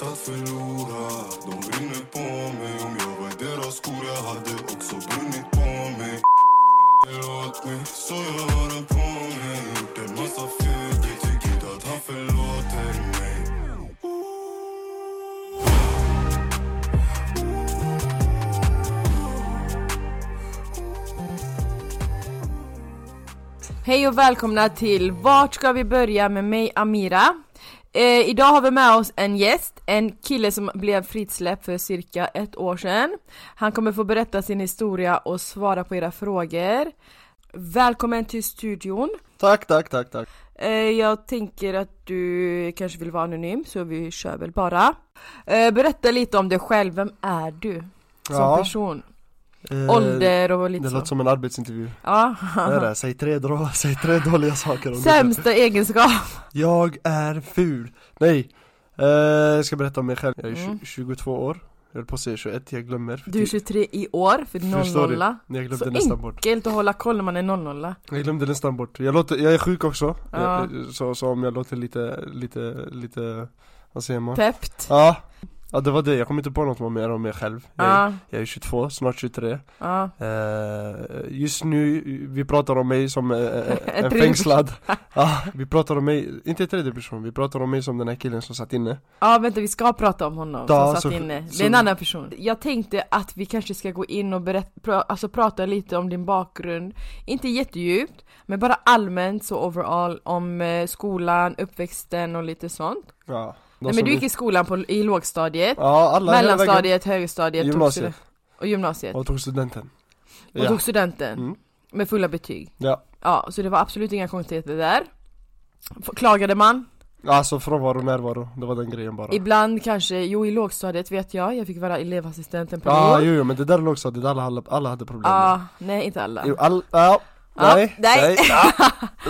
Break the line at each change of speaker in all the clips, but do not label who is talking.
förlora De brinner på mig Om jag var i deras skor jag hade också brunnit på mig Vill åt mig, så jag har den på mig Gjort en massa fel, jag tycker inte att han förlåter mig
Hej och välkomna till Vart ska vi börja med mig Amira? Eh, idag har vi med oss en gäst, en kille som blev frisläppt för cirka ett år sedan. Han kommer få berätta sin historia och svara på era frågor. Välkommen till studion.
Tack, tack, tack, tack.
Eh, jag tänker att du kanske vill vara anonym så vi kör väl bara. Eh, berätta lite om dig själv, vem är du som
Ja,
person?
eh,
Ålder och
Det
lite så.
låter som en arbetsintervju.
Ja.
Det är det. Säg tre, dra, säg tre dåliga saker om dig själv.
Sämsta egenskap.
Jag är ful. Nej. Eh, jag ska berätta om mig själv. Jag är tju-
Mm.
22 år. Jag höll på att säga 21, jag glömmer.
Du är 23 i år, för
Typ. Förstår du?
00
Jag glömde
Så
nästan bort.
enkelt att hålla koll när man är 00
Jag glömde nästan bort. Jag, låter, jag är sjuk också.
Ja.
Jag- eh, Så, så om jag låter lite, lite, lite, vad säger man?
Pept
Ja. Ja det var det, jag kom inte på något mer om mig själv. Jag är,
Ja,
jag är 22, snart 23.
ja
Eh, just nu, vi pratar om mig som eh, eh, en
Tredje
fängslad Ja, vi pratar om mig, inte i tredje person, vi pratar om mig som den här killen som satt inne
Ja vänta vi ska prata om honom
Ja,
som satt
så-
inne, det
så-
är en annan person Jag tänkte att vi kanske ska gå in och berätt, pra, alltså prata lite om din bakgrund Inte jättedjupt, men bara allmänt så overall om eh, skolan, uppväxten och lite sånt
Ja, de
Nej men
som
du
vi-
gick i skolan på, i lågstadiet,
Ja, alla hela vägen.
mellanstadiet, högstadiet, tog
Gymnasiet,
stud- och gymnasiet
och tog studenten
Och
Ja,
tog studenten
Mm.
med fulla betyg
ja.
Ja, så det var absolut inga konstigheter där F- Klagade man?
Alltså frånvaro, närvaro, det var den grejen bara
Ibland kanske, jo i lågstadiet vet jag, jag fick vara elevassistent en period
Ja, jo, jo men det där låg också, det där alla, alla hade problem med
Ah, nej inte alla
Jo, all, ja,
Ja,
nej,
nej.
nej, ja,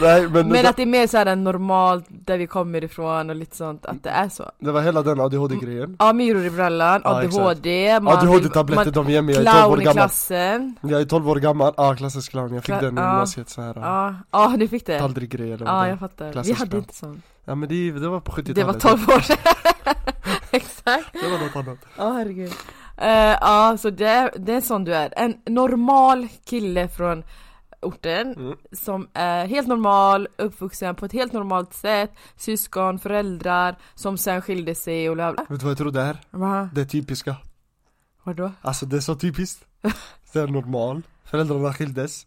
nej men,
Men
det,
att det är mer såhär normalt, där vi kommer ifrån och lite sånt, att det är så
det var hela den ADHD-grejen
Ja, myror i brallan,
Ja,
ADHD, Mm. man vill-
ADHD-tabletter de ger mig,
man,
jag är 12 år
Clown i
gammal
klassen
Jag är 12 år gammal, ja ah, klassisk clown, jag fick
Kla-
den i
ja.
gymnasiet så här. Ja.
Ja, ja du fick det?
Tallrikgrejer eller vad
Eh, ah, Ja
det-
jag fattar, vi
Klassisk
hade
clown.
inte sånt
ja men det, det var på 70-talet
Det var 12 år sedan Exakt,
Det var något annat
ja herregud Eh, Ja, så det, är- det är sån du är, en normal kille från orten
mm.
som är helt normal, uppvuxen på ett helt normalt sätt, syskon, föräldrar som sen skilde sig och bla bla.
Vet du vad jag tror det är?
Va?
Det är typiska
Vadå?
Alltså det är så typiskt Det är normal Föräldrarna skildes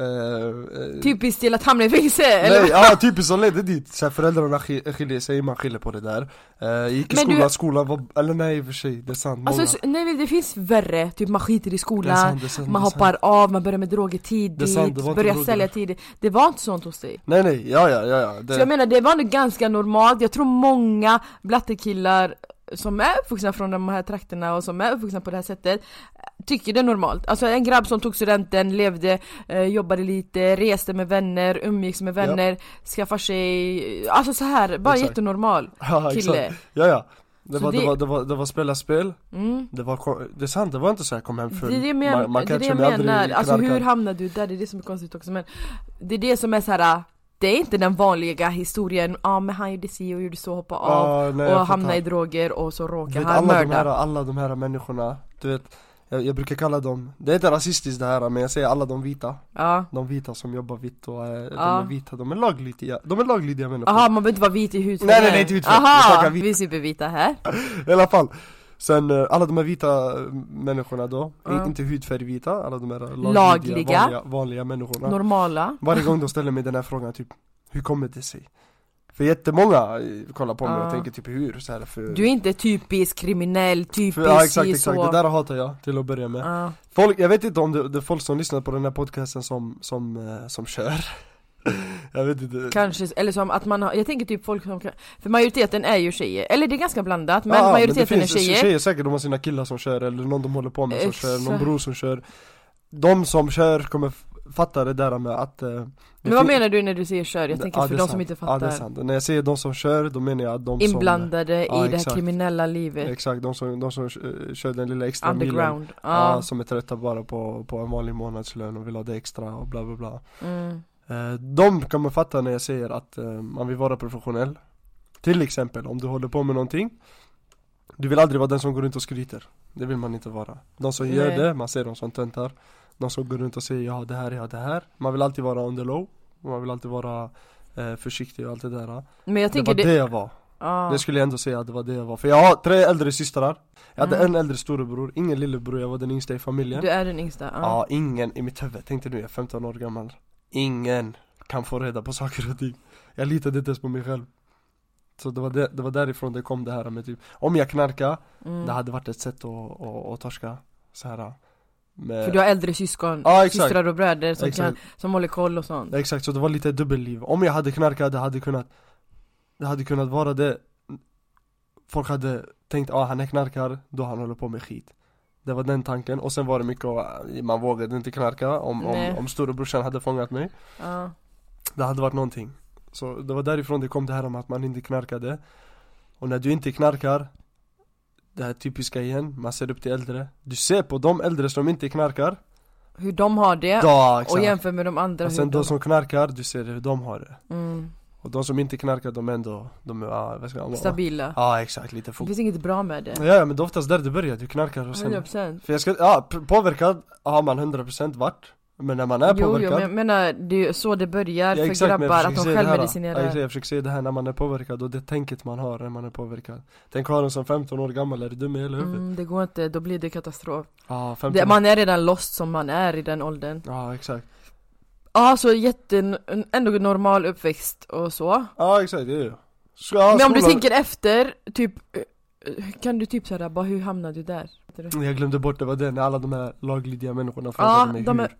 Eh, eh,
Typiskt till att hamna i fängelse Typ, eller?
Nej, ja typiskt som ledde dit så här, föräldrarna skil- skiljer sig, man skiljer på det där eh, Gick i
Men du-
skolan, skolan var, eller nej i och för sig, det är sant,
Alltså
många-
så, nej men det finns värre, typ man skiter i
det är
skolan,
sant, det är sant,
man
det är sant.
hoppar av, man börjar med droger
Det är
tidigt,
sant, det var inte
börjar
droger.
sälja tidigt Det var inte sånt hos dig
Nej nej, ja ja ja, ja. Det,
Så jag menar det var nog ganska normalt, jag tror många blattekillar som är uppvuxna från de här trakterna och som är uppvuxna på det här sättet Tycker det är normalt, alltså en grabb som tog studenten, levde, eh, jobbade lite, reste med vänner, umgicks med vänner, skaffade sig, alltså så här, bara
Exakt.
jättenormal
ja, exakt.
kille
Ja ja, det
Så
var, det...
det-
var, det var, det var spela spel
mm.
Det var, ko- det är sant, det var inte så jag kom hem
Det
full
är det, men,
man, man
det, är det
kanske
jag
mig aldrig
menar, alltså
knarkar.
hur hamnade du där? Det är det som är konstigt också men Det är det som är så här. det är inte den vanliga historien, ja ah, men han gjorde si och gjorde så, hoppa av
Ja, nej, jag
och
fattar.
hamna i droger och så
Du
råkar
vet,
han
alla de, här,
mörda
alla de här människorna, du vet jag, jag brukar kalla dem, det är inte rasistiskt det här men jag säger alla de vita
Ja,
De vita som jobbar vitt och eh,
Ja.
de är vita, de är laglydiga, de är laglydiga människor
aha man behöver inte vara vit i huden
Nej, nej, nej, inte vit hud. Vi
Aha,
snackar vit.
vi är supervita här
I alla fall Sen eh, alla de här vita eh, människorna då,
Ja.
i- inte hudfärgvita, alla de här laglydiga,
Lagliga.
Vanliga, vanliga människorna
Normala
Varje gång de ställer mig den här frågan typ, hur kommer det sig? För jättemånga eh, kollar på mig
Ja.
och tänker typ hur? Så här, för,
Du är inte typisk kriminell, typisk
För, ja exakt,
si,
exakt,
så
det där hatar jag till att börja med
Ja.
Folk, jag vet inte om det, det är folk som lyssnar på den här podcasten som, som, eh, som kör Jag vet inte
Kanske, eller som att man har, jag tänker typ folk som kan, För majoriteten är ju tjejer, eller det är ganska blandat men
Ja, ja,
majoriteten
det finns,
är tjejer
Tjejer säkert, de har sina killar som kör eller någon de håller på med som
Exakt.
kör, någon bror som kör De som kör kommer f- fatta det där med att eh, det
Men vad
fin-
menar du när du säger kör? Jag tänker för
Ja, det är
de som
sant.
inte
Ja det är
fattar
sant, när jag säger de som kör då menar jag de
Inblandade
Ja,
i det här
exakt.
kriminella
som
livet
Exakt, de som, de som eh, kör den lilla extra milen
Underground,
Ja,
ja
som är trötta bara på, på en vanlig månadslön och vill ha det extra och bla bla bla
mm.
Eh, De kommer fatta när jag säger att eh, man vill vara professionell Till exempel om du håller på med någonting Du vill aldrig vara den som går runt och skryter Det vill man inte vara De som gör
Nej.
det, man ser dem som töntar De som går runt och säger jag har det här, jag har det här Man vill alltid vara on the low Man vill alltid vara eh, försiktig och allt det där
Men jag
Det
tänker
var
det...
det, jag var
Ja.
Det skulle jag ändå säga att det var det jag var För jag har tre äldre systrar Jag hade
Mm.
en äldre storebror, ingen lillebror, jag var den yngsta i familjen
Du är den yngsta, ja.
Ja, ingen i mitt huvud, tänkte nu jag är 15 år gammal Ingen kan få reda på saker och ting Jag litade inte ens på mig själv Så det var, det, det var därifrån det kom det här med typ Om jag knarkar,
mm.
det hade varit ett sätt att, att, att torska så här. Med,
För du har äldre syskon,
Ja, exakt.
systrar och bröder som, kan,
exakt,
som håller koll och sånt
exakt, så det var lite dubbelliv Om jag hade knarkat, det hade kunnat Det hade kunnat vara det Folk hade tänkt, ah han är knarkar, då han håller på med skit Det var den tanken, och sen var det mycket av, ah, man vågade inte knarka om, om,
Nej.
om storebrorsan hade fångat mig
ja.
Det hade varit någonting Så det var därifrån det kom det här om att man inte knarkade Och när du inte knarkar Det här typiska igen, man ser upp till äldre Du ser på de äldre som inte knarkar
Hur de har det,
Ja exakt
och jämför med de andra
Och
hur
sen
de...
de som knarkar, du ser hur de har det
mm.
Och de som inte knarkar, de är ändå, de är, ja, vad ska man
Stabila
Ja exakt, lite
Det
fort
finns inget bra med det,
Ja ja, men det är oftast där det börjar, du knarkar och sen
100%
För jag ska, ja, p- påverkad har man 100% vart Men när man
Jo,
är
jo,
påverkad
men jag menar, det är ju så det börjar
Ja,
för
exakt, men jag
grabbar, att
försöker
de
säga det här, Ja,
självmedicinerar
exakt, jag försöker säga det här när man är påverkad och det tänket man har när man är påverkad Tänk har en som 15 år gammal, är du dum i hela huvudet?
mm, Det går inte, då blir det katastrof
Ja, 15
det, Man är redan lost som man är i den åldern
Ja exakt
Ja, så jätte, en- ändå normal uppväxt och så
Ja exakt, det är ju Ska, ja,
Men om du
skolan-
tänker efter, typ eh, eh, Kan du typ såhär, bara hur hamnade du där?
Jag glömde bort det var det när alla de här laglydiga människorna
Ja,
frågade mig
de
hur
är-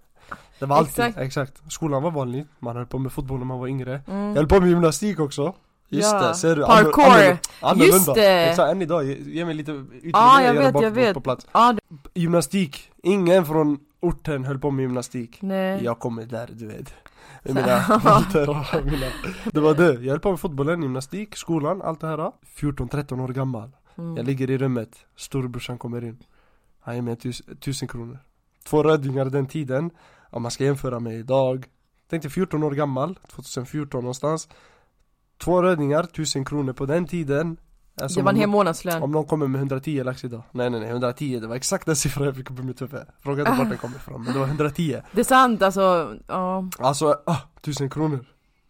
Det var alltid,
Exakt.
exakt. Skolan var vanlig, man höll på med fotboll när man var yngre Jag
Mm.
höll på med gymnastik också Just
Ja.
det, ser du?
Parkour.
Annorlunda- annorlunda.
Just det.
Exakt, än idag, ge, ge mig lite utrymme
Ja, jag vet,
göra
jag
bakåt
vet.
på plats
Ja, det,
Gymnastik, ingen från orten höll på med gymnastik
nej
Jag kommer där du vet Med mina volter och mina Det var det, jag höll på med fotbollen, gymnastik, skolan, allt det här 14-13 år gammal
Mm.
Jag ligger i rummet, storbrorsan kommer in Han ger mig tus- tusen kronor Två rödingar den tiden Om man ska jämföra med idag Tänkte 14 år gammal, 2014 någonstans Två rödingar, tusen kronor på den tiden är
Det
som
var en
om-
hel månadslön
om någon kommer med 110 lax idag Nej nej nej, 110 det var exakt den siffran jag fick upp i mitt huvud Fråga
Ah.
inte vart den kommer ifrån men det var 110
Det är sant alltså, ja
Alltså, ah, tusen kronor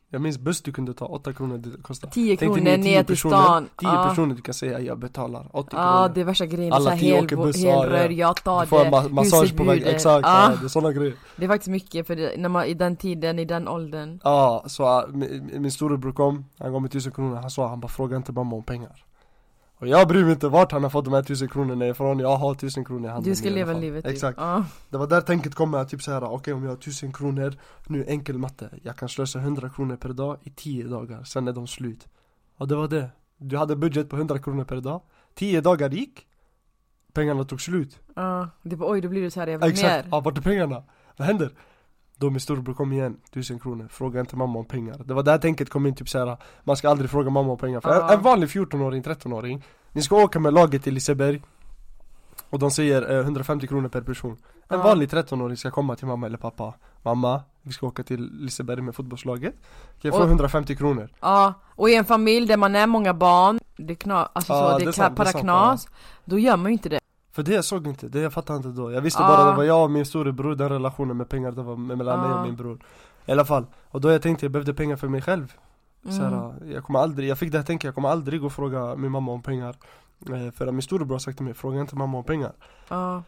Jag minns buss du kunde ta, 8 kronor det kostade
10
Tänk dig
kronor
ni är tio
ner till
personer,
stan
10
Ja.
personer du kan säga jag betalar 80
Ja
kronor
Ah. det är värsta grejen,
Alla
Alla
tio
hel,
åker buss,
hel
ja, ja.
rör, jag tar
Du får en
det
ma- massage på vägen,
husförbud,
exakt,
ah.
ja, det är sådana grejer
Det är faktiskt mycket för det, när man, i den tiden, i den åldern
Ja, så ah, min, min storebror kom, han gav mig tusen kronor, han sa han bara fråga inte mamma om pengar Och jag bryr mig inte vart han har fått de här tusen kronorna ifrån, jag har tusen kronor i handen
Du ska
i alla
leva
fall.
livet typ.
Exakt
Ja.
Det var där tänket kom med att typ såhär, okej om jag har tusen kronor Nu enkel matte, jag kan slösa 100 kronor per dag i 10 dagar, sen är de slut Och det var det Du hade budget på 100 kronor per dag 10 dagar gick Pengarna tog slut
ja. Det var oj då blir det så här jag vill
Exakt,
mer
ja, vart är pengarna? Vad händer? Då min storebror kom igen, tusen kronor, fråga inte mamma om pengar Det var där tänket kom in, typ såhär, man ska aldrig fråga mamma om pengar För
Ja.
en, en vanlig 14-åring, 13-åring Ni ska åka med laget till Liseberg Och de säger eh, 150 kronor per person En
Ja.
vanlig 13-åring ska komma till mamma eller pappa Mamma, vi ska åka till Liseberg med fotbollslaget Kan jag få
Och-
150 kronor?
Ja, och i en familj där man är många barn Det är knas, alltså
Ja,
så, det,
det är
är
sant,
ka-
det är
para
sant,
knas Då gör man ju inte det
För det jag såg inte, det jag fattade inte då Jag visste
Ah.
bara det var jag och min storebror, den relationen med pengar det var me- mellan mig
Ah.
och min bror I alla fall, och då jag tänkte jag behövde pengar för mig själv
Mm.
så här, jag, kommer aldrig, jag fick det här tänket, jag kommer aldrig gå och fråga min mamma om pengar Eh, För att min storebror har sagt till mig, fråga inte mamma om pengar
Ja,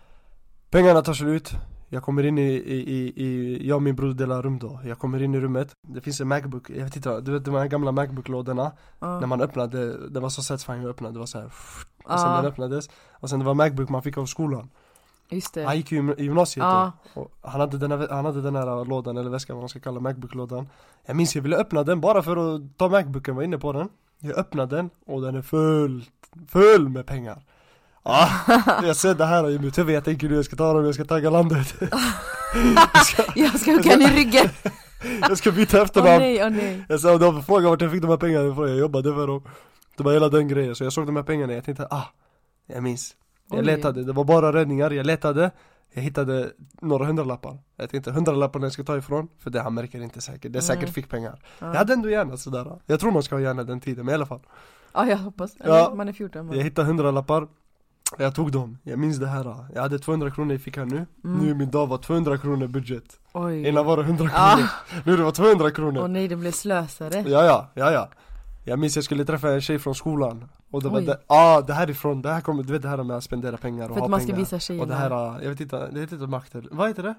Pengarna tar slut jag kommer in i, i, i, i, jag och min bror delar rum då Jag kommer in i rummet Det finns en Macbook, jag vet inte, du vet de här gamla Macbook-lådorna
ja.
När man öppnade, det var så satisfying att öppna, det var så här, Och sen den
ja,
öppnades Och sen det var Macbook man fick av skolan
just det
Han gick ju gym- i gymnasiet
Ja.
då och han, hade den här, han hade den här lådan eller väskan vad man ska kalla Macbook-lådan Jag minns jag ville öppna den bara för att ta Macbooken, var inne på den Jag öppnade den och den är full, full med pengar ah, Jag ser det här i mitt huvud, jag tänker nu jag ska ta dem, jag ska tagga landet
Jag ska hugga henne i ryggen!
Jag ska byta
Åh
efternamn
nej, åh nej
Jag sa de frågade vart jag fick de här pengarna ifrån, jag jobbade för dem Det var hela den grejen, så jag såg de här pengarna, jag tänkte ah Jag minns Jag
Oj.
letade, det var bara räddningar, jag letade Jag hittade några hundralappar Jag tänkte hundralapparna jag ska ta ifrån, för det han märker inte säkert, det är säkert
Mm.
fick pengar
Ja.
Jag hade ändå hjärna sådär Jag tror man ska ha hjärna den tiden, men i alla fall
Ja jag hoppas,
Ja.
Eller, man är 14 man.
Jag hittade 100 lappar Jag tog dem, jag minns det här Jag hade 200 kronor i fickan nu Nu är min dag var 200 kronor budget
Mm. Oj, Ah.
Innan var det 100
Ja.
kronor, nu det var 200
åh
kronor
nej det blev slösare
Ja ja, ja ja Jag minns jag skulle träffa en tjej från skolan Och det var
Oj.
det, ah det här ifrån, det här kommer, du vet det här med att spendera pengar och
För
ha
att man ska
pengar
visa
Och det
tjejerna
här, jag vet inte, det heter inte makt eller, vad heter det?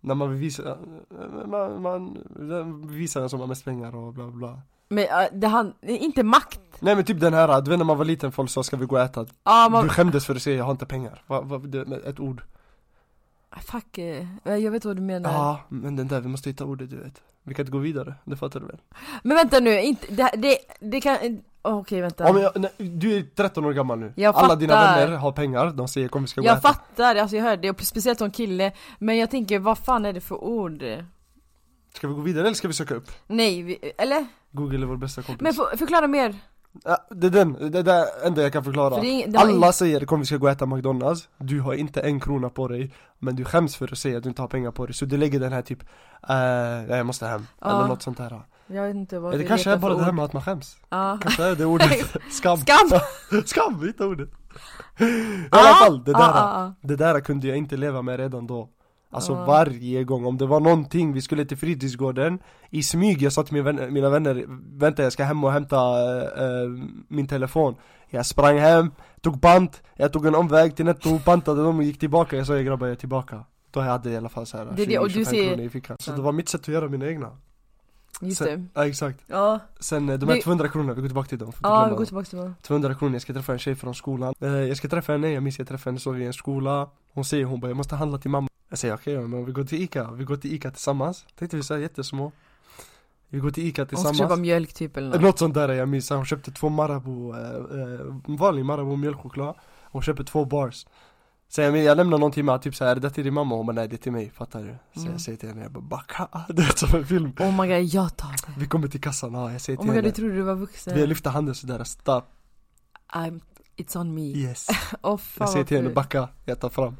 När man vill visa, eh, man, man visar den som har mest pengar och bla bla
Men ja, det han, inte makt!
Nej men typ den här, du vet när man var liten folk sa ska vi gå och äta?
Ja man,
Du skämdes för att säga jag har inte pengar, va, va, det, ett ord
fuck, eh, jag vet vad du menar
Ja, men den där, vi måste hitta ordet du vet Vi kan inte gå vidare, det fattar du väl?
Men vänta nu, inte, det, det, det kan, åh, okej vänta
Ja, men jag, nej, du är 13 år gammal nu,
Jag
alla dina
fattar.
vänner har pengar, de säger kom vi ska gå och
Jag
äta
fattar, alltså jag hörde det, och speciellt som kille Men jag tänker, vad fan är det för ord?
Ska vi gå vidare eller ska vi söka upp?
Nej, vi, eller?
Google är vår bästa kompis
Men för, förklara mer!
ja, Det är den, det är det enda jag kan förklara
För det, är ing- det har
Alla säger kom vi ska gå och äta McDonalds, du har inte en krona på dig Men du skäms för att säga att du inte har pengar på dig så du lägger den här typ eh, jag måste hem,
Ja.
eller något sånt här
ing- Jag vet inte vad
Det
vi
kanske är
letar
bara
för
det här
ord.
med att man skäms
Ja,
Kanske är det ordet, skam
skam!
Skam, hitta ordet! I
Ja,
alla fall, det
ja,
där,
ja, ja.
det där kunde jag inte leva med redan då Alltså
Ja.
varje gång, om det var någonting, vi skulle till fritidsgården I smyg, jag sa till min vän, mina vänner Vänta jag ska hem och hämta eh, eh, min telefon Jag sprang hem, tog bant, jag tog en omväg till netto, bantade dem och gick tillbaka Jag sa jag grabbar jag är tillbaka Då hade jag i alla fall såhär
Det är det, och du
20-25
ser-
kronor i fickan Så det var mitt sätt att göra mina egna
Just
Sen-
det,
Ja exakt,
ja,
sen eh, de här
Vi-
200 kronorna, vi går tillbaka till dem får inte
ja
glömma
vi går
dem.
tillbaka till vad
200 Typ kronor, jag ska träffa en tjej från skolan Eh, Jag ska träffa henne, jag minns jag träffade henne, så vi i en skola Hon säger hon bara jag måste handla till mamma Jag säger okej men vi går till Ica, vi går till Ica tillsammans Tänkte vi såhär jättesmå Vi går till Ica
Hon ska köpa
tillsammans Eh,
mjölk typ eller något.
Något sånt där jag minns, hon köpte två Marabou, eh, eh, vanlig Marabou mjölkchoklad Hon köper två bars Sen jag, men jag lämnar någon timme, typ såhär är det där till din mamma? Hon bara nej det är till mig, fattar du? Så
Mm.
jag säger till henne, jag bara backa, det är som en film
Oh my god, jag tar det!
Vi kommer till kassan, ja jag säger
Oh
till
my god, du
henne
trodde du var
Vi
vuxen
lyfter handen sådär, stopp,
I'm, It's on me
yes
Åh fan
Jag säger till henne
vad fult.
backa, jag tar fram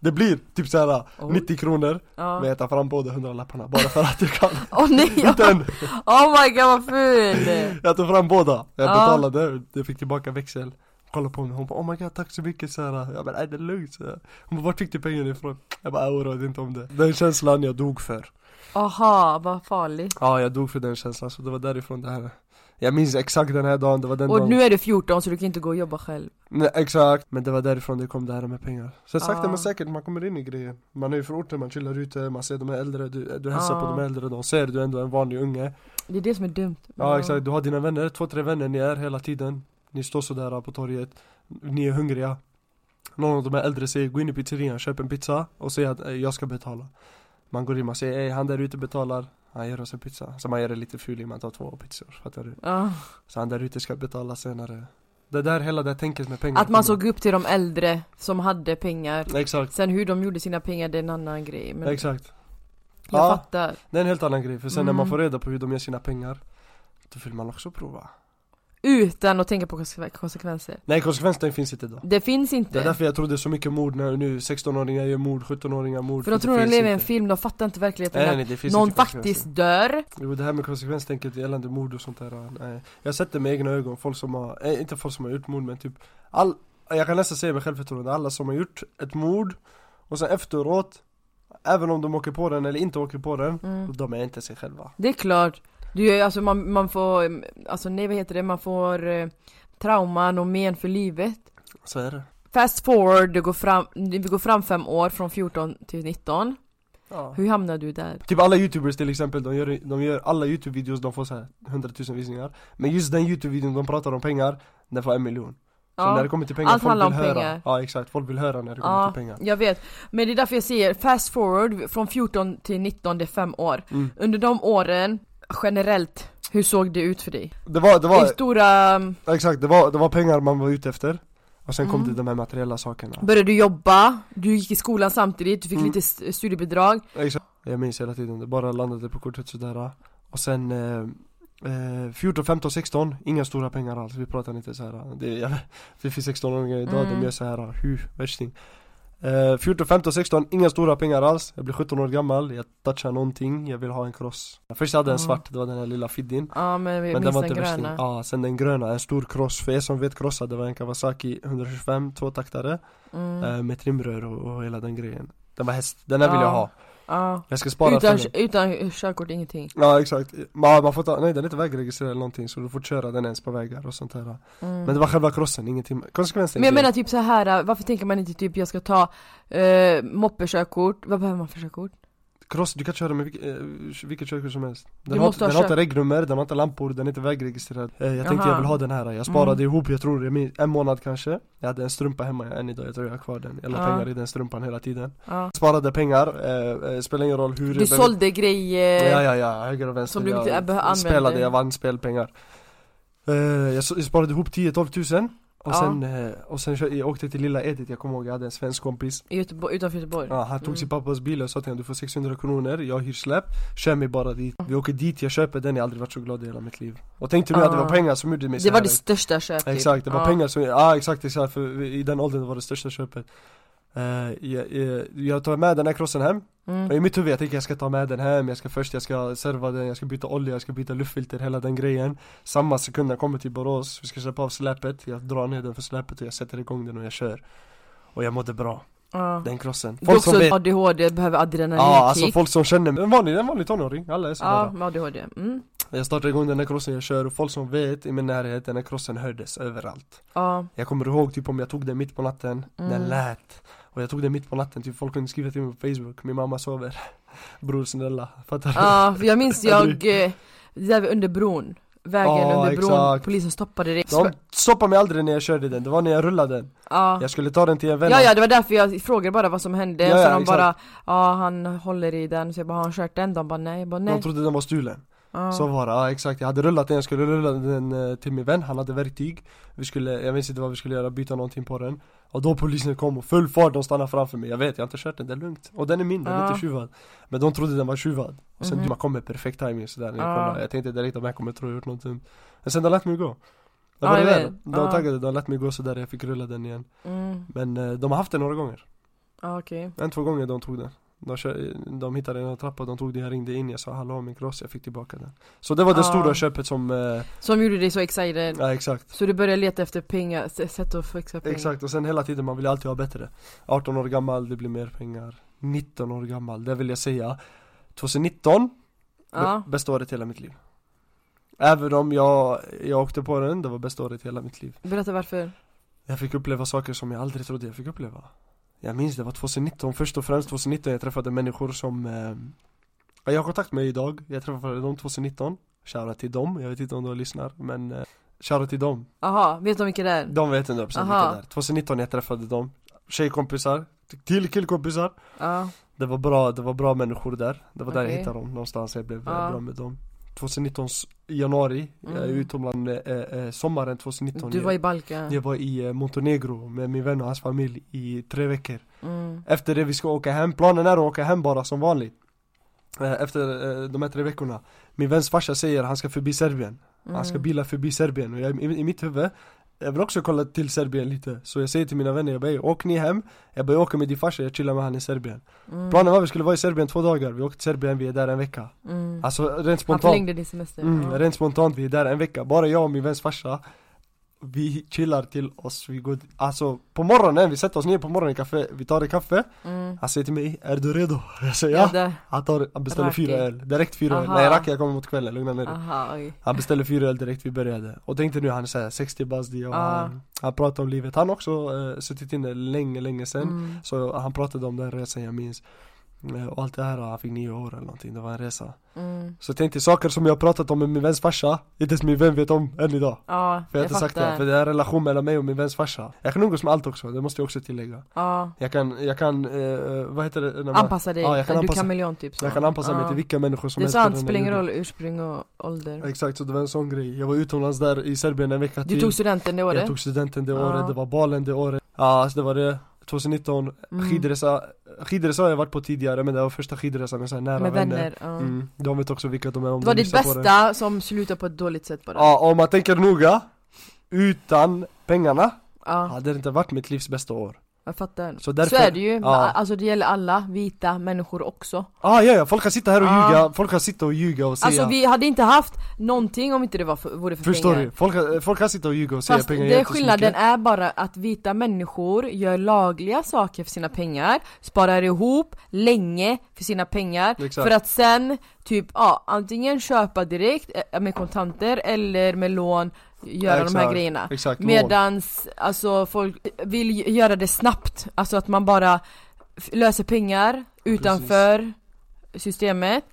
Det blir typ såhär
Oj.
90 kronor men
Ja.
jag tar fram båda 100 lapparna bara för att jag kan
Åh nej!
Inte
ja.
än!
Oh my god vad ful!
Jag tog fram båda, jag
Ja.
betalade, jag fick tillbaka växel Kolla på mig, hon bara oh my god tack så mycket såhär Jag bara nej det är lugnt så här. Hon bara vart fick du pengarna ifrån? Jag bara oroa dig inte om det Den känslan jag dog för
Aha, vad farligt
Ja jag dog för den känslan så det var därifrån det här Jag minns exakt den här dagen, det var den
Och
dagen
nu är du 14 så du kan inte gå och jobba själv
Nej, exakt, men det var därifrån det kom det här med pengar Så sakta
Ja.
men säkert, man kommer in i grejen Man är ju från orten, man chillar ute, man ser de här äldre, du, du hälsar
Ja.
på de här äldre, de ser du är ändå en vanlig unge
Det är det som är dumt
Ja exakt, du har dina vänner, två tre vänner, ni är hela tiden Ni står sådär på torget, ni är hungriga Någon av de här äldre säger gå in i pizzerian, köp en pizza och säg att eh, jag ska betala Man går in, man säger ey han där ute betalar han ger oss en pizza, så man gör det lite ful i man tar två pizzor, fattar du?
Ja.
Så han där ute ska betala senare Det där hela det här tänket med pengar
Att man
kommer.
såg upp till de äldre som hade pengar
Exakt
Sen hur de gjorde sina pengar det är en annan grej men
Exakt.
jag
Ja.
fattar
Det är en helt annan grej, för sen när
Mm.
man får reda på hur de gör sina pengar Då vill man också prova
Utan att tänka på konse- konsekvenser
Nej konsekvensen finns inte idag
Det finns
Det
inte
är därför jag tror det är så mycket mord när nu 16-åringar gör mord, 17-åringar mord
För de
det
tror de
finns
lever i en
inte.
film, de fattar inte verkligheten
Nej,
att
nej, det finns
Någon
inte konsekvenser.
faktiskt dör
Jo det här med konsekvenstänket gällande mord och sånt där, nej Jag sätter med egna ögon folk som har, eh, inte folk som har gjort mord men typ all, Jag kan nästan säga med självförtroende, alla som har gjort ett mord Och sen efteråt Även om de åker på den eller inte åker på den
Mm.
De är inte sig själva
Det är klart du, är- alltså man, man får, mm, alltså nej vad heter det, man får eh, trauman och men för livet
Så är det
Fast forward, du går fram, vi går fram fem år från 14 till 19
ja.
Hur hamnar du där?
Typ alla youtubers till exempel, de gör, de gör alla youtube-videos, de får såhär 100 000 visningar Men just den youtube-videon de pratar om pengar, den får en miljon Så när det kommer till pengar,
allt
folk
handlar
vill
om
höra
pengar.
Ja exakt, folk vill höra när det kommer
ja,
till pengar
jag vet. Men det är därför jag säger fast forward från 14 till 19, det är fem år.
Mm.
Under de åren, generellt, hur såg det ut för dig?
Det var, det
Hur
var,
stora,
exakt, det var, det var pengar man var ute efter Och sen kom
Mm.
det de här materiella sakerna
började du jobba, du gick i skolan samtidigt, du fick
Mm.
lite st- studiebidrag.
exakt. Jag minns hela tiden, det bara landade på kortet sådär Och sen eh, Eh, 14, 15, 16, inga stora pengar alls, vi pratar inte så här. Det, jag, det finns 16-åringar idag,
Mm.
de gör så här, hu, värsting Eh, 14, 15, 16, inga stora pengar alls. Jag blir 17 år gammal, jag touchar någonting, jag vill ha en cross. Först hade jag en
Ja.
svart, det var den här lilla fiddin.
Ja men vi
Men den
minns
var
den
inte värst.
gröna.
Ja, sen den gröna, en stor cross. För er som vet crossa, det var en Kawasaki 125 tvåtaktare
Mm.
eh, med trimrör och, och hela den grejen. Den var häst, den här vill
Ja.
jag ha.
Ja.
Jag ska spara
Utan,
för den.
utan körkort, ingenting.
Ja exakt, man, man får ta, nej den är inte vägregistrerad eller någonting så du får köra den ens på vägar och sånt här.
Mm.
Men det var själva crossen, ingenting, konsekvensen
Men jag menar typ så här varför tänker man inte typ jag ska ta eh, moppekörkort, vad behöver man för körkort?
Cross, du kan köra med vilket, eh, vilket körkort som helst Den,
Du
har,
måste ha
den har
kört-
inte regnummer, den har inte lampor, den är inte vägregistrerad eh, Jag tänkte
Aha. Mm.
jag vill ha den här, jag sparade ihop jag tror jag minns, en månad kanske Jag hade en strumpa hemma än idag, jag tror jag har kvar den Jag la
Ja.
pengar i den strumpan hela tiden
Ja.
Sparade pengar, eh, eh, spelar ingen roll hur
Du sålde grejer,
Ja ja ja, höger och
Eh,
vänster
som du inte be-
Jag
använde.
spelade, jag vann spelpengar eh, jag, s- jag sparade ihop 10-12 tusen och
Ja.
sen, eh, och sen kö- jag åkte till lilla Edith, jag kommer ihåg jag hade en svensk kompis
i Göteborg, utanför Göteborg.
Ja, han tog
Mm.
sin pappas bil och sa till honom du får 600 kronor, jag hyr släp, kör mig bara dit
Mm.
Vi åker dit, jag köper den, jag har aldrig varit så glad i hela mitt liv Och tänkte du att det var
Ah.
pengar som gjorde mig så
det typ. Ah. var
här.
det största köpet.
Exakt, det var
ja.
pengar som, ja exakt, exakt för i den åldern var det största köpet Eh, jag, jag, jag tar med den här krossen hem, och
Mm.
i mitt huvud jag tänker jag ska ta med den hem, jag ska först, jag ska serva den, jag ska byta olja, jag ska byta luftfilter, hela den grejen Samma sekund jag kommer till Borås, vi ska släppa av släpet, jag drar ner den för släpet och jag sätter igång den och jag kör Och jag mådde bra,
Ja.
den krossen
Du också
som vet-
ADHD, behöver adrenalinkick.
Ja, alltså folk som känner mig, en vanlig, en vanlig tonåring, alla är
Ja,
sådana
med ADHD. Mm.
Jag startar igång den här crossen jag kör och folk som vet i min närhet, den här crossen hördes överallt
Ja.
Jag kommer ihåg typ om jag tog den mitt på natten, den
Mm.
lät Och jag tog den mitt på natten, typ folk kunde skriva till mig på Facebook, min mamma sover Bror snälla, fattar du?
Ja, för jag minns
Jag
jag, eh, det där under bron, vägen
Ja,
under bron,
exakt.
polisen stoppade det
De stoppade mig aldrig när jag körde den, det var när jag rullade den
ja.
Jag skulle ta den till en vän
Ah. ja, ja det var därför jag frågade bara vad som hände,
Ja,
och
ja,
så de
exakt.
bara Ja han håller i den, så jag bara har han kört den? De bara nej, jag bara
De
nej
trodde den var stulen,
ja.
så var det, ja exakt Jag hade rullat den, jag skulle rulla den eh, till min vän, han hade verktyg Vi skulle, jag minns inte vad vi skulle göra, byta någonting på den Och då polisen kom och full fart, de stannade framför mig Jag vet, jag har inte kört den, det är lugnt Och den är min, den är
Ja.
inte tjuvad Men de trodde den var tjuvad Och sen
Mhm.
man kom med perfekt timing sådär när jag
Ja.
kollade Jag tänkte direkt att jag kommer tro jag gjort något dumt Men sen de lät mig gå Det
Ja,
var det
jag
där,
vet.
de
Ja.
taggade, de lät mig gå sådär, jag fick rulla den igen
mm.
Men eh, de har haft den några gånger,
ja, okej
en två gånger de tog den de, kör, de hittade den i en trappa, de tog den, jag ringde in, jag sa hallå min cross, jag fick tillbaka den Så det var det
Ja.
stora köpet som, eh,
Som gjorde dig så excited
ja exakt
Så du började leta efter pengar, s- sätt att få extra pengar
Exakt, och sen hela tiden, man vill alltid ha bättre 18 år gammal, det blir mer pengar 19 år gammal, det vill jag säga 2019,
Ja,
b- bästa året i hela mitt liv Även om jag, jag åkte på den, det var bästa året i hela mitt liv
berätta varför
Jag fick uppleva saker som jag aldrig trodde jag fick uppleva Jag minns det var 2019, först och främst 2019 jag träffade människor som eh, Jag har kontakt med idag, jag träffade dem 2019 Shoutout till dem, jag vet inte om de lyssnar men eh, Shoutout till dem
Aha, vet de vilka det är?
de vet ändå precis vilka
Aha.
det är. 2019 jag träffade dem Tjejkompisar, till killkompisar
Ja,
Det var bra, det var bra människor där Det var där jag
Okej.
hittade dem någonstans, jag blev eh,
Ja.
bra med dem 2019 s- januari, jag är
Mm.
utomlands eh, eh, sommaren 2019
du var i
jag,
Balkan
jag var i eh, Montenegro med min vän och hans familj i tre veckor
mm.
Efter det vi ska åka hem, planen är att åka hem bara som vanligt Eh, Efter eh, de här tre veckorna Min väns farsa säger han ska förbi Serbien
Mm.
han ska bila förbi Serbien och jag, i, i mitt huvud Jag vill också kolla till Serbien lite Så jag säger till mina vänner, jag bara "Ey, åk ni hem Jag bara jag åker med din farsa, jag chillar med han i Serbien
mm.
Planen var att vi skulle vara i Serbien två dagar, vi åkte till Serbien, vi är där en vecka
mm.
Alltså rent
Han
spontant
förlängde din semester
mm,
ja.
Rent spontant, vi är där en vecka, bara jag och min väns farsa Vi chillar till oss, vi går Alltså på morgonen, vi sätter oss ner på morgonen i kaffe, vi tar en kaffe
mm.
Han säger till mig, är du redo? Jag säger
Ja,
ja
där.
Han, tar, han beställer
Raki.
fyra öl, direkt fyra öl
Aha.
Nej Raki jag kommer mot kvällen, lugna ner dig
Aha, oj
han beställde fyra öl direkt vi började Och tänkte nu han är såhär 60 bast det och
Ja.
han, han pratar om livet Han har också eh, suttit inne länge länge sen
mm.
Så han pratade om den resan jag minns Eh, och allt det här, han fick nio år eller någonting, det var en resa
Mm.
Så jag tänkte saker som jag har pratat om med min väns farsa Inte ens min vän vet om än idag
Ja,
För jag har inte sagt det, för det är en relation mellan mig och min väns farsa Jag kan umgås med allt också, det måste jag också tillägga
Ja.
Jag kan, jag kan, eh, vad heter det? när man-
Anpassa dig,
Ja, jag kan
du är
anpassa-
kameleon typ så.
Jag kan anpassa mig
Ja.
till vilka människor som
Det är
helst på
sant,
den här
spelar ingen
jorden.
roll ursprung och ålder
Exakt, så det var en sån grej Jag var utomlands där i Serbien en vecka
Du
till
tog studenten det
Jag
året?
tog studenten det
Ja.
året, det var balen det året Ja, alltså det var det 2019
Mm.
Skidresa, skidresa har jag varit på tidigare men det var första skidresan med så här nära
Med
vänner,
vänner, ja.
Mm. De vet också vilka de är om
Det var
de
ditt
lyssnar på det.
bästa som slutar på ett dåligt sätt bara
Ja, om man tänker noga Utan pengarna
Ja,
hade det inte varit mitt livs bästa år
Jag fattar.
Så
Så,
därför-
är det ju,
ja.
alltså det gäller alla vita människor också
Ah, ja, ja, folk kan sitta här och
Ah.
ljuga, folk kan sitta och ljuga och säga
Alltså vi hade inte haft någonting om inte det var för, vore för
Förstår
pengar
du? Folk, kan- folk kan sitta och ljuga och säga
Fast
pengar
det
gör inte så
skillnaden
mycket.
är bara att vita människor gör lagliga saker för sina pengar Sparar ihop länge för sina pengar
Exakt.
För att sen typ, ja, antingen köpa direkt eh, med kontanter eller med lån Göra de här
Exakt,
grejerna
Exakt, lån.
Medans alltså, folk vill ju göra det snabbt, alltså att man bara f- löser pengar utanför systemet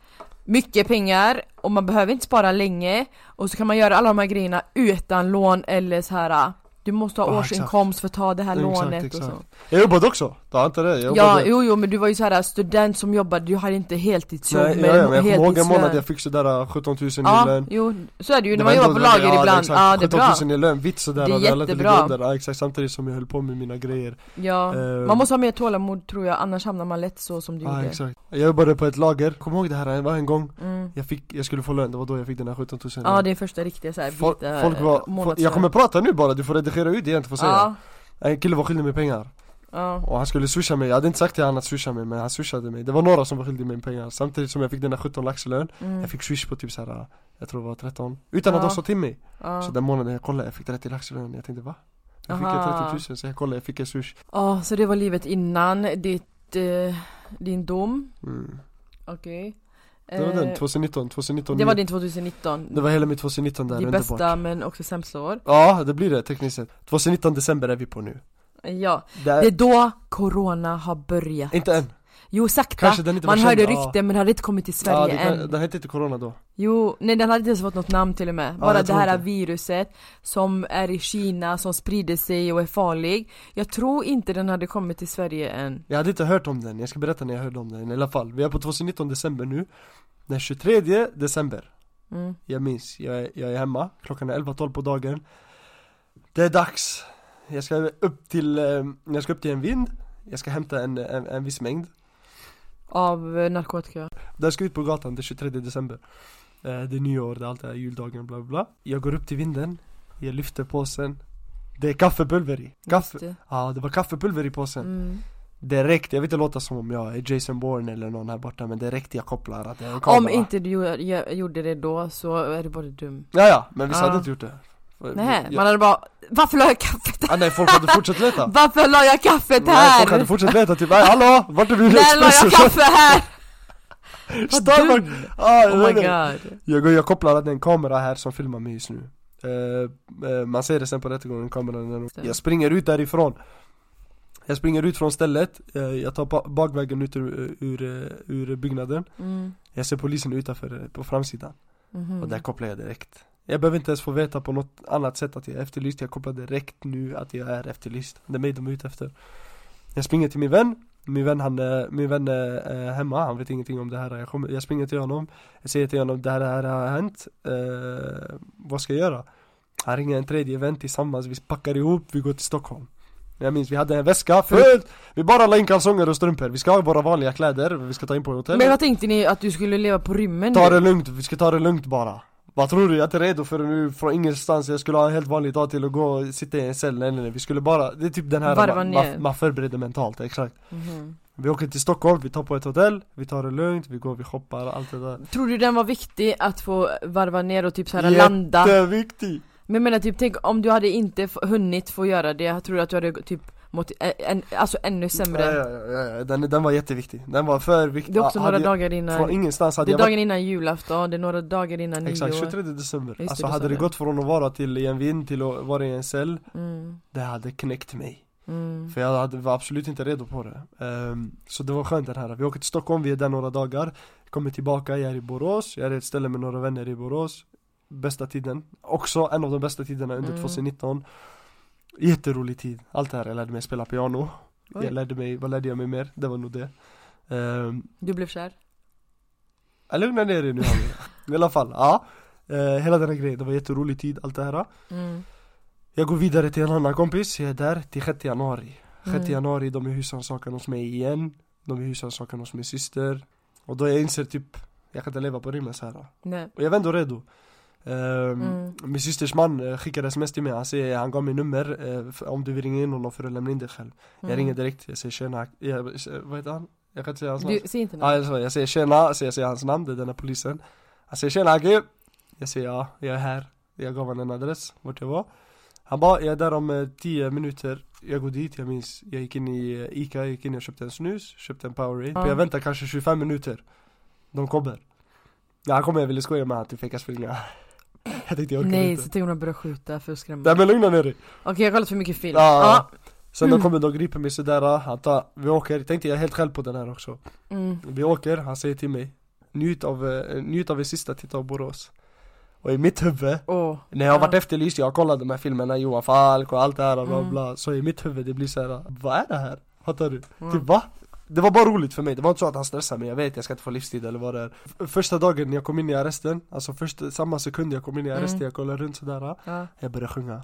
Mycket pengar och man behöver inte spara länge Och så kan man göra alla de här grejerna utan lån eller så här. Du måste ha
Ja,
årsinkomst för att ta det här
Exakt,
lånet och så
exakt. Jag jobbade också, ta inte det, jag
Ja,
jobbade
jo, jo men du var ju så här student som jobbade, du hade inte heltidsjobb
Nej, ja, ja, men jag kommer ihåg en
heltidslön.
månad jag fick sådär 17 000 i
Ja,
lön
jo, så är det ju
Det
när man
var
jobbar
ändå
på
under-
lager ibland,
exakt.
ja det är bra
17 000 i lön, vitt sådär
Det är
och lät lite
jättebra.
under, ja, exakt samtidigt som jag höll på med mina grejer
Ja,
Eh,
man måste ha mer tålamod tror jag, annars hamnar man lätt så som du
Ja,
gjorde
exakt Ehm. Jag jobbade på ett lager, kom ihåg det här, det var en gång
mm.
jag, fick, jag skulle få lön, det var då jag fick den här 17 000 i
Ja
lön.
det är första riktiga såhär
folk, folk var, folk, Jag kommer prata nu bara, du får redigera ut det jag inte får säga
Ja,
En kille var skyldig mig pengar
ja,
och han skulle swisha mig, jag hade inte sagt till honom att swisha mig men han swishade mig Det var några som var skyldiga mig pengar samtidigt som jag fick den här 17 lax i lön
mm,
Jag fick swish på typ såhär, jag tror det var 13 Utan att
Ja.
de sa till mig Så
ja.
den månaden jag kollade, jag fick 30 lax i lön Jag tänkte va? Jag fick
Aha.
30 000 så jag kollade, jag fick en swish
Ja, så det var livet innan ditt, eh, din dom,
mm.
okej
Det var den,
Eh,
2019, 2019
det var din 2019
det var hela mitt 2019 där,
Det
underbart
bästa men också sämsta år
Ja, det blir det tekniskt sett 2019 december är vi på nu
Eh, Ja,
det är,
det är då corona har börjat
Inte än,
Jo sakta,
Kanske den inte var
man hörde
känd, ja.
rykten men den hade inte kommit till
ja,
Sverige
det
än
kan, den hette inte corona då
Jo, nej den hade inte ens fått något namn till och med. Bara
jag
det
tror
här
inte.
viruset som är i Kina, som sprider sig och är farlig. Jag tror inte den hade kommit till Sverige än.
Jag hade inte hört om den, jag ska berätta när jag hörde om den i alla fall Vi är på 2019 december nu Den 23 december
Mm.
Jag minns, jag är, jag är hemma, klockan är 11-12 på dagen Det är dags Jag ska upp till, eh, jag ska upp till en vind Jag ska hämta en, en, en viss mängd
Av eh, narkotika.
Där ska jag ut på gatan den 23 december Eh, Det är nyår, det är allt det här juldagen bla bla bla Jag går upp till vinden Jag lyfter påsen Det är kaffepulver i Kaffe,
Just det.
ja det var kaffepulver i påsen
Mm.
Direkt, jag vill inte låta som om jag är Jason Bourne eller någon här borta men direkt jag kopplar att det är en kamera
Om inte du gör- gör- gjorde det då så är du bara dum.
Ja, ja, men vissa
Ja.
hade inte gjort det För-
Nej,
jag-
Ah. man hade bara Varför la jag kaffet här?
ah, nej folk hade fortsatt leta
Varför la jag kaffet
Nej folk hade
här?
fortsatt leta typ, nej hallå, vart är min
När la jag kaffe här? Vad
Starbucks!
dum!
Ah, jag,
Oh my
vet inte.
god.
jag, går- jag kopplar att det är en kamera här som filmar mig just nu Eh, eh, Man ser det sen på rättegången, kameran är nog-
Stämmer.
Jag springer ut därifrån Jag springer ut från stället, eh, jag tar ba- bakvägen ut ur, ur, eh, ur byggnaden
Mm.
Jag ser polisen utanför, eh, på framsidan
Mhm.
Och där kopplar jag direkt Jag behöver inte ens få veta på något annat sätt att jag är efterlyst Jag kopplar direkt nu att jag är efterlyst Det är mig de är ute efter Jag springer till min vän Min vän han, eh, min vän är eh, hemma, han vet ingenting om det här jag, kommer, jag springer till honom Jag säger till honom det här, det här har hänt eh, Vad ska jag göra? Han ringer en tredje vän tillsammans, vi packar ihop, vi går till Stockholm jag minns, vi hade en väska full! Vi bara la in kalsonger och strumpor, vi ska ha våra vanliga kläder, vi ska ta in på hotell
Men vad tänkte ni att du skulle leva på rymmen
Ta
nu?
det lugnt, vi ska ta det lugnt bara Vad tror du? Jag är inte redo för nu från ingenstans Jag skulle ha en helt vanlig dag till att gå och sitta i en cell, nej, nej, nej. Vi skulle bara, det är typ den här
Varva
man,
ner.
man, man förbereder mentalt, exakt
Mhm.
Vi åker till Stockholm, vi tar på ett hotell, vi tar det lugnt, vi går, vi shoppar, allt det där
Tror du den var viktig att få varva ner och typ såhär
Det
landa?
är viktigt!
Men jag menar typ, tänk om du hade inte f- hunnit få göra det, jag tror att du hade typ mått, ä- än, alltså ännu
Ja,
sämre?
ja, ja, ja, den, den var jätteviktig, den var för viktig
Det är också
Ja,
några
hade jag,
dagar
Från
innan,
ingenstans hade
det är
jag varit
dagen innan julafton, det är några dagar innan
Exakt,
nyår
23 december
det,
Alltså hade det
december.
gått från att vara till i en vind till att vara i en cell
mm,
Det hade knäckt mig
mm,
För jag hade, var absolut inte redo på det Ehm, Så det var skönt den här, vi åker till Stockholm, vi är där några dagar Kommer tillbaka, jag är i Borås, jag är i ett ställe med några vänner i Borås Bästa tiden, också en av de bästa tiderna under
Mm.
2019 Jätterolig tid, allt det här, jag lärde mig spela piano
Oj.
Jag lärde mig, vad lärde jag mig mer? Det var nog det um,
Du blev kär?
Lugna ner er nu Hamid. I alla fall, ja Eh, Hela den här grejen, det var jätterolig tid, allt det här
Mm,
Jag går vidare till en annan kompis, jag är där till 6 januari 6
Mm.
januari, de är husrannsakan hos mig igen De är husrannsakan hos min syster Och då jag inser typ, jag kan inte leva på rymmen så här.
nej,
Och jag var ändå redo Ehm,
Mm.
Min systers man eh, skickade sms till mig, han, säger, han gav mig nummer eh, för, om du vill ringa in honom för att lämna in dig själv
Mm.
Jag ringer direkt, jag säger tjena, jag, vad heter han? Jag kan inte säga hans namn
Du, säg inte
Ja,
något.
jag, sa- jag säger tjena, så jag säger hans namn, det är den här polisen Han säger tjena Agge Jag säger ja, jag är här Jag gav honom en adress, vart jag var Han bara, jag är där om eh, 10 minuter Jag går dit, jag minns Jag gick in i eh, Ica, jag gick in och köpte en snus Köpte en Powerade,
Ja.
jag väntar kanske 25 minuter De kommer Ja han kommer, jag ville skoja med typ han till fejkas springa Jag tänkte jag orkar
Nej,
inte
så tänker hon att börja skjuta för att skrämma.
Nej men lugna ner dig
Okej, jag har kollat för mycket film.
Ja.
Ja.
Sen de kommer, de griper mig sådär, han tar, vi åker, tänkte jag är helt själv på den här också
Mm.
vi åker, han säger till mig Njut av, eh, njut av er sista titt av Borås Och i mitt huvud,
Åh.
när jag har varit
Ja.
efterlyst, jag har kollat de här filmerna Johan Falk och allt det här och bla
Mm.
bla Så i mitt huvud det blir så här, vad är det här? Fattar du?
Mm.
Typ va? Det var bara roligt för mig, det var inte så att han stressade mig, jag vet jag ska inte få livstid eller vad det är F- Första dagen jag kom in i arresten, alltså första, samma sekund jag kom in i arresten,
Mm.
jag kollade runt sådär
Ja.
Jag började sjunga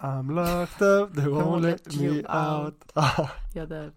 I'm locked up, they won't let me out
Jag där.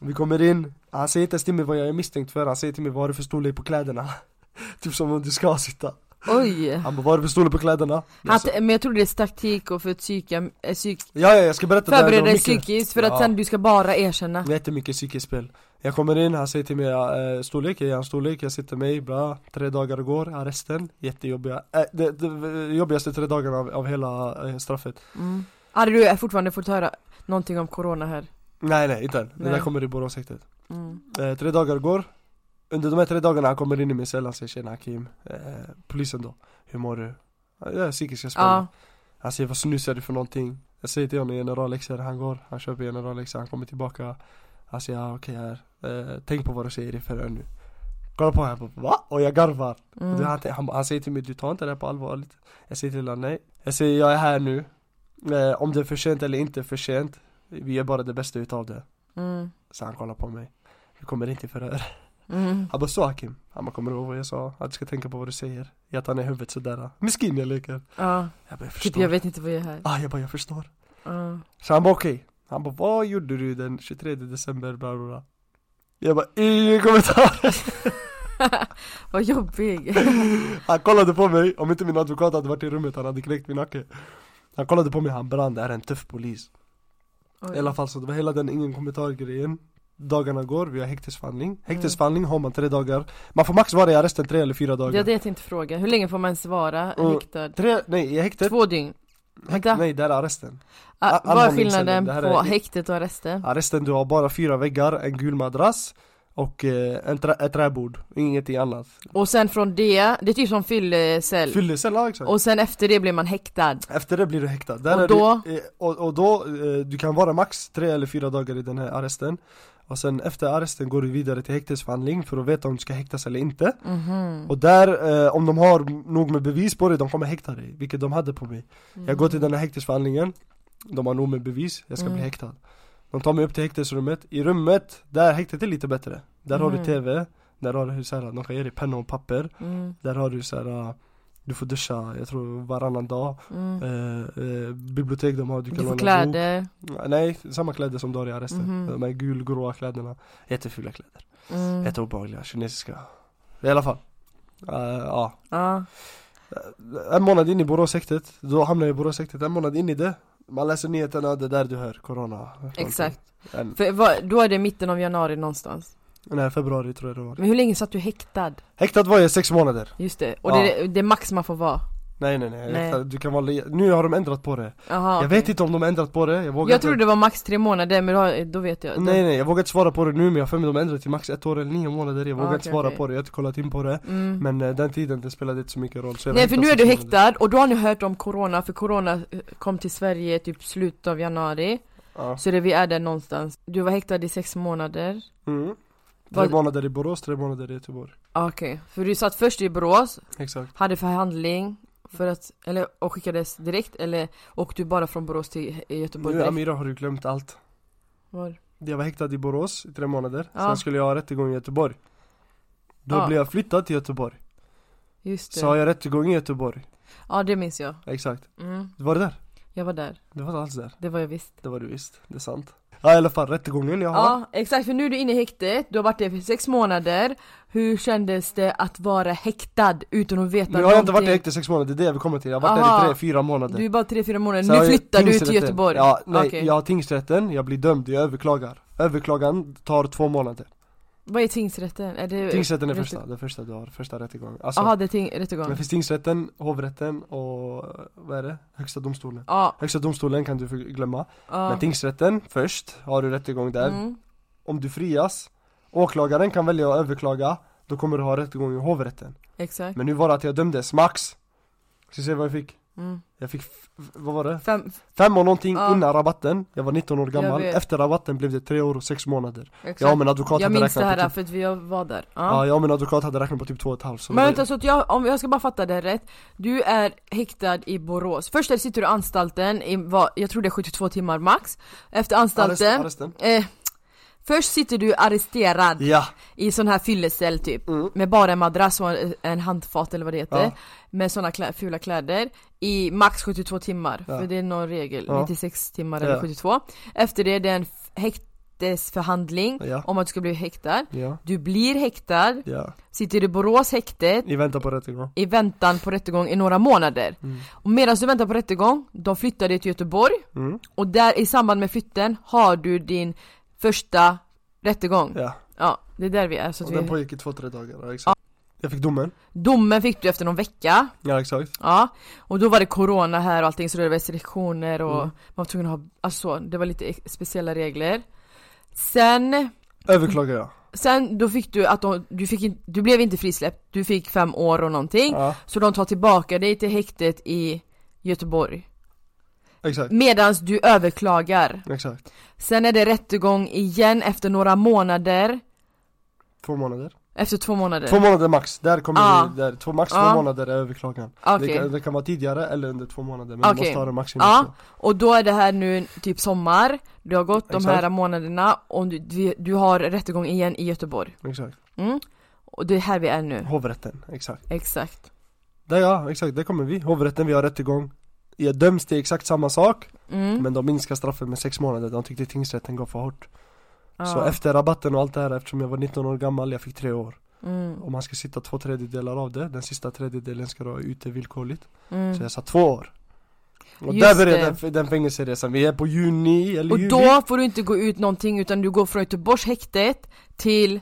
Vi kommer in, han säger inte ens till mig vad jag är misstänkt för, han säger till mig vad är det för storlek på kläderna? typ som om du ska sitta
Oj.
Han bara vad är det för storlek på kläderna? Jag
Att,
sa,
men jag tror det är taktik och för att psyka, eh, psyk,
ja ja jag ska berätta
förbereda dig
mycket.
psykiskt för att
Ja.
sen du ska bara erkänna.
Jättemycket psykiskt spel Jag kommer in, han säger till mig eh, storlek, jag ger han storlek, jag sitter mig, bra Tre dagar går, arresten, jättejobbiga, eh, det, det jobbigaste tre dagarna av, av hela eh, straffet
Mm. Hade du fortfarande fått höra någonting om corona här?
Nej nej inte än, det där
Nej.
kommer i Boråshäktet
Mm.
eh, Tre dagar går Under de här tre dagarna han kommer in i min cell, han säger tjena Hakim eh, Polisen då, hur mår du? Ja, Jag är psykiska spänning
Ja.
Han säger vad snusar du för någonting? Jag säger till honom generalläxor, han går, han köper generalläxor, han kommer tillbaka Han säger ja, okej här, eh, tänk på vad du säger i förhör nu Kolla på honom, jag bara, va? Och jag garvar
Mm.
han, han, han säger till mig, du tar inte det här på allvar Jag säger till honom, nej Jag säger, jag är här nu eh, Om det är för sent eller inte för sent Vi gör bara det bästa utav det
Mm.
Så han kollar på mig Vi kommer inte i förhör
Mm.
han bara så Hakim, han bara kommer du ihåg vad jag sa? Att du ska tänka på vad du säger Jag tar ner huvudet sådär, miskin jag leker
Ja.
Jag bara jag
Typ
förstår
jag vet inte vad jag är här.
ah, jag bara jag förstår
Ja.
Så han bara okej Han bara vad gjorde du den 23 december bla bla bla Jag bara ingen kommentar
Vad jobbig.
Han kollade på mig, om inte min advokat hade varit i rummet han hade knäckt min nacke Han kollade på mig, han brann, det här är en tuff polis
Oj.
I alla fall så det var hela den ingen kommentar grejen Dagarna går, vi har häktesförhandling
Mm.
Häktesförhandling har man tre dagar Man får max vara i arresten tre eller fyra dagar
Ja, det jag tänkte fråga. Hur länge får man ens vara
Mm.
häktad?
Tre, nej i häktet
Två dygn?
Häkt,
Vänta.
nej, där är arresten.
Ah,
All-
vad är
anhållningscellen,
skillnaden
det här
på
är-
häktet och arresten?
Arresten, du har bara fyra väggar, en gul madrass och eh, en trä, ett träbord, ingenting annat.
Och sen från det, det är typ som fyllecell.
Fyllecell, ja, exakt.
Och sen efter det blir man häktad.
Efter det blir du häktad. Där
Och
är
då?
Du, eh, och, och då, eh, du kan vara max tre eller fyra dagar i den här arresten. Och sen efter arresten går du vidare till häktesförhandling för att veta om du ska häktas eller inte.
Mhm.
Och där, eh, om de har nog med bevis på dig, de kommer häkta dig. Vilket de hade på mig. Jag går till den här häktesförhandlingen De har nog med bevis, jag ska
Mm.
bli häktad De tar mig upp till häktesrummet, i rummet, där häktet är lite bättre Där har du
Mhm.
tv, där har du såhär, de kan ge dig penna och papper
Mm,
Där har du såhär du får duscha, jag tror varannan dag
mm.
eh, eh, Bibliotek de har, du kan
Du får
låna
kläder.
bok Nej, samma kläder som du har i arresten
Mhm.
De här gulgråa kläderna Jättefula kläder,
Mm.
jätteobehagliga, kinesiska I alla fall Eh, Ja,
Ja.
en månad in i Boråshäktet, då hamnar jag i Boråshäktet, en månad in i det Man läser nyheterna, det är där du hör corona
Exakt.
en,
För vad, då är det mitten av januari någonstans.
Nej, februari tror jag det var
Men hur länge satt du häktad?
Häktad var jag i sex månader
Just det, och
Ja.
det, är- det är max man får vara.
Nej nej nej,
Nej.
Häktad, du kan vara le- Nu har de ändrat på det
Jaha,
Jag
okej.
vet inte om de har ändrat på det, jag vågar
Jag
inte
trodde det var max tre månader, men då, då vet jag.
Nej nej, jag vågar inte svara på det nu men jag har för mig de har ändrat till max ett år eller nio månader Jag vågar
Ah,
inte
okej,
svara
okej.
på det, jag har inte kollat in på det
Mm.
Men eh, den tiden, det spelade inte så mycket roll så jag var
Nej för nu är du
sex månader.
häktad och då har ni hört om corona för corona eh, kom till Sverige typ slutet av januari
Ja.
Så det vi är där någonstans Du var häktad i sex månader
Mm. Tre
Vad-
månader i Borås, tre månader i Göteborg
Ah, Okej, för du satt först i Borås,
Exakt
hade förhandling för att, eller, och skickades direkt eller åkte du bara från Borås till He- Göteborg
Nu
direkt?
Amira har du glömt allt
Var?
Jag var häktad i Borås i tre månader,
Ja.
sen skulle jag ha rättegång i Göteborg Då
Ja.
blev jag flyttad till Göteborg,
Just det,
så har jag rättegång i Göteborg
ja det minns jag
Exakt,
mm.
var det där?
Jag var där,
Du var inte alls där.
det var jag visst
Det var du visst. Det är sant. Ja i alla fall rättegången jag har.
Ja exakt, för nu är du inne i häktet, du har varit där för sex månader Hur kändes det att vara häktad utan att veta
Nu har jag inte varit i
någonting?
häkte i sex månader, det är det vi kommer till. Jag har varit
Aha.
där i tre, fyra månader.
Du är bara 3-4 månader,
Sen har
nu
jag
flyttar du till
tingsrätten.
Göteborg
Ja, nej,
Okej.
jag har tingsrätten, jag blir dömd, jag överklagar. Överklagan tar två månader.
Vad är tingsrätten? Är det...
Tingsrätten är
rätte-
första, det första du har, första rättegången. Alltså,
Jaha, Eh, det är ting...
men
rättegång
finns tingsrätten, hovrätten och, eh, vad är det? Högsta domstolen.
Ja,
Högsta domstolen kan du för- glömma.
ja
Men tingsrätten först, har du rättegång där.
Mm.
Om du frias, åklagaren kan välja att överklaga, då kommer du ha rättegång i hovrätten.
Exakt
Men nu var det att jag dömdes, max! Ska vi se vad jag fick?
mm.
Jag fick, f- f- vad var det?
Fem...
Fem och någonting
Ja.
innan rabatten, jag var 19 år gammal,
vet.
efter rabatten blev det tre år och sex månader
Exakt.
Jag och min advokat
jag
hade
minns det
räknat
här
på typ,
för att vi var där Ja.
ja. jag och min advokat hade räknat på typ två och ett halvt så
Men
det-
vänta, så att jag, om jag ska bara fatta det rätt Du är häktad i Borås, först där sitter du i anstalten i, vad, jag tror det är 72 timmar max Efter
Arrest-
anstalten,
arresten.
eh, först sitter du arresterad
Ja,
i sån här fyllecell typ
Mm.
Med bara en madrass och en- en handfat eller vad det heter
Ja.
Med såna klä, fula kläder I max 72 timmar,
Ja.
för det är någon regel,
Ja.
96 timmar
Ja.
eller 72 Efter det, det är en f- häktesförhandling
Ja.
om att du ska bli häktad
ja,
Du blir häktad,
ja
sitter i Borås häktet
I väntan på rättegång
i väntan på rättegång i några månader.
Mm.
Och medan du väntar på rättegång, de flyttar dig till Göteborg
mm.
och där i samband med flytten har du din första rättegång. Ja,
Ja,
det är där vi är. Så att
och
vi...
den pågick i två, tre dagar, ja, exakt Jag fick domen,
Domen fick du efter någon vecka,
ja exakt
ja. Och då var det corona här och allting så det var restriktioner och
Mm.
man var tvungen att ha, alltså det var lite ex- speciella regler. Sen,
Överklagade jag
sen då fick du att de, du, fick in, du blev inte frisläppt, du fick fem år och någonting.
Ja,
Så de tar tillbaka dig till häktet i Göteborg.
exakt,
Medan du överklagar.
exakt
Sen är det rättegång igen efter några månader.
Två
Mm.
månader
Efter två månader.
Två månader max, där kommer
Ja.
vi, där, två, max
Ja.
två månader är överklagan det,
Ah. Okej.
kan, det kan vara tidigare eller under två månader
Okej.
men
Ah.
man måste ha det max inom
Ja,
två.
och då är det här nu typ sommar. Du har gått de här
Exakt.
månaderna och du, vi- du har rättegång igen i Göteborg.
Exakt,
Mm. Och det är här vi är nu.
hovrätten, exakt
Exakt.
Där ja, exakt, där kommer vi. Hovrätten, vi har rättegång. Jag döms till exakt samma sak,
Mm.
men de minskar straffet med sex månader. De tyckte tingsrätten gav för hårt. Så
Ja.
efter rabatten och allt det här, eftersom jag var 19 år gammal, jag fick tre år.
Mm.
Och man ska sitta två tredjedelar av det, den sista tredjedelen ska du ha ute villkorligt.
Mm.
Så jag satt två år. Och
Just
där
det.
började den, den fängelseresan. Vi är på juni, eller
Och
juli.
då får du inte gå ut någonting utan du går från Göteborgs häktet till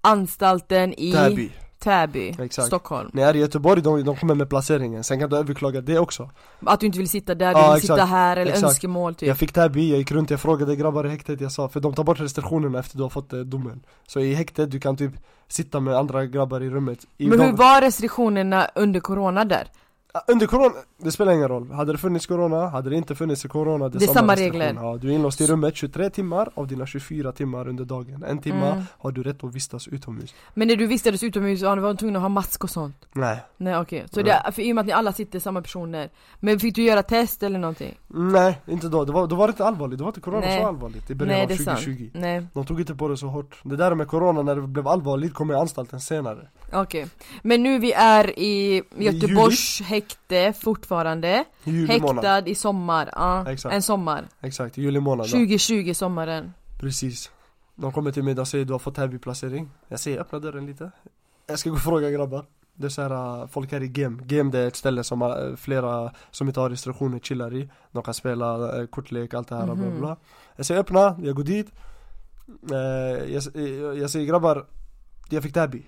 anstalten i
Täby.
Täby
Exakt.
Stockholm.
När jag är i Göteborg, de, de kommer med placeringen. Sen kan du överklaga det också.
Att du inte vill sitta där, du
Ja,
vill sitta
exakt.
här eller
Exakt.
önskemål typ.
Jag fick Täby, jag gick runt, jag frågade grabbar i häktet, jag sa för de tar bort restriktionerna efter du har fått eh, domen Så i häktet, du kan typ sitta med andra grabbar i rummet I
Men
de-
hur var restriktionerna under corona där?
Ah, Under corona, det spelar ingen roll, hade det funnits corona, hade det inte funnits corona
Det är samma
restriktioner.
regler.
ja, Du är inlåst i rummet 23 timmar av dina 24 timmar under dagen En timma
Mm.
har du rätt att vistas utomhus
Men när du vistades utomhus, ja, du var tvungen att ha mask och sånt?
Nej,
Nej okej, så det, för i och med att ni alla sitter samma personer Men fick du göra test eller någonting?
nej inte då, det var, då var det inte allvarligt, det var inte corona
Nej.
så allvarligt i början
Nej
av
det är sant,
2020
nej
De tog inte på det så hårt Det där med corona, när det blev allvarligt kom jag i anstalten senare
okej Men nu vi är i Göteborgs häkte fortfarande
I juli månad,
Häktad i sommar, ja,
Exakt.
en sommar
exakt, i juli månad ja.
2020 sommaren
Precis De kommer till mig och säger du har fått Täby-placering Jag säger öppna dörren lite Jag ska gå och fråga grabbar Det är så här, äh, folk här i Gem Gem det är ett ställe som äh, flera som inte har restriktioner chillar i De kan spela äh, kortlek, allt det här bla
Mhm.
bla Jag säger öppna, jag går dit Eh, jag, s- eh, jag säger grabbar Jag fick Täby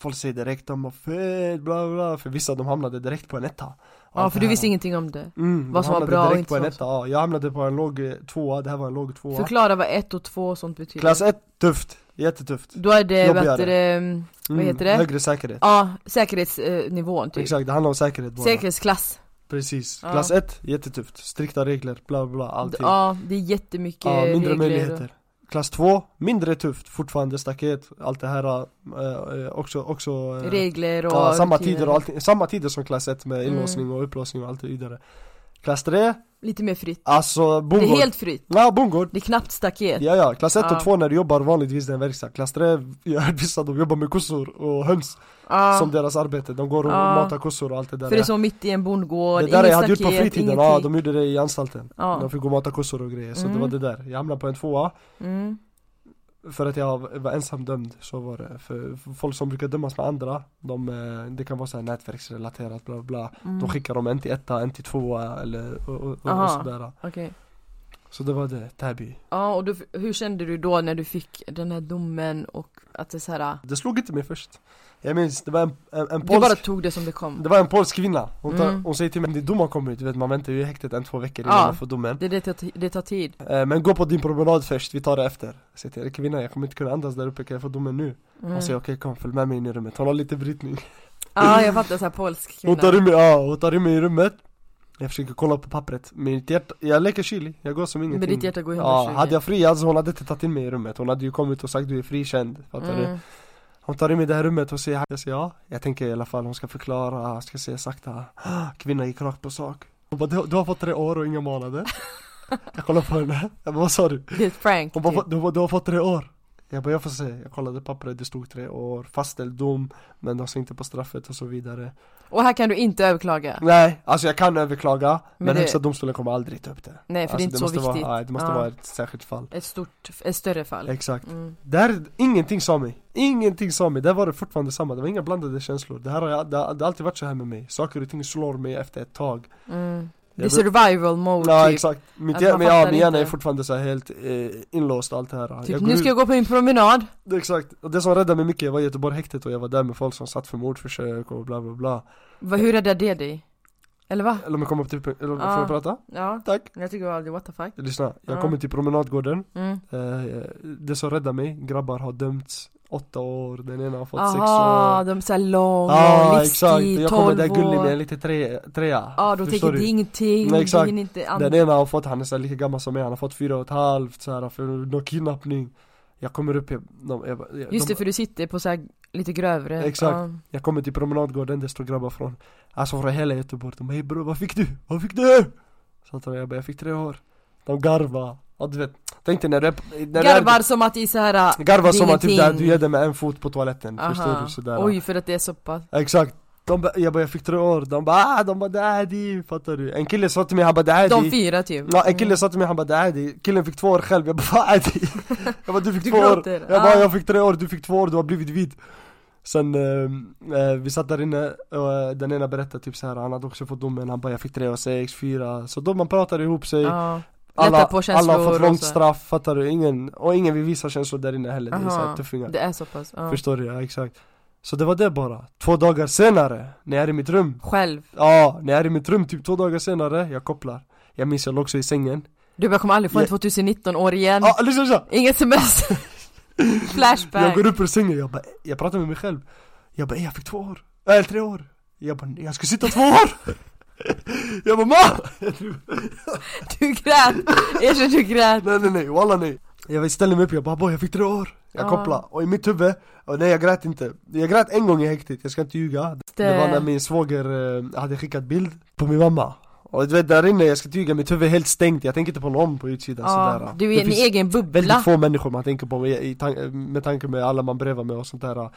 Folk säger direkt de var fett bla bla För vissa de hamnade direkt på en etta
Ja för du visste ingenting om det
mm,
vad
de
som var
hamnade
bra och
direkt
inte
på en
vad
etta, ja, Jag hamnade på en låg eh, tvåa, det här var en låg tvåa
Förklara vad ett och två och sånt betyder
Klass 1, tufft, jättetufft
Då är det,
Jobbigare.
vad heter det, mm, vad heter det?
Högre säkerhet
Ja, säkerhetsnivån typ
Exakt, det handlar om säkerhet bara
Säkerhetsklass
Precis,
Ja.
klass 1, jättetufft, strikta regler, bla bla, allting Ja,
Ja, det är jättemycket
mindre
regler och-
möjligheter Klass 2, mindre tufft, fortfarande staket, allt det här eh, eh, också, också eh,
Regler och
ja, samma
rutiner.
tider och allting, samma tider som klass 1 med
Mm.
inlåsning och upplåsning och allt vidare Klass 3,
Lite mer fritt.
alltså
Det är
bondgård.
helt fritt.
Ja, bondgård.
Det är knappt staket.
Ja, ja, klass 1
Ja.
och 2 när du jobbar vanligtvis det är en verkstad. Klass 3, jag hörde vissa de jobbar med kossor och höns
Ja,
som deras arbete. De går och
Ja.
matar kossor och allt det där.
för det är som mitt i en bondgård,
det där jag hade
inget
gjort på
staket,
fritiden,
ingenting.
ja de gjorde det i anstalten.
Ja.
De fick gå och mata kossor och grejer, så det
Mm.
var det där. Jag hamnade på en tvåa,
Mm.
för att jag var ensam dömd, så var det. För för folk som brukar dömas med andra, de, eh, det kan vara så här nätverksrelaterat bla bla.
Mm.
De skickar dem en till etta, en till tvåa eller och, och, och, och
Aha.
sådär.
Okej.
Så det var det, Täby.
Ja, och då, hur kände du då när du fick den här domen och att det så här, ah,
Det slog inte mig först. Jag minns, det var en, en, en
Du bara
polsk
tog det som det kom.
det var en polsk kvinna, hon, tar,
Mm.
hon säger till mig din dom har kommit, du vet man väntar ju i häktet en två veckor innan
Ja.
man får domen
Det, det, tar, det tar tid.
Eh, Men gå på din promenad först, vi tar det efter Jag säger till henne, kvinna jag kommer inte kunna andas där uppe, kan jag få domen nu?
Mm.
Hon säger okej kom följ med mig in i rummet, hon har lite brytning
Ja, jag fattar såhär polsk
Hon
kvinna.
tar in mig, ja, hon tar in mig i rummet Jag försöker kolla på pappret, mitt hjärta, jag leker kylig, jag går som ingenting
Men ditt hjärta går i
Ja,
120.
hade jag fri alltså hon hade inte tagit in mig i rummet, hon hade ju kommit och sagt du är frikänd, fattar du?
Mm.
Hon tar in mig i det här rummet och säger Jag säger ja, jag tänker i alla fall hon ska förklara, jag ska säga sakta Kvinnan gick rakt på sak Hon bara du, du har fått tre år och inga månader Jag kollar på henne, jag bara vad sa du?
Det är ett prank.
Hon
typ.
bara du, du har fått tre år Jag bara jag får se, jag kollade pappret, det stod tre år, fastställd dom Men de ser inte på straffet och så vidare
Och här kan du inte överklaga.
Nej, alltså jag kan överklaga Men,
Men det-
högsta domstolen kommer aldrig ta upp Alltså, det
Nej, för det är inte så
måste
viktigt.
vara, nej, Det måste
Ja.
vara ett särskilt fall
Ett stort, ett större fall.
Exakt
Mm.
Där, ingenting sa mig, ingenting sa mig, där var det fortfarande samma, det var inga blandade känslor Det här har jag, det, har- det har alltid varit så här med mig, saker och ting slår mig efter ett tag
Mm. Det är
Jag-
survival mode
Ja
typ.
exakt, mitt
Att
hjär,
man
men, ja,
fattar
min hjärna är
inte.
fortfarande så här helt eh, inlåst allt det här
Typ,
jag
nu
går
ska
ut,
jag gå på min promenad.
Exakt, och det som räddade mig mycket var Göteborg-häktet och jag var där med folk som satt för mordförsök och bla bla bla
Va, hur räddar det dig? Eller va?
Eller om jag kommer upp till, eller får
Ja.
jag prata?
Ja,
Tack!
jag tycker aldrig what the fuck.
Lyssna, jag
Ja.
kommer till promenadgården,
Mm.
eh, det som räddade mig, grabbar har dömts åtta år, den ena har fått sex år
Aha, de såhär lång,
Ja
lång
exakt,
livstid,
jag kommer där
12
gullig med en
år.
liten tre, trea
Ja, då
Förstår
tänker det är ingenting,
Nej,
det
exakt.
hinner inte
Den
andas.
ena har fått, han är så här lika gammal som jag, han har fått fyra och ett halvt så här, för någon kidnappning Jag kommer upp, jag, de, jag, jag,
Just
de,
det, för du sitter på såhär lite grövre.
Exakt.
Ja.
jag kommer till promenadgården, det står grabbar från Alltså från hela Göteborg, de bara hej bror vad fick du? Vad fick du? Så att jag bara, jag fick tre år De garva, ja du vet Tänk dig när du är, när
Garvar som att i såhär...
du är, garva
det är
som att typ där,
ingenting.
du ger dig med en fot på toaletten, förstår du? Sådär
Oj, för att det är så pass.
Exakt de bara, jag bara jag fick tre år, de bara ah, de bara det här är din, fattar du? En kille sa till mig han bara det här är
De
din.
fyra typ.
Ja, en kille sa till mig han bara det här är din. killen fick två år själv, jag bara vad är det? Jag bara du fick
Du
två år,
gråter.
jag bara
Ah.
jag fick tre år, du fick två år, du har blivit vit Sen, eh, eh, vi satt där inne och eh, den ena berättade typ så här han hade också fått domen, han bara jag fick tre och sex, fyra Så då man pratar ihop sig,
Ja.
alla,
lättar på
alla har
känslor
fått
och
långt
så.
straff, fattar du? Ingen, och ingen vill visa känslor där inne heller, det är så här
Aha.
tuffingar
Det är så pass. Ja.
Förstår du? Ja, exakt Så det var det bara, två dagar senare, när jag är i mitt rum
Själv.
Ja, när jag är i mitt rum typ två dagar senare, jag kopplar Jag minns jag låg så i sängen
Du bara kommer aldrig få en
Jag-
2019 år igen.
Ja, ah, lyssna, lyssna!
Inget semester.
Jag
Flashback.
går upp ur sängen, jag bara, jag pratar med mig själv Jag bara, "Ey, jag fick två år, eller tre år Jag bara, jag ska sitta två år! Jag bara, ma!
Du grät. Erkänn du grät.
Nej nej nej, walla nej Jag ställer mig upp, jag bara, "Boy, jag fick tre år Jag
Ja.
kopplar, och i mitt huvud, och nej jag grät inte Jag grät en gång i häktet, jag ska inte ljuga Det var när min svåger eh, hade skickat bild på min mamma och du vet där inne, jag ska inte ljuga, mitt huvud är helt stängt, jag tänker inte på någon på utsidan
ja,
sådär
du
alltså, Det
är en
finns-
egen
Väldigt
bubbla.
få människor man tänker på i, i tan- med tanke med alla man brevar med och sånt där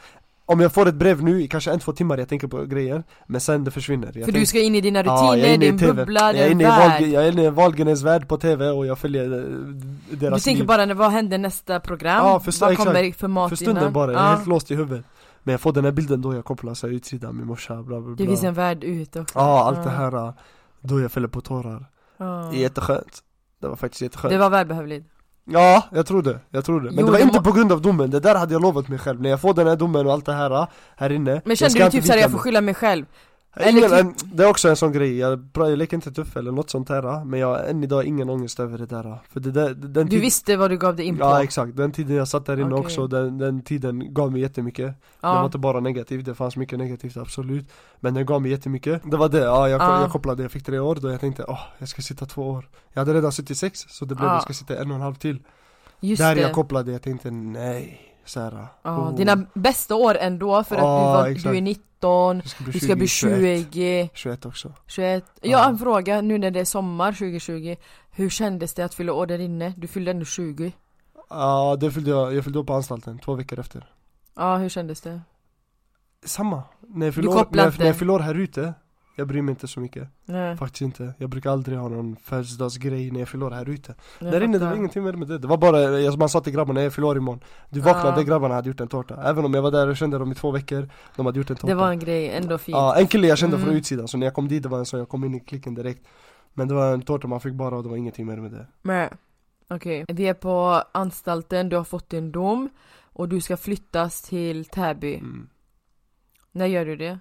Om jag får ett brev nu i kanske en, två timmar jag tänker på grejer Men sen det försvinner jag
För du
tänker-
ska in i dina
Ja, jag är
rutiner,
inne i
din
TV.
bubbla,
jag är
din
inne i Wahlg-
värld.
Jag är inne i Wahlgrens värld på tv och jag följer eh,
Du
deras
tänker
liv
bara, vad händer nästa program?
Ja, förstå-
Vad
exakt.
kommer för mat
För stunden
innan?
bara, jag är
Ja.
helt låst i huvudet Men jag får den här bilden då jag kopplar så här utsidan, min morsa, bla bla
Det finns
bla
en värld ut också.
Ja, allt det
Ja.
här eh, Då jag fäller på tårar
Ja.
Jätteskönt Det var faktiskt jätteskönt
Det var välbehövligt.
Ja, jag tror det, jag tror det. Men
Jo,
det var
det
inte
må-
på grund av domen, det där hade jag lovat mig själv När jag får den här domen och allt det här, ah, här inne
Men
jag
kände
ska
du
inte
typ såhär,
vika
jag får
mig.
skylla mig själv?
Ingen,
eller typ-
en, Det är också en sån grej, jag, jag leker inte tuff eller något sånt här ah, Men jag har än idag ingen ångest över det där ah. För det där, den
Du visste vad du gav dig in på?
Ja exakt, den tiden jag satt där inne
Okej.
också, den, den tiden gav mig jättemycket Det var typ
Ja.
inte bara negativt, det fanns mycket negativt absolut Men den gav mig jättemycket Det var det, ja jag,
Ja.
jag kopplade, jag fick tre år då jag tänkte åh, jag ska sitta två år Jag hade redan suttit sex, så det blev
Ja.
jag ska sitta en och en halv till
Just
Där
det.
jag kopplade, jag tänkte nej så här,
Ja,
oh,
dina bästa år ändå för att
Ja,
du, var,
exakt.
du är 19,
du ska bli
du ska bli
21,
20,
21 också
21 Jag har en fråga nu när det är sommar 2020 Hur kändes det att fylla år där inne? Du fyllde ändå 20
Ja, det fyllde jag, jag fyllde upp på anstalten två veckor efter
Ja, hur kändes det?
Samma, när jag fyllde år,
kopplar
när jag,
inte?
när jag fyller år här ute Jag bryr mig inte så mycket,
Nej,
faktiskt inte Jag brukar aldrig ha någon födelsedagsgrej när jag fyller år här ute
jag
Där inne det
fattar.
var ingenting mer med det, det var bara, jag- man sa till grabbarna jag fyller år imorgon Du vaknade,
Ja.
grabbarna hade gjort en tårta Även om jag var där och kände dem i två veckor, de hade gjort en tårta
Det var en grej, ändå fint
Ja, en kille jag kände
Mm.
från utsidan, så när jag kom dit det var en sån, jag kom in i klicken direkt Men det var en tårta man fick bara och det var ingenting mer med det
Nej. Okej, vi är på anstalten, du har fått din dom och du ska flyttas till Täby.
mm.
När gör du det?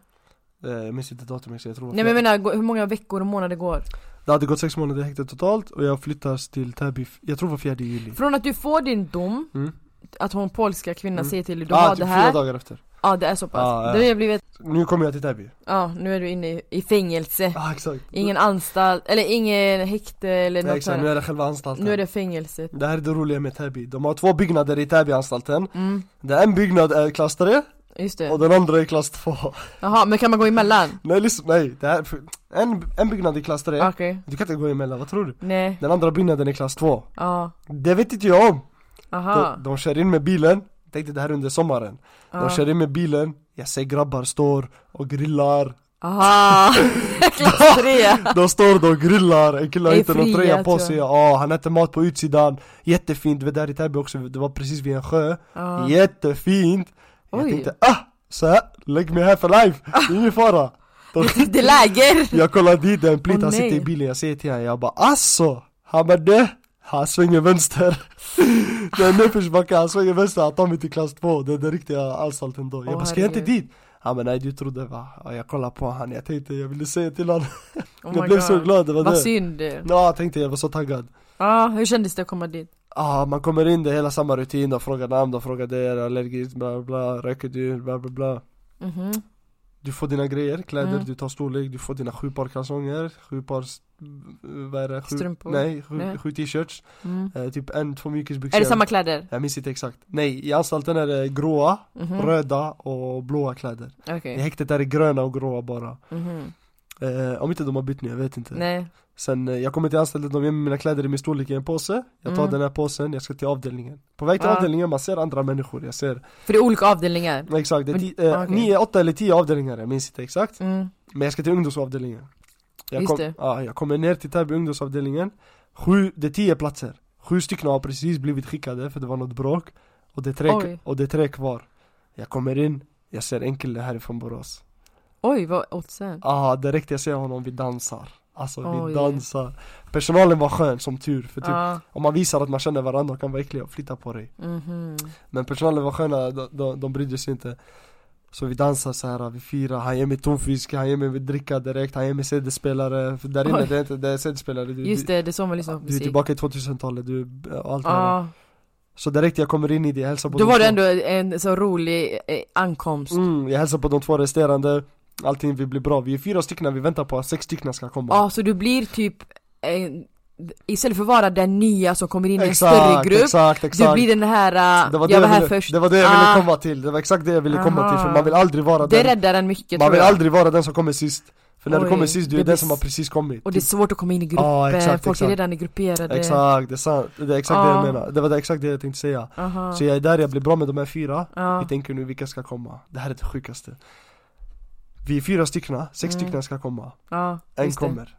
Eh, Jag minns inte datumet så jag tror
Nej
det var
men jag menar, gå- hur många veckor och månader går?
Det hade gått sex månader i häktet totalt och jag flyttas till Täby, f- jag tror det var fjärde juli
Från att du får din dom,
mm.
att hon polska kvinnan
Mm.
säger till dig du
Ja,
har det
typ fyra
här. Ja
dagar efter
det är så pass.
Ja, ja.
Då har jag blivit,
Nu kommer jag till Täby
ja nu är du inne i, i fängelse.
Ja, exakt
Ingen anstalt, eller ingen häkte eller
Nej,
något
exakt, nu
sånt.
är det själva anstalten
Nu är det fängelset.
Det här är det roliga med Täby, de har två byggnader i Täbyanstalten
Mm,
Den en byggnad är klass 3
just
och
det.
den andra är klass 2
Jaha, men kan man gå emellan?
Nej lyssna, nej, det här, en, en byggnad är klass 3
Okej,
Du kan inte gå emellan, vad tror du?
nej,
Den andra byggnaden är klass 2
ja,
Det vet inte jag om!
aha.
De, de kör in med bilen, tänkte det här under sommaren
ja.
De kör in med bilen, jag ser grabbar står och grillar
Aha! Klass 3!
De står och grillar, en kille har
Det är
inte någon
fria,
tröja på
tror jag.
sig, ja han äter mat på utsidan Jättefint, det var där i Täby också, det var precis vid en sjö
Ja.
Jättefint! Jag
Ah. Oj. Ah.
tänkte ah! Så här, lägg mig här för life, det är ingen fara De-
Det är läger!
Jag kollar dit, det är en plit,
Åh,
han
nej.
sitter i bilen, jag säger till honom, jag bara asså! Han bara det! Han svänger vänster Det är nedförsbacke, han svänger vänster, han tar mig till klass 2 Det är den riktiga anstalten då Jag
Åh,
bara ska jag inte
herregud.
dit? Han bara nej du trodde va? Ja, Jag kollar på han, jag tänkte jag ville säga till honom
Oh
Jag
my
blev
God.
så glad, det var
Vad
det
synd.
Ja jag tänkte jag var så taggad
Ja, hur kändes det att komma dit?
Ah, man kommer in, det är hela samma rutin, de frågar namn, de frågar det, är du allergisk, bla bla bla, röker du, bla bla bla
Mhm.
Du får dina grejer, kläder,
Mm.
du tar storlek, du får dina sju par kalsonger, sju par, s- vad är det? Sju,
Strumpor.
Nej, sju,
Nej.
sju t-shirts,
Mm.
eh, typ en, två mjukisbyxor
Är det samma kläder?
Jag minns inte exakt, nej i anstalten är det gråa,
Mhm.
röda och blåa kläder
Okej.
I häktet är det gröna och gråa bara
Mhm.
eh, Om inte de har bytt nu, jag vet inte
Nej.
Sen eh, jag kommer till anstalten, de ger mig mina kläder i min storlek i en påse Jag tar
Mm. Ah.
den här påsen, jag ska till avdelningen På väg till
Ja.
avdelningen, man ser andra människor, jag ser
För det är olika avdelningar.
Exakt, det är
Men-
ti- eh,
ah, okej.
nio, åtta eller tio avdelningar, jag minns inte exakt
Mm.
Men jag ska till ungdomsavdelningen jag
Just
kom,
det.
Ja, jag kommer ner till Täby ungdomsavdelningen Sju, det är tio platser Sju stycken har precis blivit skickade för det var något bråk Och det är tre,
Oj.
och det är tre kvar Jag kommer in, jag ser en kille härifrån Borås
Oj, vad oddsen?
Ah, direkt jag ser honom, vi dansar Alltså vi
Oj.
dansar Personalen var skön som tur, för typ
Ja.
om man visar att man känner varandra kan vara äckliga och flytta på dig
Mhm.
Men personalen var sköna, de, de, de brydde sig inte Så vi dansar så här, vi firar, han ger mig tonfisk, han ger mig dricka direkt, han ger mig CD-spelare För Där inne
Oj.
det är inte, det är CD-spelare du,
Just
du,
det, det är så man lyssnar på
du är
musik.
tillbaka i 2000-talet, du, och allt det här
Ja.
Så direkt jag kommer in i det, jag hälsar på
Då
de
var det
två.
ändå en så rolig eh, ankomst.
mm, Jag hälsar på de två resterande, allting vi blir bra, vi är fyra stycken, vi väntar på att sex stycken ska komma
Ja, så du blir typ en, istället för att vara den nya som kommer in i en
Exakt,
större grupp,
exakt, exakt
du blir den här, eh,
det var det
jag var här
ville,
först.
Det var det jag ville
Ah.
komma till, det var exakt det jag ville komma till för
Aha.
man vill aldrig vara
Det
den
räddar en mycket
Man
tror
vill
jag.
aldrig vara den som kommer sist För när du
Oj,
kommer sist, du är
det
den
blir
som har
s-
precis kommit
Och det är svårt att komma in i grupper,
Ja, exakt,
folk är
exakt.
redan grupperade
Exakt, det är sant, det är exakt det jag
Ja.
menar Det var det exakt det jag tänkte säga
Aha.
Så jag är där, jag blir bra med de här fyra
Ja.
Vi tänker nu vilka ska komma, det här är det sjukaste Vi är fyra stycken, sex
Mm.
stycken ska komma,
Ja,
en
just det.
kommer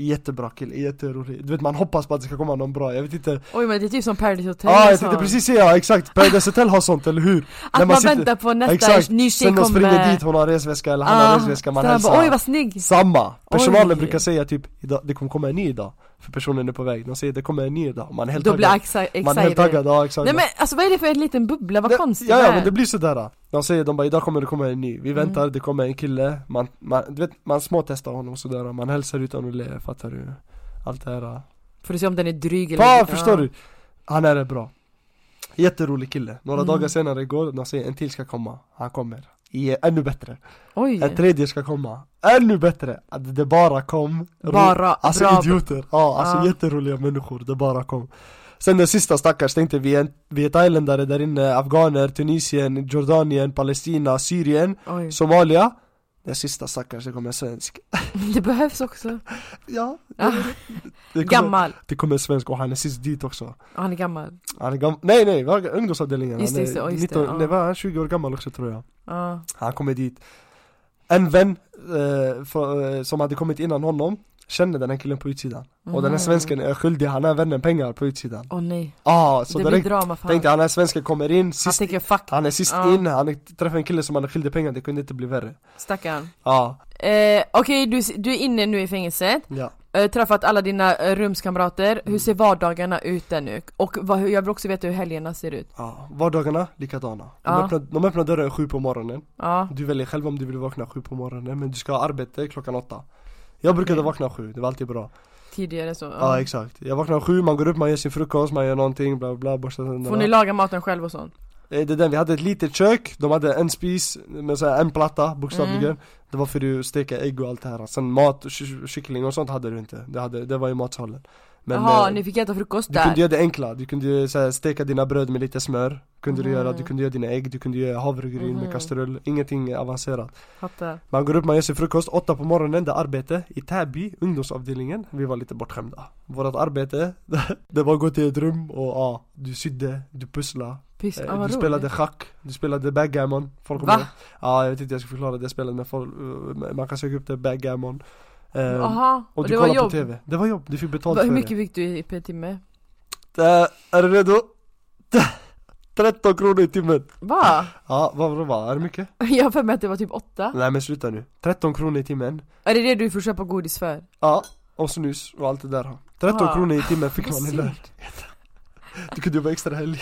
Jättebra kille, jätterolig Du vet man hoppas på att det ska komma någon bra, jag vet inte
Oj men det är typ som Paradise Hotel
Ja, ah, jag
liksom.
tänkte precis säga, exakt, Paradise Hotel har sånt, eller hur?
Att
när man
man,
sitter-
väntar på nästa
exakt,
ny tjej
sen
kommer Ah,
de springer dit, hon har resväska eller han har resväska, man
så här
hälsar
bara, Oj vad snygg!
Samma! Personalen
Oj.
brukar säga typ idag, det kommer komma en ny idag För personen är på väg, de säger det kommer en ny idag, man är helt
Då blir jag
taggad
exa- excited
Man är helt taggad, ja exakt
Nej men alltså vad är det för en liten bubbla, vad
Det-
konstigt
Ja
det
ja
är. Mm.
men det blir sådär De säger de bara idag kommer det komma en ny, vi väntar, det kommer en kille Man, man, du vet, man småtestar honom sådär, man hälsar utan att le, fattar du? Allt det här
Får du se om den är dryg eller
Ja
inte.
förstår du? Han är bra Jätterolig kille, några
Mm.
dagar senare går, de säger en till ska komma, han kommer I, ännu bättre,
Oj!
en tredje ska komma, ännu bättre! Att det bara kom,
Bara
Alltså
bra
idioter, ja alltså
Ja.
jätteroliga människor, det bara kom Sen den sista stackars tänkte vi är, vi är thailändare där inne, afghaner, Tunisien, Jordanien, Palestina, Syrien,
Oj.
Somalia Den sista stackars, det kommer en svensk
Det behövs också.
Ja,
Ah,
det kommer,
gammal.
det kommer en svensk och han är sist dit också
Ja, han är gammal.
Han är gammal, nej nej, var- ungdomsavdelningen
Just det,
Han är
just det, ja, just det,
19
ja.
nej, vad är han 20 år gammal också tror jag
Ja.
Han kommer dit En vän eh, för, eh, som hade kommit innan honom Känner den här killen på utsidan Och den här
Mhm.
svensken är skyldig, han är vännen pengar på utsidan
Åh nej.
Ah, så
det
direkt
blir drama för
tänkte
han.
han, den här svensken kommer in
Han
sist
tänker fuck,
Han är sist
Ja.
in, han träffar en kille som han är skyldig pengar, det kunde inte bli värre
stackarn.
Ja,
Eh, Okej, du, du är inne nu i fängelset,
ja
eh, träffat alla dina eh, rumskamrater, hur ser vardagarna ut där nu? Och vad, hur- jag vill också veta hur helgerna ser ut.
Ja, vardagarna likadana. De,
Ja.
öppnar, de öppnar dörren sju på morgonen.
Ja,
Du väljer själv om du vill vakna sju på morgonen men du ska ha arbete klockan åtta. Jag brukade
Okej.
vakna sju, det var alltid bra.
tidigare så.
Ja, exakt. Jag vaknar sju, man går upp, man gör sin frukost, man gör någonting, bla bla, borstar tänderna.
Får ni laga maten själv och sånt?
Eh, Det är den, vi hade ett litet kök, de hade en spis med så här en platta bokstavligen
Mm.
Det var för att steka ägg och allt det här, sen mat, och ky- kyckling och sånt hade du inte Det, hade, det var i matsalen Men
Jaha,
eh,
ni fick äta frukost
Du kunde
där?
göra det enkla, du kunde så här, steka dina bröd med lite smör Kunde du
Mhm.
göra, du kunde göra dina ägg, du kunde göra havregryn
Mhm.
med kastrull, ingenting avancerat
Fattar.
Man går upp, man gör sin frukost, åtta på morgonen, det är arbete I Täby, ungdomsavdelningen, vi var lite bortskämda Vårat arbete, det var att gå till ett rum och ja, du sydde, du pusslade
Piss,
Eh,
ah, vad
du
roligt.
spelade schack, du spelade backgammon folk
Va?
kommer- Ja, jag vet inte jag ska förklara det spelet men folk, eh, man kan söka upp det, backgammon Eh,
Jaha,
Och
och
du
det var
kollade på
jobb?
TV, det var jobb, du fick betalt
Va, hur
för
mycket fick du i per timme?
det Eh, Är du redo? 13 kronor i timmen!
Va?
Ja, vad vad var det? Är det mycket?
Jag har för mig att det var typ åtta.
Nej men sluta nu, 13 kronor i timmen
Är det det du får köpa godis för?
Ja, och snus och allt det där 13
Ah.
kronor i timmen fick
Vad
man i
synd.
lön Du kunde jobba extra helg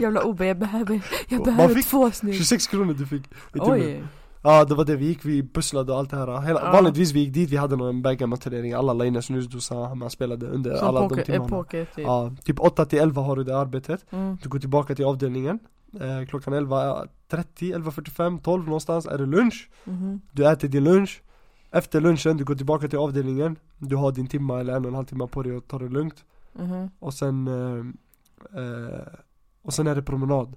Jävla OB, jag behöver, jag
Man
behöver
fick
två snus.
26 kronor du fick i timmen
Oj.
Ja det var det vi gick, vi pusslade och allt det här Hela,
Ja.
Vanligtvis vi gick dit, vi hade någon backgammon-turnering Alla la in en snusdosa, man spelade under
Som
alla
poker,
de
eh,
timmarna
poker typ.
Ja, typ 8 till 11 har du det arbetet
Mm.
Du går tillbaka till avdelningen eh, Klockan 11.30, 11.45, 12 någonstans är det lunch
mhm.
Du äter din lunch Efter lunchen, du går tillbaka till avdelningen Du har din timma eller en och en halv timme på dig att ta det lugnt
Mhm.
Och sen eh, eh, Och sen är det promenad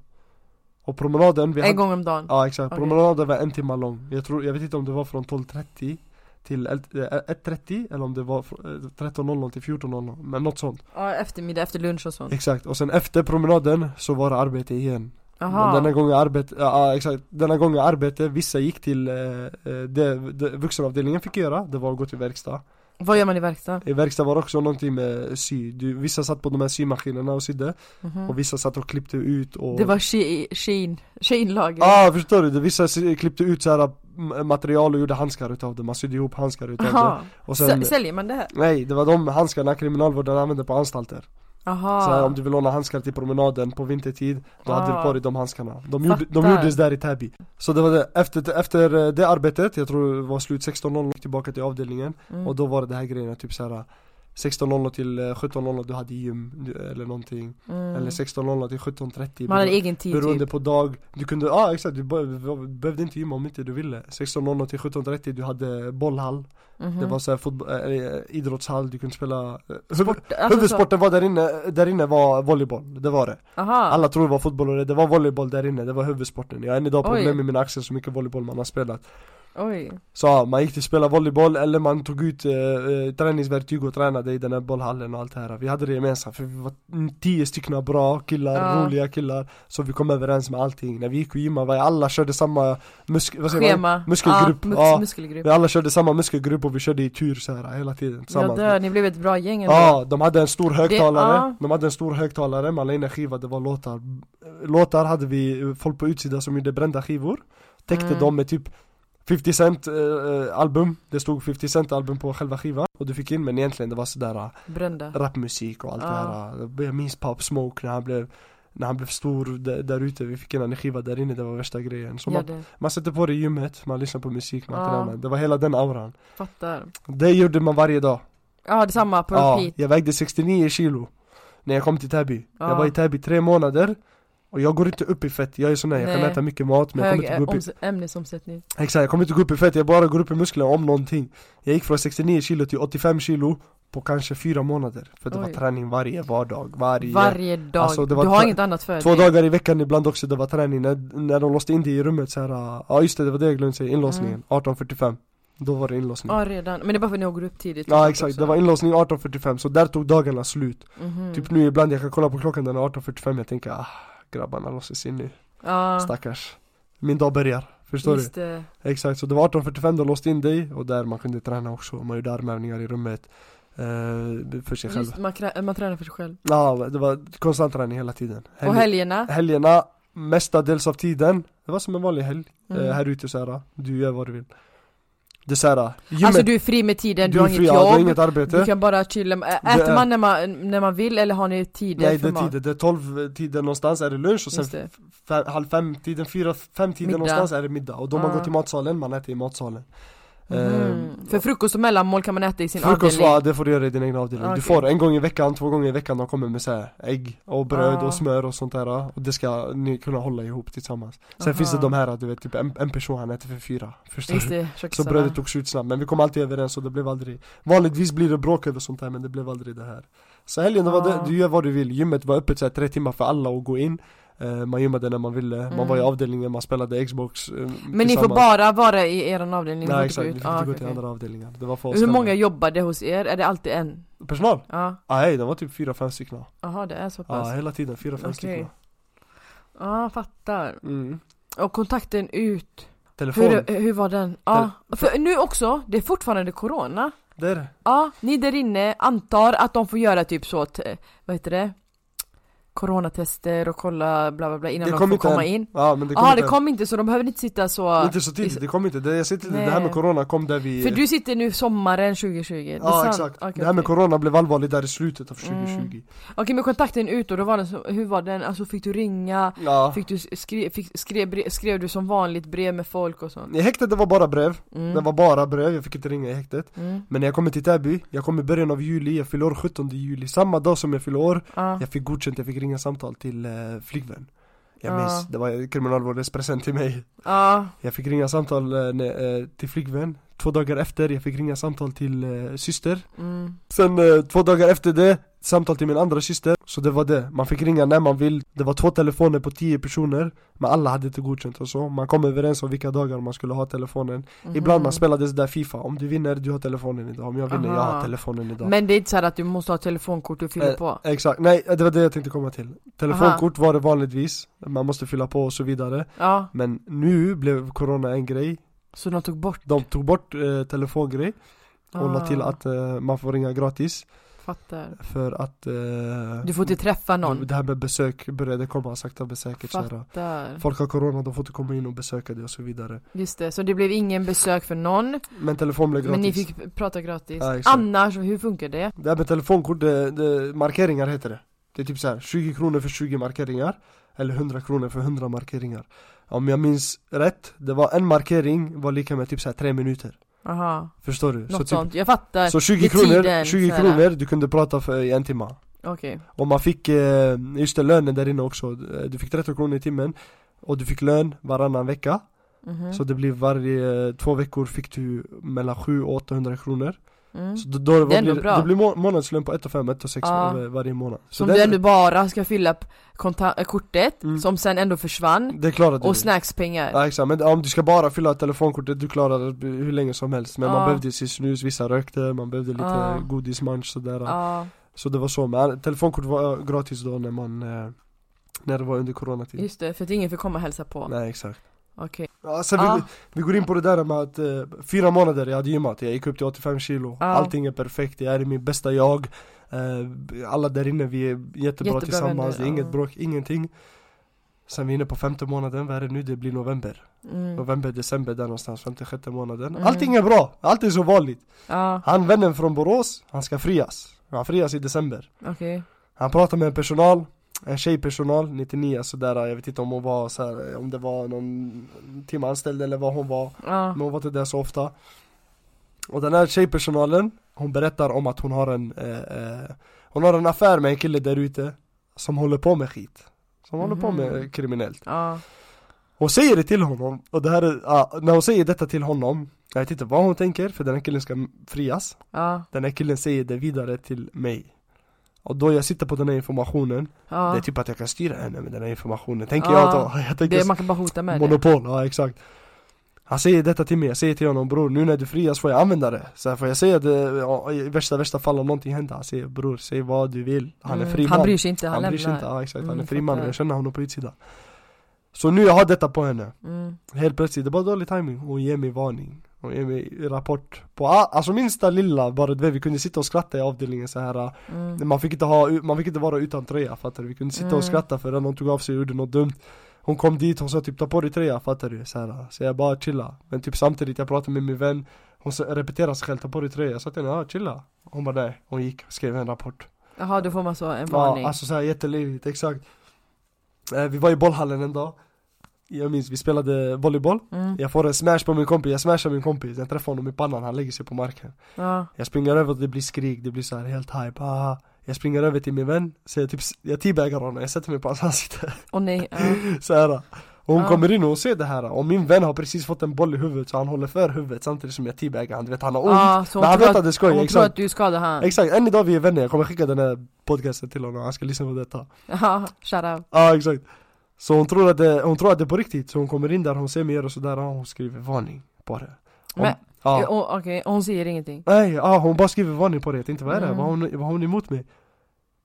Och promenaden, vi
En gång om dagen.
Ja exakt,
Okej.
promenaden var en timme lång Jag tror, jag vet inte om det var från 12.30 till 11 eh, 1.30 eller om det var från, eh, 13.00 till 14.00 Men något sånt
Ja, eftermiddag, efter lunch och sånt.
Exakt, och sen efter promenaden så var det arbete igen Men
Jaha.
denna gången arbete, ja, ja exakt, denna gången arbete, vissa gick till eh, eh, det, det vuxenavdelningen fick göra, det var att gå till verkstad
Vad gör man i verkstad?
I verkstad var det också någonting med sy, du, vissa satt på de här symaskinerna och sydde
Mhm.
och vissa satt och klippte ut och
Det var Shein, Shein, Shein-lager.
Ja ah, förstår du, Det- vissa s- klippte ut så här m- material och gjorde handskar utav det, man sydde ihop handskar utav det
Jaha.
Och sen,
Sä- Säljer man det här?
nej det var de handskarna kriminalvården använde på anstalter
Jaha.
Så här, om du vill låna handskar till promenaden på vintertid, då hade
Ah.
du på dig de handskarna de, gjorde, de
Fattar.
gjordes där i Täby Så det var det, efter, efter eh, det arbetet, jag tror det var slut 16.00, gick tillbaka till avdelningen
Mm.
Och då var det det här grejerna, typ så här 16.00 till eh, 17.00 du hade gym du- eller någonting
Mm.
Eller 16.00 till 17.30
Man hade egen tid
Beroende
typ.
på dag, du kunde, ja ah, exakt, du be- behövde inte gymma om inte du ville 16.00 till 17.30, du hade bollhall,
Mhm.
det var såhär fotboll, äh, idrottshall, du kunde spela eh, huvud-
Sport, alltså
Huvudsporten var där inne, eh, där inne var volleyboll, det var det
så- Aha.
Alla tror det var fotboll och det, det var volleyboll där inne, det var huvudsporten Jag har än idag
Oj.
problem med mina axlar så mycket volleyboll man har spelat
Oj.
Så ja, man gick till spela volleyboll eller man tog ut eh, eh, träningsverktyg och tränade i den här bollhallen och allt det här Vi hade det gemensamt för vi var mm, tio stycken bra killar,
Ja.
roliga killar Så vi kom överens med allting, när vi gick och gymmade, var- alla körde samma musk- vad säger man?
Schema.
Muskelgrupp,
Ja, mus-
ja.
muskelgrupp.
Vi alla körde samma muskelgrupp och vi körde i tur så här hela tiden
Jag
tillsammans
dör, ni blev ett bra gäng ändå.
Ja, de hade en stor högtalare,
Det- ja.
de hade en stor högtalare, man la in en skiva, det var låtar Låtar hade vi eh, folk på utsidan som gjorde brända skivor Täckte
Mm.
dem med typ 50 cent eh, eh, album, det stod 50 cent album på själva skivan Och du fick in, men egentligen det var sådär eh,
Brända.
rapmusik och allt
Ja.
det här eh. Jag minns Pop Smoke när han blev när han blev stor d- där ute, vi fick in en skiva där inne, det var värsta grejen Så
Ja,
man,
det.
man sätter på det i gymmet, man lyssnar på musik, man
Ja.
tränar Det var hela den auran
Fattar.
Det gjorde man varje dag
Ja, det är samma på
Ja,
repeat.
jag vägde 69 kilo när jag kom till Täby
Ja.
Jag var i Täby tre månader och jag går inte upp i fett, jag är sån här, jag
Nej.
kan äta mycket mat men jag
Hög
kommer inte gå upp i,
oms- ämnesomsättning.
exakt, jag kommer inte gå upp i fett, jag bara går upp i muskler om någonting Jag gick från 69 kilo till 85 kilo på kanske fyra månader För det var
Oj.
träning varje vardag, varje,
Varje dag,
Alltså, det var
du har
två-
inget annat för
Två
dig
dagar i veckan ibland också, det var träning När, när de låste in dig i rummet så här. ah, ja just det, det var det jag glömde säga, inlåsningen,
Mm.
18.45 Då var det inlåsning
Ja redan, men det är bara för att ni går upp tidigt
Ja exakt, det var inlåsning 18.45 så där tog dagarna slut
Mhm.
Typ nu ibland, jag kan kolla på klockan den är 18.45 jag tänker ah, grabbarna låses in nu,
ja, eh,
stackars Min dag börjar, förstår
just det.
du? Exakt, så det var 18.45 de låste in dig och där man kunde träna också, man gjorde armhävningar i rummet eh, För sig själv
Just, man, krä- man tränar för sig själv
Ja, det var konstant träning hela tiden
Och
Helg-
helgerna
Helgerna, mestadels av tiden, det var som en vanlig helg
Mm.
eh, här ute såhär, du gör vad du vill Det är såhär, gymmet,
Alltså du är fri med tiden, du,
är
har inget
fri, ja, du har
jobb
inget arbete
Du kan bara chilla, Ä-
Det
äter
är-
man när, man när man vill eller har ni tider
Nej det
för
är
mat?
tider, det är 12 tiden någonstans är det lunch och sen
Just det.
fem, halv fem tiden, fyra, fem tiden
Middag.
någonstans är det middag och då man
Ah.
går till matsalen, man äter i matsalen
Mhm.
Ehm,
För frukost och mellanmål kan man äta i sin
Frukost,
avdelning
ja, det får du göra i din egna avdelning.
Okej.
Du får en gång i veckan, två gånger i veckan, de kommer med så här ägg och bröd
Ah.
och smör och sånt där Och det ska ni kunna hålla ihop tillsammans Sen
Aha.
finns det de här, du vet, typ en, en person han äter för fyra Förstår
Just
du?
det,
Så
köksarna.
brödet tog slut snabbt, men vi kom alltid överens och det blev aldrig Vanligtvis blir det bråk över sånt här men det blev aldrig det här Så helgen, det var
Ja.
det, du gör vad du vill, gymmet var öppet så här, tre timmar för alla att gå in Eh, Man gymmade när man ville, man
Mm.
var i avdelningen, man spelade Xbox eh,
Men ni får
tillsammans.
bara vara i er avdelning? ni får
Nej
inte gå
exakt, vi
ut.
fick
Ah,
inte gå
okej,
till
okej.
andra avdelningar Det var för oss
Hur
själva.
många jobbade hos er? Är det alltid en?
Personal?
Ja,
Ah, nej, de var typ fyra, fem stycken Ja,
jaha det är så pass
ah,
Ja,
hela tiden, fyra, fem
Okej.
stycken
fattar
mm.
Och kontakten ut,
Telefon,
hur, hur var den? Ja, för nu också, det är fortfarande corona
det är det
Ja, ni där inne antar att de får göra typ så, t- vad heter det? Coronatester och kolla bla bla bla innan
Det
de
kom
får
inte
komma
än.
in
Ja men det kom
Jaha
inte
Ah, det kom inte så de behöver inte sitta så
Inte så tidigt, det kom inte, det, jag ser inte, det här
Nej.
med corona kom där vi
För du sitter nu sommaren 2020, det är
Ja
sant?
exakt,
Okej,
det här med
okej. Mm.
corona blev allvarligt där i slutet av 2020
Okej men kontakten ut då, då var den så, hur var den? Alltså fick du ringa?
Ja
Fick du skrev, fick, skrev, bre- skrev du som vanligt brev med folk och sånt?
I häktet det var bara brev,
Mm.
det var bara brev, jag fick inte ringa i häktet
Mm.
Men när jag kommer till Täby, jag kom i början av juli, jag fyller år 17 juli Samma dag som jag fyller år,
Ja.
jag fick godkänt, jag fick ringa samtal till eh, flygvän Jag
Ja.
minns, det var kriminalvårdens present till mig
Ja.
Jag fick ringa samtal eh, när, eh, till flygvän Två dagar efter, jag fick ringa samtal till eh, syster
Mm.
Sen eh, två dagar efter det, samtal till min andra syster Så det var det, man fick ringa när man vill Det var två telefoner på tio personer Men alla hade inte godkänt och så Man kom överens om vilka dagar man skulle ha telefonen
mhm.
Mm-hmm. Ibland man spelade sådär FIFA, om du vinner, du har telefonen idag Om jag vinner, jag
Aha.
har telefonen idag
Men det är inte så här att du måste ha telefonkort du fyller
Eh,
på?
Exakt, nej det var det jag tänkte komma till Telefonkort var det vanligtvis, man måste fylla på och så vidare
Ja,
Men nu blev corona en grej
så de tog bort?
De tog bort eh, telefongrej och la
Ah,
till att eh, man får ringa gratis
Fattar
För att eh,
Du får inte träffa någon?
Det här med besök började komma sakta men säkert så här.
Fattar
Folk har corona, de får inte komma in och besöka dig och så vidare
Just det, så det blev ingen besök för någon
Men telefon blev gratis
Men ni fick prata gratis
Ja, exakt.
Annars, hur funkar det?
Det här med telefonkort, det, det, markeringar heter det Det är typ så här, 20 kronor för 20 markeringar Eller 100 kronor för 100 markeringar Om jag minns rätt, det var en markering var lika med typ så här 3 minuter
Aha,
Förstår du?
något
så, typ,
sånt, jag fattar
så 20
Vid
kronor,
tiden,
20
så här.
kronor, du kunde prata för, i en timme
Okej,
Och man fick, eh, just det, lönen där inne också Du fick 30 kronor i timmen Och du fick lön varannan vecka
mhm,
Så det blir varje två veckor fick du mellan 7 och 800 kronor
mm.
Så då, då det
är ändå
blir,
bra.
det blir må- månadslön på 1 och 5, 1 och 6
Ja.
varje månad Så
Som
det,
du ändå bara ska fylla p- konta- äh, kortet,
Mm.
som sen ändå försvann
det klarar du
Och snackspengar
Ja exakt, men om du ska bara fylla telefonkortet du klarar det hur länge som helst Men
Ja.
man behövde sin snus, vissa rökte, man behövde lite
Ja.
godis, munch sådär
Ja,
Så det var så, men eh, telefonkort var gratis då när man eh, När det var under coronatiden
just det, för att ingen får komma och hälsa på
Nej exakt
Okej,
Ja, sen
Ja.
vi, vi går in på det där med att eh, fyra månader jag hade gymmat, jag gick upp till 85 kilo
Ja.
Allting är perfekt, jag är i min bästa jag eh, Alla där inne, vi är jättebra,
Jättebra
tillsammans,
vänner,
det är
ja.
inget bråk, ingenting Sen vi är inne på femte månaden, vad är det nu? Det blir november
mm.
November, december där någonstans, femte, sjätte månaden
Mm.
Allting är bra, allt är så vanligt
ja,
Han vännen från Borås, han ska frias Han frias i december
okej
Han pratar med en personal en tjejpersonal, 99 sådär, jag vet inte om hon var så här, om det var någon timme anställd eller vad hon var
Ja,
men hon var inte där så ofta Och den här tjejpersonalen Hon berättar om att hon har en eh, eh, Hon har en affär med en kille där ute Som håller på med skit Som håller på med
Mhm.
eh, kriminellt
ja,
Hon säger det till honom Och det här är, ja, när hon säger detta till honom Jag vet inte vad hon tänker för den här killen ska frias
Ja,
Den här killen säger det vidare till mig Och då jag sitter på den här informationen
ja.
Det är typ att jag kan styra henne med den här informationen Tänker
Ja.
jag då
Det
Jag tänker
man kan bara hota med det.
monopol, ja exakt Han säger detta till mig, jag säger till honom bror nu när du frias får jag använda det Så här får jag säga det ja, i värsta värsta fall om någonting händer Han säger bror säg vad du vill Han är
Mm,
fri man
Han bryr sig inte, han,
Han bryr sig
lämnar.
inte, ja, exakt han
Mm,
är fri man
fattar.
jag känner honom på utsidan Så nu jag har detta på henne
Mm.
Helt plötsligt, det var dålig timing. Hon ger mig varning. Hon ger mig rapport. På a- alltså minsta lilla, bara du vet, vi kunde sitta och skratta i avdelningen så här.
Mm.
Man fick inte, ha, man fick inte vara utan tröja fattar du. Vi kunde sitta
Mm.
och skratta för någon tog av sig och gjorde något dumt. Hon kom dit, hon sa typ ta på dig tröja fattar du. Så, här, så jag bara chilla. Men typ samtidigt jag pratade med min vän. Hon sa- repeterade sig själv, ta på dig tröja. Jag sa till henne, ja chilla. Hon bara nej. Hon gick, skrev en rapport.
Jaha, då får man så en varning.
Ja, alltså såhär jättelivigt, exakt eh, Vi var i bollhallen en dag Jag minns, vi spelade volleyboll
Mm.
Jag får en smash på min kompis, jag smashar min kompis Jag träffar honom i pannan, han lägger sig på marken
Ja.
Jag springer över och det blir skrik, det blir så här helt hype ah. Jag springer över till min vän, så jag typ, jag teabaggar honom, jag sätter mig på hans ansikte
Och nej, ja.
Mm. såhär och hon
Ja.
kommer in och hon ser det här och min vän har precis fått en boll i huvudet så han håller för huvudet samtidigt som jag teabaggar han, du vet han har ont
ja så
Men han
Ah, hon tror
vet att
att,
det är skoj,
hon tror
exakt.
att du skadade han.
Exakt, än idag vi är vänner, jag kommer skicka den här podcasten till honom, han ska lyssna på detta
Ja, shout out.
Ja exakt Så hon tror, att det, hon tror att det är på riktigt, så hon kommer in där, hon ser mig och sådär, ja, hon skriver varning Ah. på det Hon-
Men-
ja.
Ja. Okej, och hon säger ingenting.
Nej, ja, hon bara skriver varning på det, jag tänkte vad är det?
Mm.
Vad har hon, vad har hon emot mig?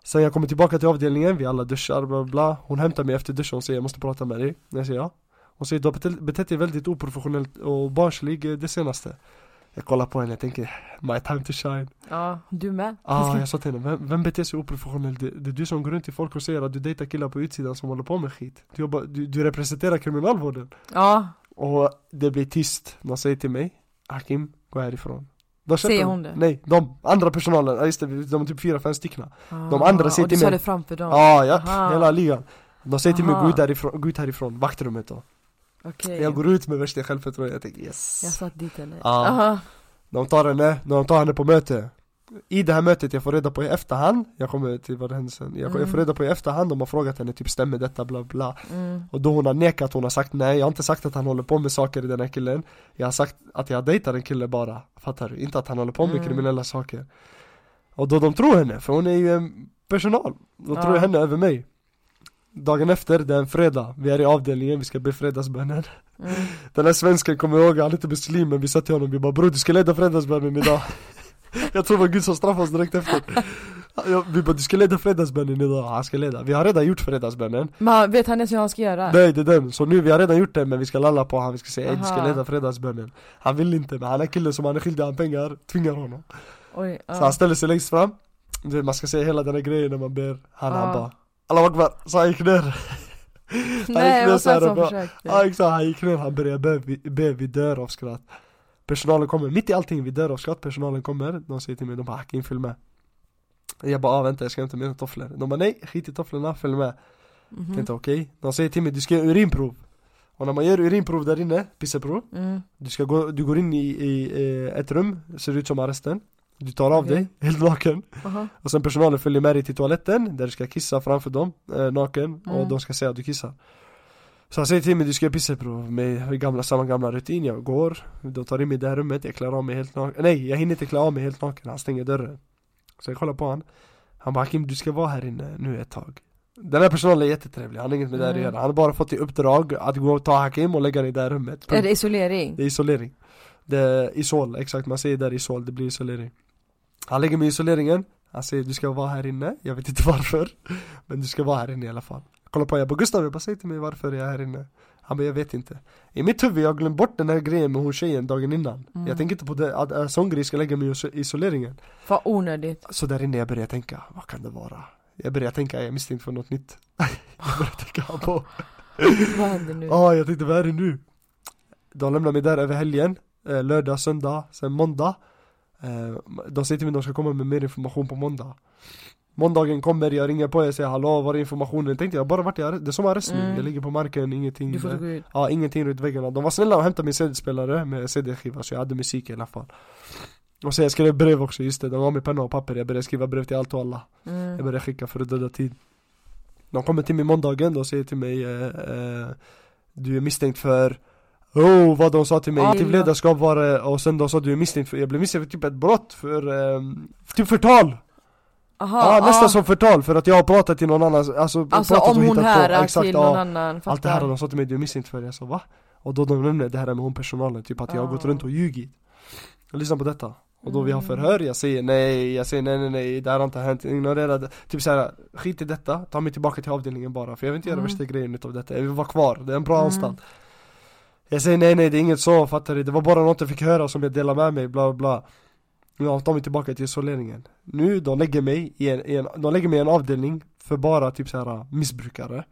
Sen jag kommer tillbaka till avdelningen, vi alla duschar, bla bla, bla. Hon hämtar mig efter duschen och säger jag måste prata med dig Jag säger ja Hon säger du har bete- betett dig väldigt oprofessionellt och barnslig eh, det senaste Jag kollar på henne, jag tänker my time to shine
Ja, du med.
Ah, jag sa till henne, vem, vem beter sig oprofessionellt? Det, det är du som går runt till folk och säger att du dejtar killar på utsidan som håller på med skit Du, jobbar, du, du representerar kriminalvården
Ja,
Och det blir tyst, de säger till mig Hakim, gå härifrån Då köper
Säger
de-
hon det?
Nej, de andra personalen, ja just det, vi- de är typ fyra, fem stycken
De
andra säger till
Du sa
mig-
det framför dem?
Ja, ah, ja,
Aha.
hela ligan De säger till mig,
Aha.
gå ut härifrån, gå ut härifrån, vaktrummet då
Okej,
Jag går ut med värsta självförtroende, jag tänker yes
jag satt dit henne.
Ja.
Aha.
De tar henne, när de tar henne på möte I det här mötet, jag får reda på i efterhand Jag kommer till vad det hände sen jag, jag
Mm.
får reda på i efterhand, de har frågat henne typ stämmer detta bla bla
Mm.
Och då hon har nekat, hon har sagt nej Jag har inte sagt att han håller på med saker i den här killen Jag har sagt att jag dejtar en kille bara Fattar du? Inte att han håller på med
Mm.
kriminella saker Och då de tror henne, för hon är ju en personal De
Ja.
tror henne över mig Dagen efter, det är en fredag Vi är i avdelningen, vi ska be fredagsbönen
Mm.
den här svensken kommer jag ihåg, han är inte muslim men vi sa till honom, vi bara bror du ska leda fredagsbönen idag Jag tror det var Gud som straffade oss direkt efter Ja, Vi bara du ska leda fredagsbönen idag, han ska leda Vi har redan gjort fredagsbönen,
Men han- vet han ens hur han ska göra?
nej det är den Så nu, vi har redan gjort den men vi ska lalla på honom, vi ska säga "Ey, du ska
Aha.
leda fredagsbönen Han vill inte men han är killen som han är skyldig han pengar, tvingar honom
Oj, ja.
Så han ställer sig längst fram Du vet, Man ska säga hela den här grejen när man ber Han, han
Ja.
bara Allahu akbar, så han gick ner
Nej, det
knä
var
så här
så
och
som
bara-
försökte.
Ja exakt, han gick ner, han började be, vi- be, vi dör av skratt Personalen kommer, mitt i allting, vi dör av skratt, personalen kommer, de säger till mig, de bara 'Hakim följ med' Jag bara ah, 'vänta jag ska hämta mina tofflor' De bara 'nej, skit i tofflorna, följ med'
Mhm.
Tänkte okej, de säger till mig 'du ska göra urinprov' Och när man gör urinprov där inne, pisseprov
Mm.
Du, ska gå, du går in i, i eh, ett rum, ser ut som arresten Du tar av
Okej.
dig, helt naken
Aha.
Och sen personalen följer med dig till toaletten där du ska kissa framför dem, eh, naken, och
Mm.
de ska säga att du kissar Så han säger till mig du ska göra pisseprov med gamla, samma gamla rutin, jag går, de tar in mig i det här rummet, jag klär av mig helt naken, nej jag hinner inte klä av mig helt naken, han stänger dörren Så jag kollar på han, han bara Hakim du ska vara här inne nu ett tag den här personalen är jättetrevlig, han har inget med det här att
Mm.
göra, han har bara fått i uppdrag att gå och ta Hakim och lägga honom i det här rummet
Är det isolering?
det är isolering Det är isol, exakt man säger där isol, det blir isolering Han lägger mig i isoleringen Han säger du ska vara här inne, jag vet inte varför Men du ska vara här inne i alla fall Jag kollar på honom, jag bara Gustav, jag bara säg till mig varför jag är här inne Han bara jag vet inte I mitt huvud, jag har glömt bort den här grejen med hon tjejen dagen innan
Mm.
Jag tänker inte på det, att en sån grej ska lägga mig i iso- isoleringen
Fan onödigt.
Så där inne jag börjar tänka, vad kan det vara? Jag börjar tänka, jag är misstänkt för något nytt Jag börjar tänka på
Vad händer nu?
Ja, ah, jag tänkte vad är det nu? De lämnar mig där över helgen, eh, lördag, söndag, sen måndag eh, De säger till mig att de ska komma med mer information på måndag Måndagen kommer, jag ringer på er och säger hallå var är informationen? Tänkte jag bara vart jag är, det är som arrest nu,
Mm.
jag ligger på marken, ingenting
Du får
eh,
gå ut.
Ja, ingenting runt väggarna. De var snälla och hämtade min CD-spelare med CD-skiva så jag hade musik i alla fall Och sen jag skrev brev också, just det, de gav mig penna och papper, jag började skriva brev till allt och alla jag
Mm.
började skicka för att döda tid De kommer till mig måndagen och säger till mig eh, eh, Du är misstänkt för Oh vad de sa till mig,
Ja.
aktivt ledarskap var det och sen de sa du är misstänkt för, jag blev misstänkt för typ ett brott för, ehm, typ förtal!
Aha,
Ja,
ja.
nästan som förtal för att jag har pratat till någon annan, alltså,
Alltså
pratat
om
och
hon
hittat på.
här
Exakt,
till
ja.
någon annan,
Allt det här
fattar?
de sa till mig, du är misstänkt för det, jag sa va? Och då de nämnde det här med hon personalen, typ att jag har gått
Ah.
runt och ljugit Jag lyssnar på detta och då vi
Mm.
har förhör, jag säger nej, jag säger nej nej nej, det här har inte hänt, ignorera det Typ såhär, skit i detta, ta mig tillbaka till avdelningen bara för jag vill inte göra
Mm.
värsta grejen utav detta, jag vill vara kvar, det är en bra
Mm.
anstalt Jag säger nej nej, det är inget så, fattar du? Det var bara något jag fick höra som jag delar med mig, bla bla Ja, ta mig tillbaka till isoleringen Nu, de lägger mig i en, i en, de lägger mig i en avdelning för bara typ såhär missbrukare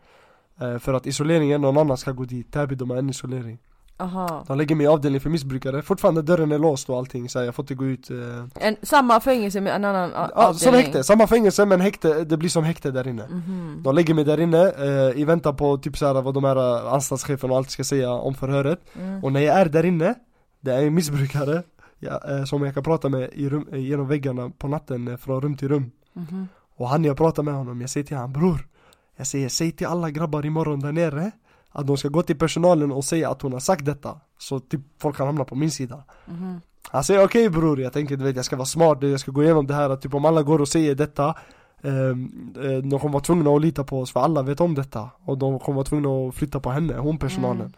Eh, För att isoleringen, någon annan ska gå dit, Täby de har en isolering
Aha.
De lägger mig i avdelning för missbrukare, fortfarande dörren är låst och allting så här, jag får inte gå ut eh.
En, samma fängelse med en annan a-
ah, Som
avdelning.
häkte, samma fängelse men häkte, det blir som häkte där inne
Mhm.
De lägger mig där inne eh, i väntan på typ så här, vad de här eh, anstaltscheferna och allt ska säga om förhöret
Mm.
Och när jag är där inne, det är en missbrukare ja, eh, som jag kan prata med i rum, eh, genom väggarna på natten eh, från rum till rum
Mhm.
Och han jag pratar med honom, jag säger till honom bror Jag säger säg till alla grabbar imorgon där nere Att de ska gå till personalen och säga att hon har sagt detta Så typ folk kan hamna på min sida
Mhm.
Han säger okej bror, Alltså, jag tänker du vet jag ska vara smart, jag ska gå igenom det här att typ om alla går och säger detta ehm, eh, De kommer vara tvungna att lita på oss för alla vet om detta Och de kommer vara tvungna att flytta på henne, hon personalen
Mm.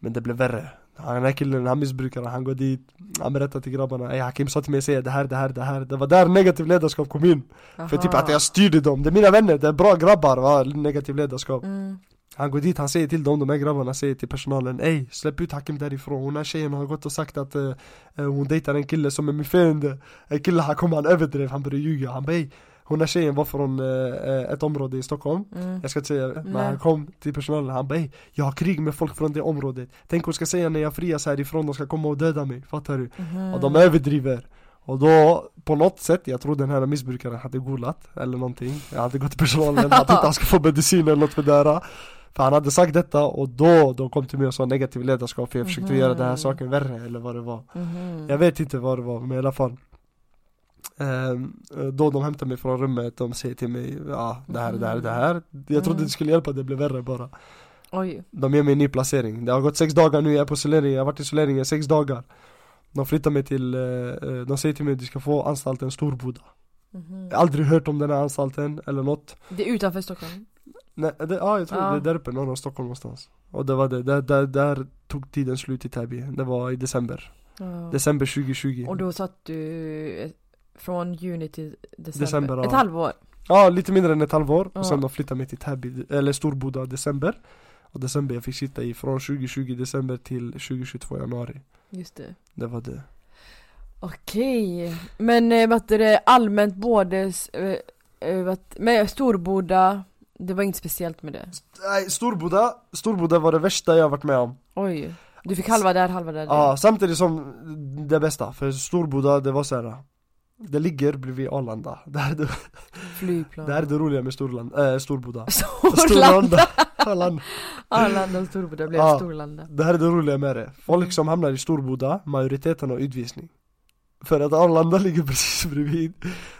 Men det blev värre han, den här killen, han missbrukar han går dit Han berättar till grabbarna, ey Hakim sa till mig säga det här, det här, det här Det var där negativ ledarskap kom in för typ
Aha.
att jag styrde dem, det är mina vänner, det är bra grabbar va, negativ ledarskap
Mm.
Han går dit, han säger till dem, de här grabbarna säger till personalen Ey, släpp ut Hakim därifrån, hon här tjejen har gått och sagt att eh, eh, hon dejtar en kille som är min fiende En kille, han kom, han överdrev, han började ljuga, han bara ey Hon här tjejen var från eh, eh, ett område i Stockholm
Mm.
jag ska inte säga det, men
Nej.
han kom till personalen, han bara "Ey, Jag har krig med folk från det området Tänk hon ska säga när jag frias härifrån, de ska komma och döda mig, fattar du?
Mhm.
Och de överdriver Och då, på något sätt, jag tror den här missbrukaren hade golat eller någonting Jag hade gått till personalen, att inte han ska få medicin eller något för det här För han hade sagt detta och då, de kom till mig och sa negativ ledarskap för jag försökte
Mhm.
göra den här saken värre eller vad det var
Mhm.
Jag vet inte vad det var, men i alla fall Ehm, Då de hämtade mig från rummet, de säger till mig ja, det här, det här, det här Jag trodde
Mm.
det skulle hjälpa, det blev värre bara
Oj.
de ger mig en ny placering. Det har gått sex dagar nu, jag är på isolering, jag har varit i isolering i sex dagar. De flyttar mig till, eh, eh, de säger till mig att du ska få anstalten Storboda.
Mhm.
Jag har aldrig hört om den här anstalten eller något.
Det är utanför Stockholm.
Nej, det, ja, jag tror
Ja.
det är där uppe, norr om Stockholm någonstans. Och det var det, där, där, där tog tiden slut i Täby. Det var i december.
Ja.
December 2020.
Och då satt du eh, från juni till december.
December, ja.
Ett halvår.
Ja, lite mindre än ett halvår.
Ja.
Och sen de flyttade mig till Täby, eller Storboda i december. Och december, jag fick sitta i från 2020 december till 2022 januari.
Just det.
Det var det.
Okej. Men eh, vad heter det, allmänt både, eh, eh, vad, med Storboda, det var inget speciellt med det.
Nej, Storboda, Storboda var det värsta jag varit med om.
Oj. Du fick halva där, halva där.
Ja, samtidigt som det bästa, för Storboda det var så här. Det ligger bredvid Arlanda, det här är det,
Flygplan.
det, här är det roliga med Storland, äh, Storboda
Storlanda.
Arlanda.
Arlanda och Storboda blev
Ja.
Storlanda.
Det här är det roliga med det, folk som hamnar i Storboda, majoriteten har utvisning För att Arlanda ligger precis bredvid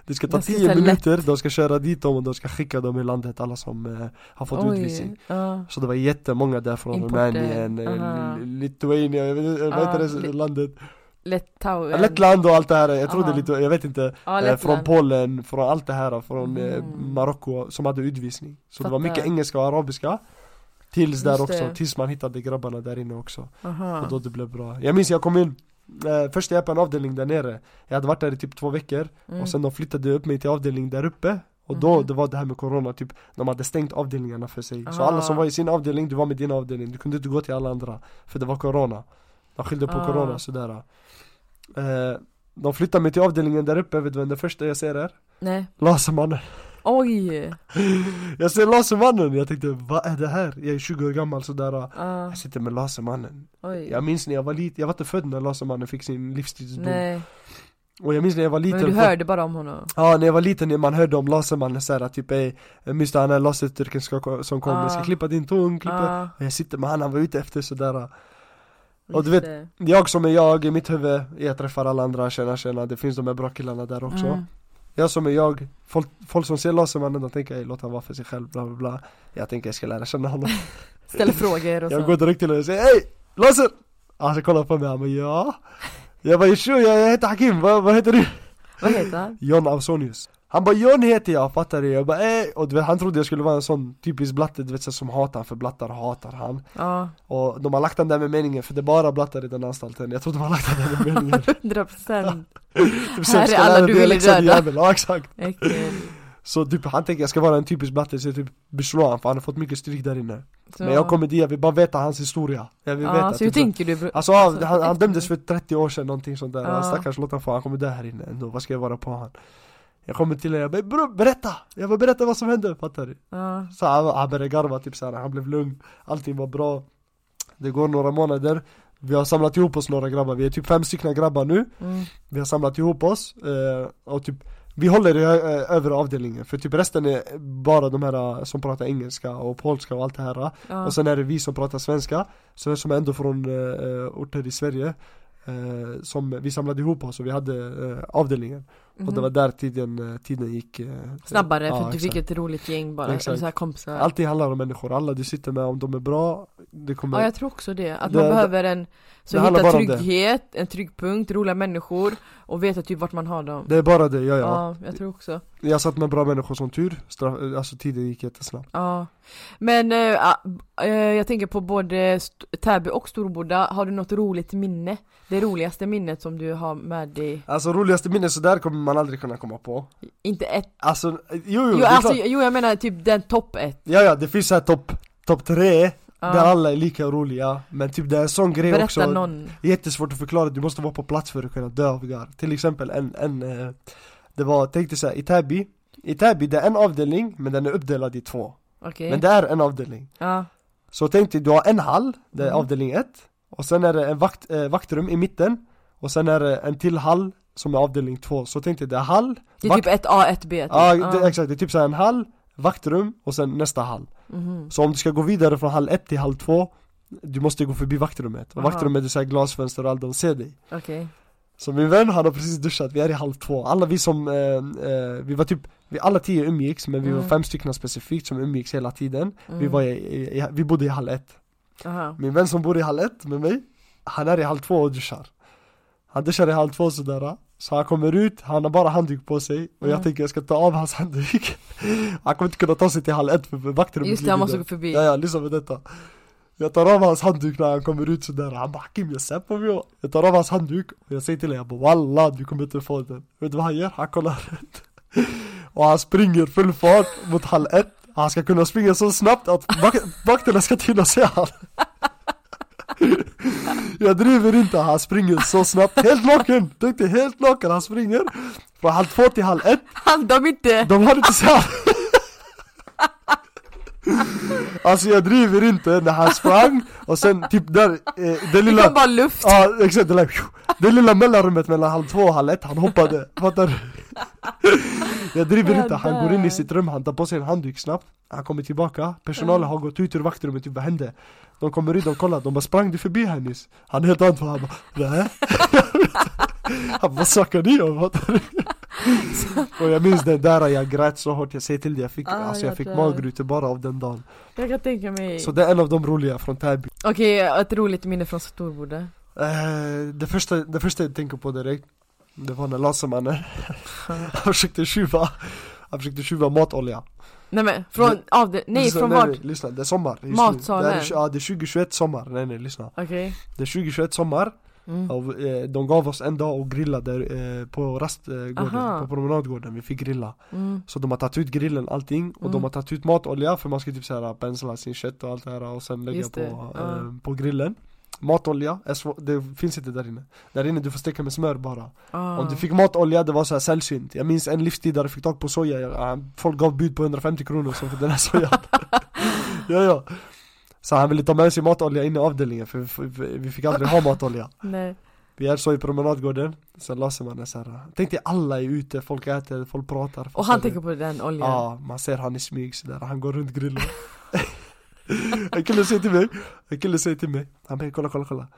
Det ska ta
Det ska
10
ta lätt.
minuter, de ska köra dit dem och de ska skicka dem i landet, alla som eh, har fått utvisning
Ja.
Så det var jättemånga där från
Importer.
Rumänien,
Aha.
eh, Lithuania, jag vet inte, vad heter
Ja,
det
li-
landet?
Litauen.
Lettland och allt det här, jag tror det är
Aha.
lite, jag vet inte
Ja,
eh,
Lettland.
Från Polen, från allt det här, från eh,
Mm.
Marocko som hade utvisning Så det var
Fattar.
mycket engelska och arabiska Tills där
Just
också,
det.
tills man hittade grabbarna där inne också
Aha.
Och då det blev bra Jag minns jag kom in eh, Först jag på en avdelning där nere Jag hade varit där i typ två veckor
Mm.
och sen de flyttade upp mig till avdelning där uppe Och då,
Mhm.
det var det här med corona typ De hade stängt avdelningarna för sig Så
Ah.
alla som var i sin avdelning, du var med din avdelning Du kunde inte gå till alla andra För det var corona De skyllde på
Ah.
corona sådär eh, De flyttade mig till avdelningen där uppe, vet du vem det första jag ser är?
Nej.
Lasermannen
Oj.
Jag ser Lasermannen, jag tänkte vad är det här? Jag är 20 år gammal sådär
Ja.
Jag sitter med Lasermannen
Oj.
Jag minns när jag var liten, jag var inte född när Lasermannen fick sin livstidsdom
Nej.
Och jag minns när jag var liten
Men du
folk-
hörde bara om honom?
Ja, när jag var liten, när man hörde om lasermannen såhär typ ey, minns du han här laserturken ska, som kom, jag ska
Ah.
klippa din tång, klippa
Ja,
Och jag sitter med han, han var ute efter sådär Och
just
du vet,
det.
Jag som är jag, i mitt huvud, jag träffar alla andra, tjena tjena, det finns de här bra killarna där också
Mm.
Jag som är jag, folk, folk som ser lasermannen de tänker ey låt han vara för sig själv, bla bla bla Jag tänker jag ska lära känna honom
Alltså. Ställer frågor och
Jag
så.
går direkt till honom och säger ey! Laser! Alltså kolla på mig, han bara ja Jag bara tjo, jag, jag heter Hakim, vad, vad heter du?
Vad heter han?
John Ausonius Han bara John heter jag, fattar du? Jag bara eh, och du vet, han trodde jag skulle vara en sån typisk blatte du vet så här, som hatar för blattar hatar han
Ja,
Och de har lagt den där med meningen för det är bara blattar i den anstalten Jag tror de har lagt den där med meningen
100%
typ,
Här är
sämsta
alla
lärare,
du vill
dialektsad
döda.
jävel. Ja exakt
Äckel.
Så typ han tänker jag ska vara en typisk blatte, så jag typ beslår han för han har fått mycket stryk där inne
Så-
Men jag kommer dit, jag vill bara veta hans historia Jag vill
Ja,
veta
så hur
typ så-
tänker du? bro?
Alltså han, han,
efter-
han dömdes för 30 år sedan någonting sånt där,
Ja.
ja. stackars låt han få, han kommer dö här inne ändå, vad ska jag vara på han? Jag kommer till honom, jag bara bror berätta! Jag bara berätta vad som hände, fattar du?
Ja,
Så han, han började garva typ såhär, han blev lugn, allting var bra Det går några månader, vi har samlat ihop oss några grabbar, vi är typ fem stycken grabbar nu
mm.
Vi har samlat ihop oss, eh, och typ vi håller i eh, övre avdelningen, för typ resten är bara de här eh, som pratar engelska och polska och allt det här
ja.
och sen är det vi som pratar svenska, så som är ändå från eh, eh, orter i Sverige eh, Som vi samlade ihop oss och vi hade eh, avdelningen Och det
Mhm.
var där tiden, eh, tiden gick eh,
Snabbare
ja,
för du fick
exakt.
ett roligt gäng bara,
Exakt.
eller så här kompisar
Allting handlar om människor, alla du sitter med, om de är bra, det kommer
Ja jag tror också det, att
Det-
man
det-
behöver en Så
det handlar
hitta
bara om det.
trygghet, en trygg punkt, roliga människor och veta typ vart man har dem
Det är bara det, ja, ja
Ja, jag tror också
Jag satt med bra människor som tur, straff, alltså tiden gick jättesnabbt
Ja Men eh, ah, eh, jag tänker på både St- Täby och Storboda, har du något roligt minne? Det roligaste minnet som du har med dig?
Alltså roligaste minne sådär kommer man aldrig kunna komma på
Inte ett?
Alltså, jo jo,
Jo,
det är
alltså,
klart.
jo jag menar typ den topp ett
Ja ja, det finns såhär topp top tre,
Ja.
där alla är lika roliga Men typ det är en sån grej
Berätta
också
någon
Jättesvårt att förklara, du måste vara på plats för att kunna dö av garv Till exempel en, en eh, Det var, tänk dig såhär, i Täby I Täby det är en avdelning, men den är uppdelad i två
Okej,
Men det är en avdelning
ja,
Så tänk dig, du har en hall, det är
Mm.
avdelning ett Och sen är det en vakt, eh, vaktrum i mitten Och sen är det en till hall som är avdelning två Så tänk dig, det är hall
det är
Vakt-
typ ett A, ett B typ.
Ja, det, exakt, det är typ såhär en hall, vaktrum och sen nästa hall
Mhm.
Så om du ska gå vidare från hall ett till hall två Du måste gå förbi vaktrummet, och
Aha.
vaktrummet är såhär glasfönster och allt, de ser dig
Okej,
Så min vän han har precis duschat, vi är i halv två, alla vi som, eh, eh, vi var typ, vi alla tio umgicks men vi var
Mm.
fem stycken specifikt som umgicks hela tiden Vi
Mm.
var i, i, i, vi bodde i hall ett
Aha.
Min vän som bor i hall ett med mig, han är i hall två och duschar Han duschar i hall två sådär, så han kommer ut, han har bara handduk på sig och
Mm.
jag tänker jag ska ta av hans handduk Han kommer inte kunna ta sig till hall ett för för vaktrummet
Just det,
ligger
han måste
där.
gå förbi
Ja, ja, lyssna på detta Jag tar av hans handduk när han kommer ut sådär, han bara 'Hakim jag ser på mig' och-" Jag tar av hans handduk och jag säger till honom, jag bara 'Walla du kommer inte få den' Vet du vad han gör? Han kollar runt Och han springer full fart mot hall 1 Han ska kunna springa så snabbt att vak- vakterna ska hinna se han Jag driver inte, han springer så snabbt, helt naken! Tänk dig, helt naken, han springer Från hall 2 till hall 1
Han, de inte!
de har inte sett Alltså jag driver inte när han sprang och sen typ där, eh, det
Det kom
lilla
bara luft!
Ja exakt, det, där, det lilla mellanrummet mellan halv två och halv ett, han hoppade, fattar du? Jag driver
Jag
inte, han går in
dör.
i sitt rum, han tar på sig en handduk snabbt Han kommer tillbaka, personalen har gått ut ur vaktrummet, typ vad hände? De kommer ut, de kollar, de bara sprang du förbi här nyss? Han är helt andfådd, han bara nej Han bara vad snackar ni om? Fattar du? Och jag minns den där, jag grät så hårt, jag säger till dig, jag fick,
Ah,
alltså
jag
jag fick
dör.
magrutor bara av den dagen
Jag kan tänka mig
Så det är en av de roliga från Täby
Okej, ett roligt minne från Storboda
Eh, det, första, det första jag tänker på direkt Det var när lasermannen Han försökte tjuva Han försökte tjuva matolja
Nej men, från, av det, nej
Lyssna,
från vart?
Alltså, nej, lyssna, det är sommar just nu.
Matsalen.
det, här är, tju- ja, det är 2021 sommar, nej nej lyssna
Okej,
Det är 2021 sommar
mm.
och, eh, De gav oss en dag och grillade eh, på
Aha.
rastgården, på promenadgården, vi fick grilla
Mm.
Så de har tagit ut grillen, allting och
Mm.
de har tagit ut matolja för man ska typ såhär pensla sin kött och allt det här och sen lägga
Just
på,
det, ja.
eh, på grillen Matolja, är svår, det finns inte där inne Där inne du får steka med smör bara
Ah.
Om du fick matolja, det var så här sällsynt Jag minns en livstidare fick tag på soja, jag- eh, folk gav bud på 150 kronor som för den här sojan Ja ja Så han ville ta med sig matolja in i avdelningen för vi, för vi fick aldrig ha matolja
Nej,
Vi är så i promenadgården, sen lade man är såhär Tänk dig alla är ute, folk äter, folk pratar
och han tänker på den oljan
Ja, man ser han i smyg sådär, han går runt grillen En kille säger till mig, en kille säger till mig Han bara kolla kolla kolla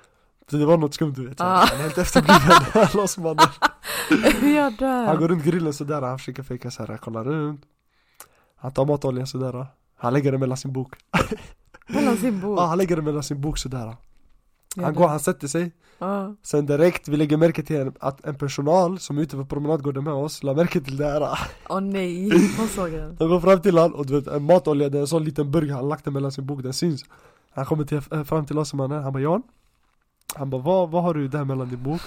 Så Det var något skumt du vet, så
Ah.
han är helt efterbliven, låtsmannen
Jag dör!
Han går runt grillen sådär, han försöker fejka såhär, kollar runt Han tar matolja sådär Han lägger den mellan sin bok Ah,
Mellan sin bok
Ja, han lägger den mellan sin bok sådär Han går, han sätter sig
Ja.
Sen direkt, vi lägger märke till en, att en personal som är ute på promenadgården med oss la märke till det här
Åh nej, vad såg han?
Han går fram till han och du vet en matolja, det är en sån liten burk han lagt den mellan sin bok, den syns Han kommer till, eh, fram till oss som han är, han bara Jan Han bara vad, vad har du där mellan din bok?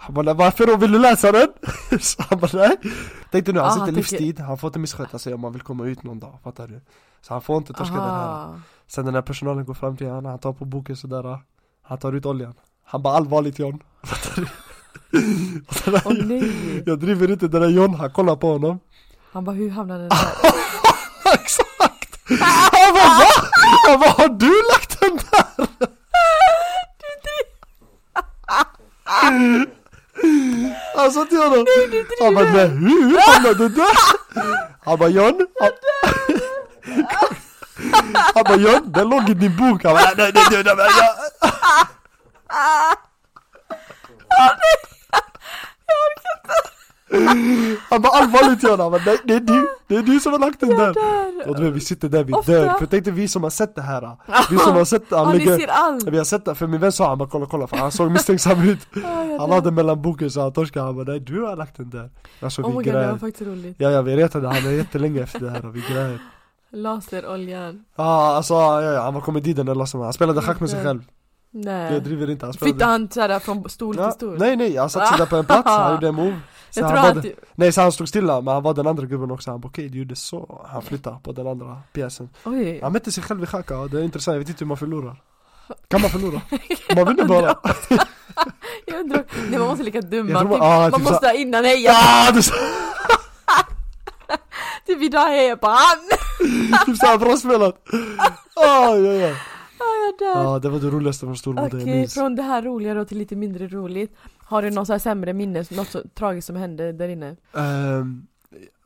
Han bara "Nej, varför då, vill du läsa den? Så han bara nej Tänkte nu,
Ah,
han sitter
han tänker-
livstid, han får inte missköta sig om han vill komma ut någon dag, fattar du? Så han får inte torska den här
Aha.
Sen den här personalen går fram till honom, han tar på boken sådär Han tar ut oljan Han bara allvarligt John Fattar du? Och
Åh
den här-
nej.
Jag driver inte den där John, han kollar på honom
Han bara hur hamnade den där?
Exakt! Han bara va? Han bara har du lagt den där? Han sa till honom Han bara nej hur hamnade du där? Han bara John han- Han bara John den låg i din bok Han bara nej nej nej nej nej Han bara allvarligt John Han bara nej det är du Det är du som har lagt den där
Där.
och du vet, vi sitter där, vi
Ofta.
dör. För tänk dig vi som har sett det här. Vi som har sett det,
Ja
han
ni ser
ligger...
allt!
Vi har sett det, för min vän sa han bara kolla kolla för han såg misstänksam ut
Ah, jag
Han
dör.
hade mellan boken så han torskade, han bara nej du har lagt den där Alltså
Oh my
vi
god det var
grät
faktiskt roligt.
Ja ja vi retade han är jättelänge efter det här och vi grät
Laseroljan.
Ja ah, alltså ja, ja, han var komediden eller så, han spelade schack med sig
Mm.
själv Jag
Nej.
driver inte, han spelade
Flyttade han såhär från stol till stol?
Nej nej, han satt sig där på en plats, han gjorde en move Så
jag
han
tror typ-
var
att
den- Nej så han stod stilla, men han var den andra gubben också, han bara okej du gjorde så Han flyttade på den andra pjäsen
Oj.
Han mätte sig själv i schack, ja. det är intressant, jag vet inte hur man förlorar Kan man förlora? Man vinner bara!
Jag undrar, nej man måste lika dum
Jag tror
man,
man-
typ,
ah,
man
typ så-
måste ha innan heja,
Ja, du sa
typ idag hejar jag på han!
typ såhär, bra spelat! Ah, ja, ja.
Jag dör!
ja, det var det roligaste från
Okej,
Storboda jag minns
från det här roliga då till lite mindre roligt Har du någon så här sämre minne, något så tragiskt som hände där inne?
Ehm,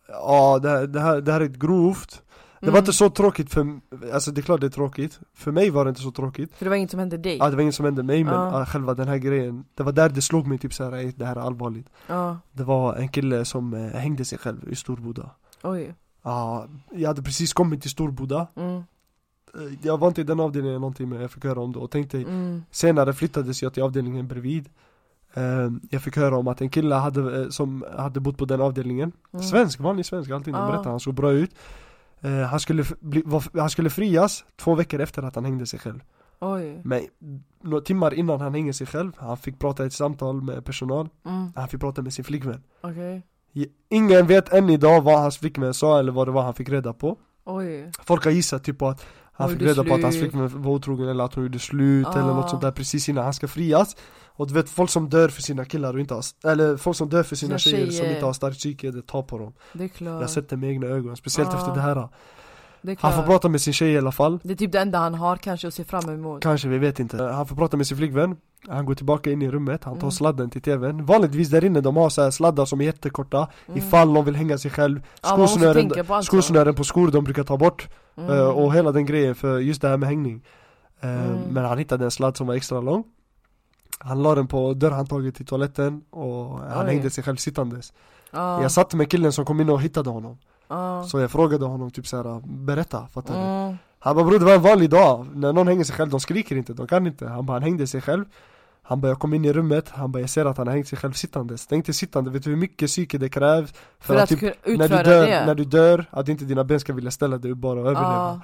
Ja, det, här- det, här, det här är grovt Det var
Mm.
inte så tråkigt för, alltså det är klart det är tråkigt För mig var det inte så tråkigt
För det var inget som hände dig?
Ja, det var inget som hände mig men
Ja.
ah, själva den här grejen Det var där det slog mig typ såhär, "Ey, det här är allvarligt
Ja,
Det var en kille som eh, hängde sig själv i Storboda
oj
Ja, jag hade precis kommit till Storboda
mm,
Eh, Jag var inte i den avdelningen någonting men jag fick höra om det och tänkte
mm,
Senare flyttades jag till avdelningen bredvid Eh, Jag fick höra om att en kille hade, eh, som hade bott på den avdelningen
mm.
Svensk, vanlig svensk allting, de
Ja.
berättade, han såg bra ut Eh, han skulle, f- bli, var, han skulle frias två veckor efter att han hängde sig själv
Oj,
Men några timmar innan han hängde sig själv, han fick prata i ett samtal med personal
mm,
Han fick prata med sin flickvän
okej
I- Ingen vet än idag vad hans flickvän sa eller vad det var han fick reda på
Oj,
Folk har gissat typ på att han
Hon
fick
gjorde
reda på att hans
slut.
flickvän var otrogen eller att hon gjorde slut eller
Ah.
något sånt där precis innan han ska frias Och du vet folk som dör för sina killar och inte har, eller folk som dör för
Sina
sina tjejer, som
tjejer.
inte har starkt psyke, det tar på dem
det är
Jag har
klart,
sett det med egna ögon, speciellt
Ah.
efter det här
det är klart
Han får prata med sin tjej i alla fall
Det är typ det enda han har kanske att se fram emot
Kanske, vi vet inte Han får prata med sin flickvän Han går tillbaka in i rummet, han tar
Mm.
sladden till tvn Vanligtvis där inne de har så här sladdar som är jättekorta
Mm.
Ifall någon vill hänga sig själv
Ja, man måste
Skosnören,
tänka på allt sånt.
skosnören på skor de brukar ta bort
Mm.
Eh, Och hela den grejen för just det här med hängning Eh,
Mm.
Men han hittade en sladd som var extra lång Han la den på dörrhandtaget till toaletten och han
Oj.
hängde sig själv sittandes
Ja,
Jag satt med killen som kom in och hittade honom
ja.
Så jag frågade honom typ såhär, berätta, fattar du?
Mm.
Han bara bror det var en vanlig dag, när någon hänger sig själv, de skriker inte, de kan inte Han bara han hängde sig själv Han bara jag kom in i rummet, han bara jag ser att han har hängt sig själv sittandes Tänk dig sittande, vet du hur mycket psyke det krävs? För, typ
För att kunna
när du,
utföra
dör,
det?
när du dör, att inte dina ben ska vilja ställa dig upp bara och överleva
Ja.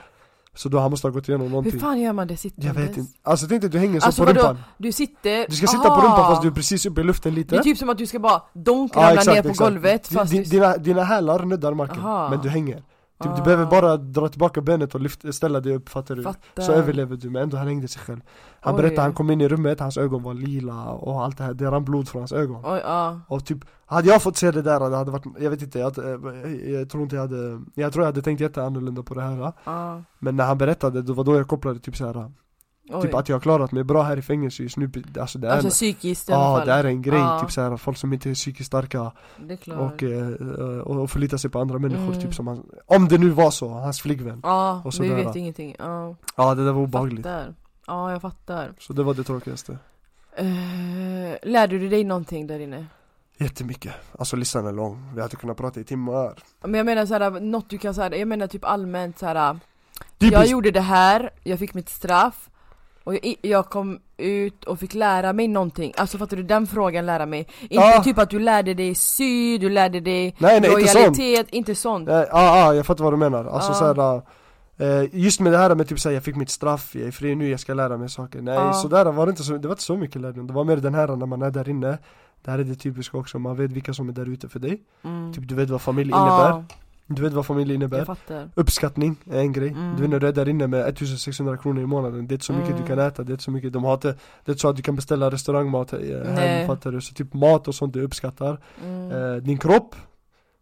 Så då han måste ha gått igenom
Hur
någonting
fan gör man det sittandes?
Jag vet inte, alltså tänk dig du hänger så
Alltså,
på
vadå? Ah.
rumpan
Du sitter...
Du ska sitta på
Aha.
rumpan fast du är precis uppe i luften lite
Det är typ som att du ska bara donk
Ja,
ramla
exakt,
ner på
exakt.
golvet
Di-
fast
di-
du...
dina, dina hälar nuddar marken,
Aha.
men du hänger Typ, du
Ah.
behöver bara dra tillbaka benet och lyft, ställa dig upp, fattar du?
Fattar.
Så överlever du men ändå han hängde sig själv Han
Oj.
berättade han kom in i rummet, hans ögon var lila och allt det här, det rann blod från hans ögon
Oj, ja.
Och typ, hade jag fått se det där det hade varit, jag vet inte, jag, hade- eh, jag tror inte jag hade Jag tror jag hade tänkt jätteannorlunda på det här
ja.
Men när han berättade, det var då jag kopplade typ så här
Oj.
Typ att jag har klarat mig bra här i fängelse just nu, alltså det är
Alltså psykiskt i alla
Ja
fall.
det är en grej,
Ja.
typ såhär folk som inte är psykiskt starka
Det är klart.
och, eh, eh, och förlitar sig på andra människor
Mm.
typ som han, Om det nu var så, hans flickvän
Ja,
och
vi
sådär.
vet ingenting. Ja,
Ja det där var obehagligt
fattar. Ja, jag fattar.
Så det var det tråkigaste
Eh, lärde du dig någonting där inne?
Jättemycket, alltså listan är lång, vi hade kunnat prata i timmar
Men jag menar såhär, något du kan såhär, jag menar typ allmänt såhär
Typiskt!
Jag gjorde det här, jag fick mitt straff Och jag, jag kom ut och fick lära mig någonting, alltså fattar du den frågan lära mig? Inte
Ja.
typ att du lärde dig sy, du lärde dig
Ah. Nej, nej, inte Typ sånt.
lojalitet, inte sånt
Ja, ja, ah, jag fattar vad du menar. Alltså
Ja.
såhär, eh, just med det här med typ såhär, jag fick mitt straff, jag är fri nu, jag ska lära mig saker. Nej,
Ja.
sådär var det inte, så, det var inte så mycket lärdom. Det var mer den här när man är där inne, det här är det typiska också, man vet vilka som är där ute för dig.
mm.
Typ du vet vad familj innebär,
Ja,
du vet vad familj
jag
innebär.
fattar
Uppskattning är en grej.
Mm.
Du vet när du är där inne med 1600 kronor i månaden, det är inte så mycket
Mm.
du kan äta, det är inte så mycket, de har inte, det är inte så att du kan beställa restaurangmat eh, hem,
Nej.
fattar du? Så typ mat och sånt du uppskattar.
mm.
Eh, din kropp,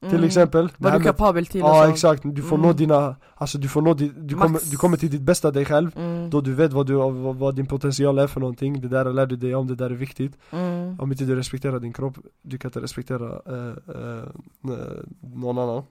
till
mm.
exempel. Det
Vad
här
du är
med-
kapabel till och
Ja
sånt.
exakt, du får nå
Mm.
dina, alltså du får nå, di- du,
Max.
kommer, du kommer till ditt bästa dig själv
Mm.
Då du vet vad, du, vad, vad din potential är för någonting, det där lär du dig om, det där är viktigt
Mm.
Om inte du respekterar din kropp, du kan inte respektera eh, eh, eh, någon annan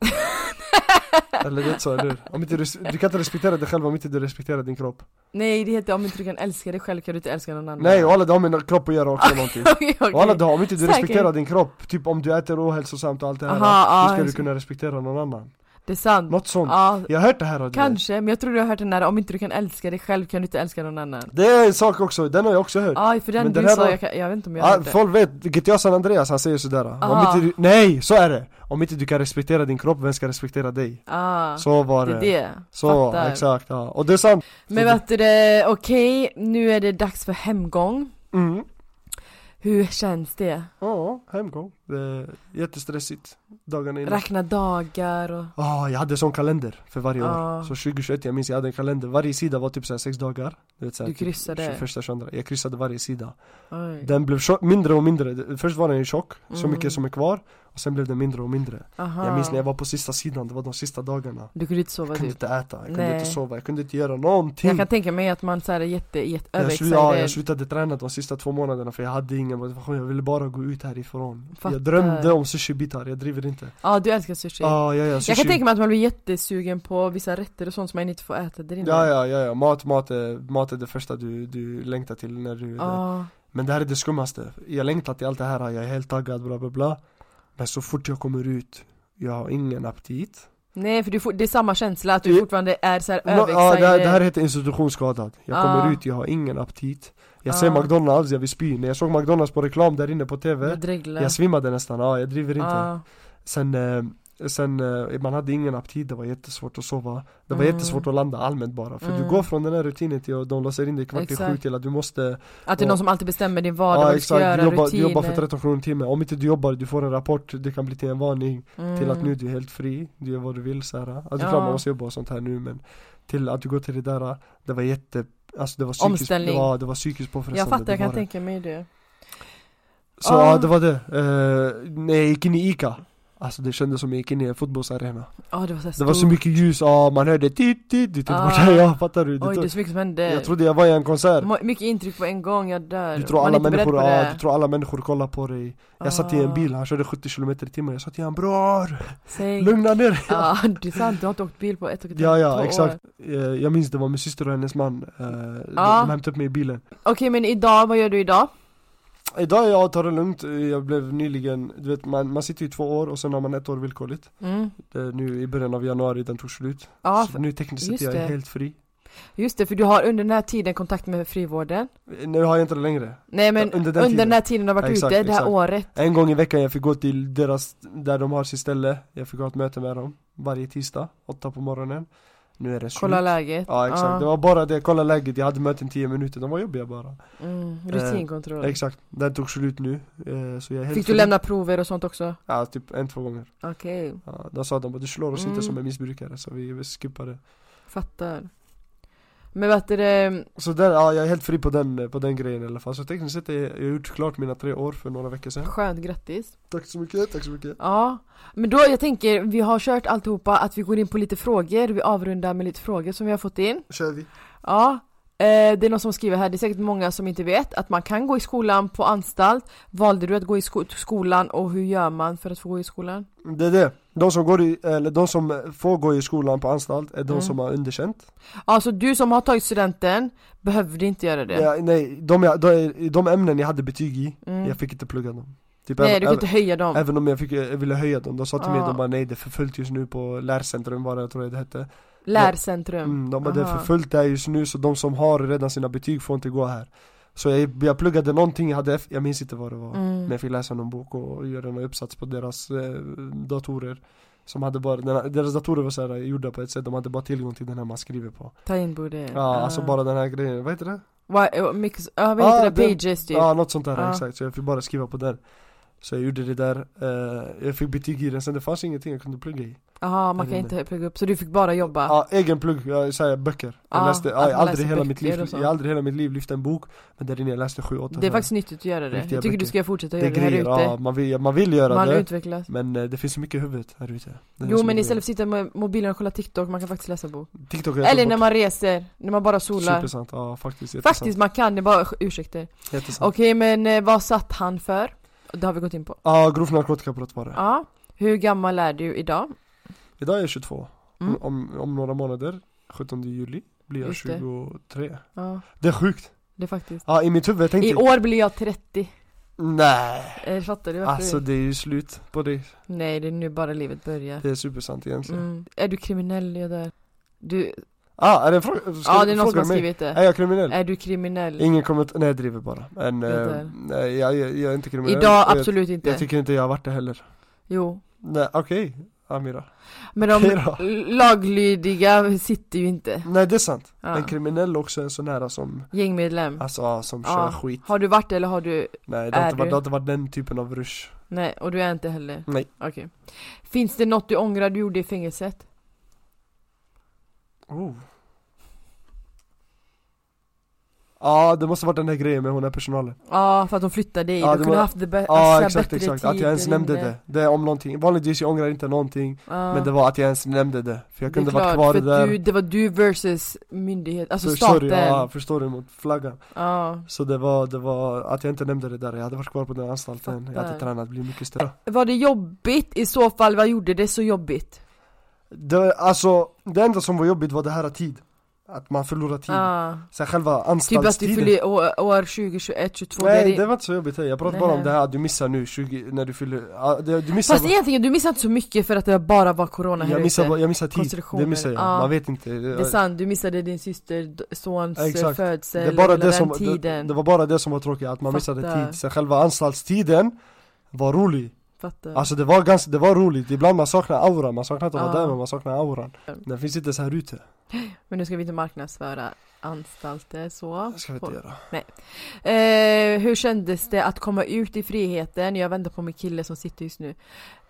Eller det är så, eller hur? Om inte du, res- du kan inte respektera dig själv om inte du respekterar din kropp
Nej det heter om inte du kan älska dig själv kan du inte älska någon annan
Nej och alla det har med kropp att göra också någonting
Okej, okej.
Och alla det har, om inte du
Säkert.
respekterar din kropp, typ om du äter ohälsosamt och allt det här
Aha,
Hur
ja,
ska du
just-
kunna respektera någon annan?
Det är sant
Något sånt
Ja,
Jag har hört det här och det där.
kanske, men jag tror du har hört den där om inte du kan älska dig själv kan du inte älska någon annan
Det är en sak också, den har jag också hört
Ja, för den,
Men den
du
här
sa,
då-
jag, kan, jag vet inte Ah. om jag
Ja,
hörde
Ah, folk vet, GTA San Andreas han säger sådär
Aha.
om inte du, Nej, så är det! Om inte du kan respektera din kropp, vem ska respektera dig?
ah,
Så var
det
det,
är det,
Så,
fattar
exakt, ja. och det är sant
Men vet du det, okej, nu är det dags för hemgång
Mm,
Hur känns det?
ja, hemgång Det är jättestressigt dagarna innan
Räkna dagar och...
Ja, jag hade sån kalender för varje år
Ja.
Så 2021, jag minns jag hade en kalender, varje sida var typ såhär sex dagar Du vet såhär,
Du kryssade.
Typ, 21, 22, jag kryssade varje sida
Oj.
Den blev tjock, mindre och mindre, först var den ju tjock, så
Mm. Ah.
mycket som är kvar Och sen blev den mindre och mindre
Aha.
Jag minns när jag var på sista sidan, det var de sista dagarna
Du kunde inte sova
Jag kunde
typ
inte äta, jag kunde
Nej.
inte sova, jag kunde inte göra någonting
Jag kan tänka mig att man såhär är jätte, jätte
jag, slu- ja, jag
överexcited
slutade träna de sista två månaderna för jag hade ingen motivation, jag ville bara gå ut härifrån
Fattar.
Jag drömde om sushibitar, jag driver inte
Ja, du älskar sushi
ah, ja, ja, sushi.
Jag kan tänka mig att man blir jättesugen på vissa rätter och sånt som man inte får äta där inne
Ja ja ja, ja. Mat, mat, är, mat är det första du, du längtar till när du
Ja.
Men det här är det skummaste, jag längtar till allt det här, jag är helt taggad bla bla bla Men så fort jag kommer ut, jag har ingen aptit
Nej för du får, det är samma känsla, att du
Ja.
fortfarande är såhär
Nå- ja,
överexcited
det, här, det här heter institutionsskadad Jag
Ah.
kommer ut, jag har ingen aptit Jag ser
Ah.
McDonalds, jag vill spy När jag såg McDonalds på reklam där inne på tv
Jag dreglar
Jag svimmade nästan, ja jag driver inte
Ja.
Sen, eh, sen eh, man hade ingen aptit, det var jättesvårt att sova Det var
Mm.
jättesvårt att landa allmänt bara För du
Mm.
går från den här rutinen till att de låser in dig kvart i sju
Exakt.
till att du måste
Att det är
Ja.
någon som alltid bestämmer din vardag, vad du ska göra,
du jobbar, du
rutiner
jobbar för 13 kronor i timmen Om inte du jobbar, du får en rapport, det kan bli till en varning Till att nu
Mm.
du är helt fri, du gör vad du vill så här. Alltså det är
Ja.
klart man måste jobba och sånt här nu men Till att du går till det där, det var jätte Alltså det var psykiskt,
Omställning.
det var, det var psykiskt påfrestande
Jag fattar,
det
jag kan
var det.
tänka mig det
Så ja,
Ah.
det var det. Eh, när jag gick in i Ica, alltså det kändes som jag gick in i en fotbollsarena.
Ja det var så, här
Det var så
stort.
mycket ljus, ja man hörde tit tit, tit,
Ah.
ah. ja fattar du? Det
Oj det är
tog,
så mycket som hände
jag trodde jag var i en konsert.
Mo- Mycket intryck på en gång, jag dör
Du tror,
Man är
alla
inte beredd
människor,
på
ja,
det. Ah,
du tror alla människor kollar på dig Jag satt i en bil, han körde 70 km i timmen Jag sa till honom bror,
Säg
lugna ner dig
Ja det är sant, du har inte åkt bil på ett och ett
Ja
två
ja
år.
exakt Eh, Jag minns det var min syster och hennes man eh, de-
Ah.
De hämtade upp mig i bilen
Okej men idag, vad gör du idag?
Idag jag tar det lugnt, Eh, jag blev nyligen Du vet man, man sitter ju två år och sen har man ett år villkorligt
Mm.
Det är Nu i början av januari den tog slut
Ja,
så nu tekniskt sett
just
jag är
det.
helt fri
just det för du har under den här tiden kontakt med frivården
Nu har jag inte det längre
Nej men
Ja, under
under
den
den,
tiden.
här tiden du har varit
Ja, exakt,
ute, det här
exakt.
året
En gång i veckan jag fick gå till deras, där de har sitt ställe Jag fick ha ett möte med dem Varje tisdag, åtta på morgonen Nu är det
Kolla
slut
läget
Ja exakt, det var bara det, kolla läget, jag hade möten 10 minuter, de var Eh, jobbiga bara
mm. Rutinkontroll
Exakt, den tog slut nu, eh, så jag är helt
Fick
fri.
du lämna prover och sånt också?
Ja typ en, två gånger
Okej,
ja, Då sa de bara du slår oss inte
Mm.
som en missbrukare så vi skippar det
fattar Men vad heter det,
Så där, ja jag är helt fri på den, på den grejen i alla fall Så tekniskt sett är jag, jag har gjort klart mina tre år för några veckor sedan
skönt, grattis
Tack så mycket, tack så mycket
Ja, men då jag tänker, vi har kört alltihopa att vi går in på lite frågor, vi avrundar med lite frågor som vi har fått in
Kör vi
Ja, eh, det är någon som skriver här, det är säkert många som inte vet att man kan gå i skolan på anstalt Valde du att gå i sko- skolan och hur gör man för att få gå i skolan?
Det är det. De som, går i, eller de som får gå i skolan på anstalt är de
Mm.
som har underkänt.
Alltså du som har tagit studenten behövde inte göra det
Ja, nej, de, jag- de, de ämnen jag hade betyg i,
Mm.
jag fick inte plugga dem. Typ
Nej
även,
du kan inte höja
även-
dem
även om jag, fick, jag ville höja dem, de sa till mig
Ah.
de bara nej det är för fullt just nu på lärcentrum vad det jag tror jag det hette
Lärcentrum.
Mm, de bara, det är
Aha.
för fullt där just nu så de som har redan sina betyg får inte gå här Så jag, jag pluggade någonting, jag, hade, F- jag minns inte vad det var
Mm.
Men jag fick läsa någon bok och göra en uppsats på deras eh, datorer Som hade bara, den här, deras datorer var så här, gjorda på ett sätt, de hade bara tillgång till den här man skriver på
Ta in bordet.
Ja, alltså
Ah.
bara den här grejen, vad heter det?
Why, mix, ja vad heter det?
Ah, den-
Pages typ.
Ja, något sånt där
Ja.
exakt, så jag fick bara skriva på den Så jag gjorde det där, eh, jag fick betyg i den, sen det fanns ingenting jag kunde plugga i
Jaha, man
Jag
kan
vet
inte plugga upp. Så du fick bara jobba?
Ja, egen plugg, jag säger böcker Jag
Ja,
läste,
att
ja, jag
man
aldrig
läser
hela mitt liv,
böcker och så.
jag har aldrig hela mitt liv lyft en bok Men där inne jag läste 7-8
det är faktiskt nyttigt att göra det.
Riktiga
Jag tycker du ska
böcker.
fortsätta
det är
göra det här
grejer, ja,
ute.
man vill, man vill göra
Man
det
utvecklas.
Men eh, det finns så mycket i huvudet här ute Det är
Jo
så
men
mycket.
istället för att sitta med mobilen och kolla TikTok, man kan faktiskt läsa bok.
TikTok är
Eller när man reser, när man bara solar.
Supersant, ja faktiskt jättesant.
Faktiskt, man kan det, bara ursäkter.
Jättesant.
Okej men eh, vad satt han för? Det har vi gått in på.
Ja, grovt narkotikabrott var det
Ja. Hur gammal är du idag?
Idag är jag 22
Mm.
om, om några månader, 17 juli, blir jag
Just det.
23 det.
Ja,
är sjukt!
det är faktiskt.
Ja, i mitt huvud tänkte
I
jag
år blir jag 30.
Nej!
Eh, Fattar du varför?
Alltså det är ju slut på dig
Nej det är nu bara livet börjar.
Det är supersant egentligen
Mm. Är du kriminell? Jag dör. Du...
Ah, är det en fråga? Ska
Ja
du
det är någon som
fråga
har
mig?
skrivit det.
Är jag kriminell?
Är du kriminell?
Ingen kommentar, nej jag driver bara Men
Det
eh,
där.
nej, jag, jag, jag är inte kriminell
Idag
jag,
absolut
Jag
inte.
tycker inte jag har varit det heller
Jo.
Nej okej, Amira
Men de
Hej då.
laglydiga sitter ju inte.
Nej det är sant,
Ja.
en kriminell också är en sån här som,
Gängmedlem.
alltså ja, som
Ja.
kör skit
Har du varit det eller har du?
Nej det
Är
har, inte varit,
du?
det har inte varit den typen av rush
Nej, och du är inte heller?
Nej.
Okej. Finns det något du ångrar du gjorde i fängelset?
oh. Ja det måste varit den här grejen med hon här personalen
Ja, för att de flyttade dig. du
Ja, det
kunde
var-
haft det bä-
Ja
alltså,
exakt
bättre
exakt,
tid
att jag ens
där
nämnde
inne.
det Det är om någonting, vanligtvis jag ångrar inte någonting
Ja.
Men det var att jag ens nämnde det, för jag kunde
det är
varit
klart,
kvar
för
där
Du, det var du versus myndighet, alltså
Förstår du?
staten.
Ja,
Ja.
förstår du mot flaggan Så det var, det var, att jag inte nämnde det där, jag hade varit kvar på den anstalten Jag hade
Fattar.
tränat, blivit mycket större
Var det jobbigt? I så fall, vad gjorde det så jobbigt?
det, Alltså, det enda som var jobbigt var det här tid Att man förlorar tid
Ja.
Sen själva
Typ att du
Typ. anstaltstiden
fyller år, år 20, 21, 22. där
Nej
i-
det var inte så jobbigt, hej. jag pratar
Nej.
bara om det här att du missar nu 20, när du fyller, ja, det- du missar
Fast egentligen, du missade inte så mycket för att det bara var corona här
jag missar,
ute.
bara- jag missar tid,
Konstruktioner.
det missar jag,
Ja.
man vet inte
Det är sant, du missade din syster, d- sons eh,
Ja, exakt.
födsel,
Det, bara
hela
det, som,
den
det,
tiden
det var bara det som var tråkigt, att man missade
Fattar.
tid Sen själva anstaltstiden var rolig
Fattar.
Alltså det var ganska, det var roligt, ibland man saknar auran, man saknar inte att vara
Ja.
där men man saknar auran Den finns inte så här ute,
Men nu ska vi inte marknadsföra anstalter så
det ska vi inte göra
eh, Hur kändes det att komma ut i friheten? Jag väntar på min kille som sitter just nu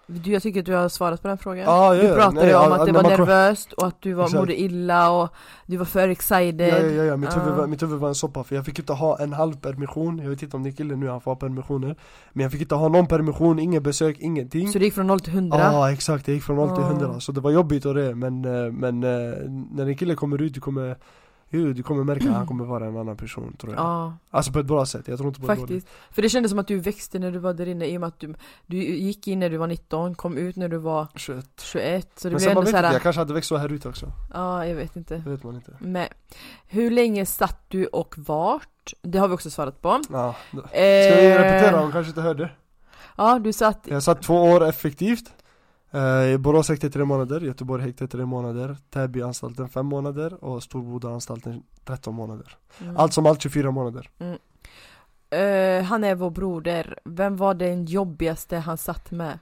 du, Jag tycker att du har svarat på den frågan
Ah, ja,
Du
ja.
pratade
Nej,
om
ja,
att det
när
var
man kom-
nervöst och att du var,
Exakt.
mådde illa och du var för
Ja,
excited
ja, ja, ja. Mitt,
Ja.
huvud var, mitt huvud var en soppa för jag fick inte ha en halv permission Jag vet inte om din kille nu, han får ha permissioner Men jag fick inte ha någon permission, inget besök, ingenting
Så det gick från 0 till 100
Ja ah, exakt, det gick från 0 till
Ja.
100 så det var jobbigt och det men, eh, men eh, när en kille kommer ut du kommer ju, du kommer märka att han kommer vara en annan person tror jag
Ja,
Alltså på ett bra sätt, jag tror inte på ett dåligt
faktiskt. För det kändes som att du växte när du var där inne i och med att du, du gick in när du var 19, kom ut när du var
21
21 Så det
Men
blev
sen man
ändå
vet inte,
såhär,
jag kanske hade växt så här ute också
ja jag vet inte
Det vet man inte
Men, hur länge satt du och vart? Det har vi också svarat på Eh,
Ja, Ska vi repetera? Hon kanske inte hörde
Ja, du satt,
Jag satt två år effektivt Eh, I Borås häkte tre månader, Göteborg häkte tre månader Täbyanstalten fem månader och Storbodaanstalten 13 månader
mm.
Allt som allt 24 månader
Eh, han är vår broder, vem var den jobbigaste han satt med?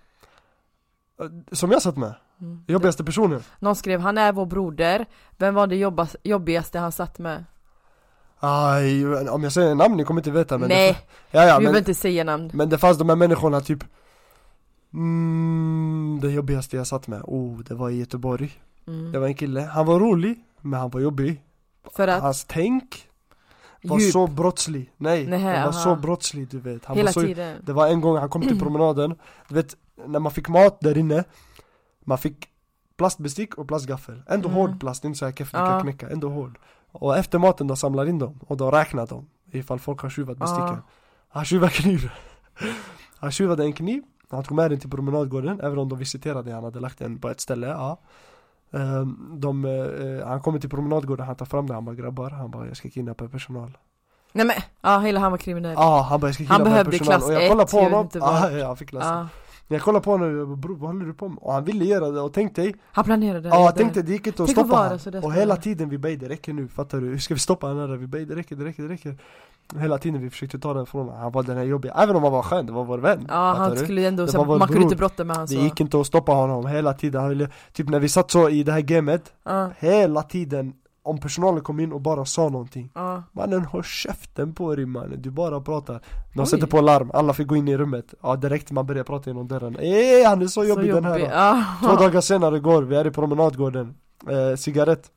Eh, Som jag satt med,
Mm.
jobbigaste personen
Någon skrev, han är vår broder, vem var det jobbas, jobbigaste han satt med?
Aj, om jag säger namn ni kommer inte veta men
Nej,
det, ja, ja,
vi behöver
men,
inte säga namn
men det fanns de här människorna typ mm, Det jobbigaste jag satt med, oh det var i Göteborg
mm.
Det var en kille, han var rolig men han var jobbig
För att,
Hans tänk var
djup,
så brottslig, nej,
Nähä, aha.
han var så brottslig du vet han
hela
var så,
tiden
Det var en gång han kom till promenaden, du vet när man fick mat där inne Man fick plastbestick och plastgaffel, ändå
Mm.
hård plast, inte så här keff du
Ja.
kan knäcka, ändå hård Och efter maten då samlar in dem och då räknar de ifall folk har tjuvat besticken
Ja.
Han tjuvade kniv Han tjuvade en kniv, han tog med den till promenadgården även om de visiterade han hade lagt den på ett ställe, ja Ehm, de, eh, han kommer till promenadgården, han tar fram den, han bara grabbar, han bara jag ska kidnappa personal
Nej men, ja hela han var kriminell
Ja, ah, han bara jag ska kidnappa
behövde
personal
klass
och jag
ett,
kollar på
jag vet
honom,
inte vad.
ah, ja, jag fick klass ett.
Ja.
När jag kollade på honom, jag bara, bror vad håller du på med? Och han ville göra det och tänk dig
Han planerade
Ja
det.
tänk dig, det gick inte att
Tänk att
stoppa
vara
han.
så där
Och
stor.
hela tiden vi bad, det räcker nu, fattar du? Hur ska vi stoppa den här? Vi bad, det räcker, det räcker, det räcker Hela tiden vi försökte ta den från honom, han var den här jobbiga, även om han var skön, det var vår vän
Ja
fattar
han
du?
skulle ändå,
Det
så
var
man
vår
kunde inte
bror.
brotta med han så
Det gick inte att stoppa honom hela tiden, han ville, typ när vi satt så i det här gamet
Ja,
Hela tiden, om personalen kom in och bara sa någonting
ja.
Mannen håll käften på dig mannen, du bara pratar De
Oj.
sätter på larm, alla fick gå in i rummet Ja direkt man börjar prata genom dörren Ey han är så jobbig, den här då. Två
Ja.
dagar senare går vi är i promenadgården eh, Cigarett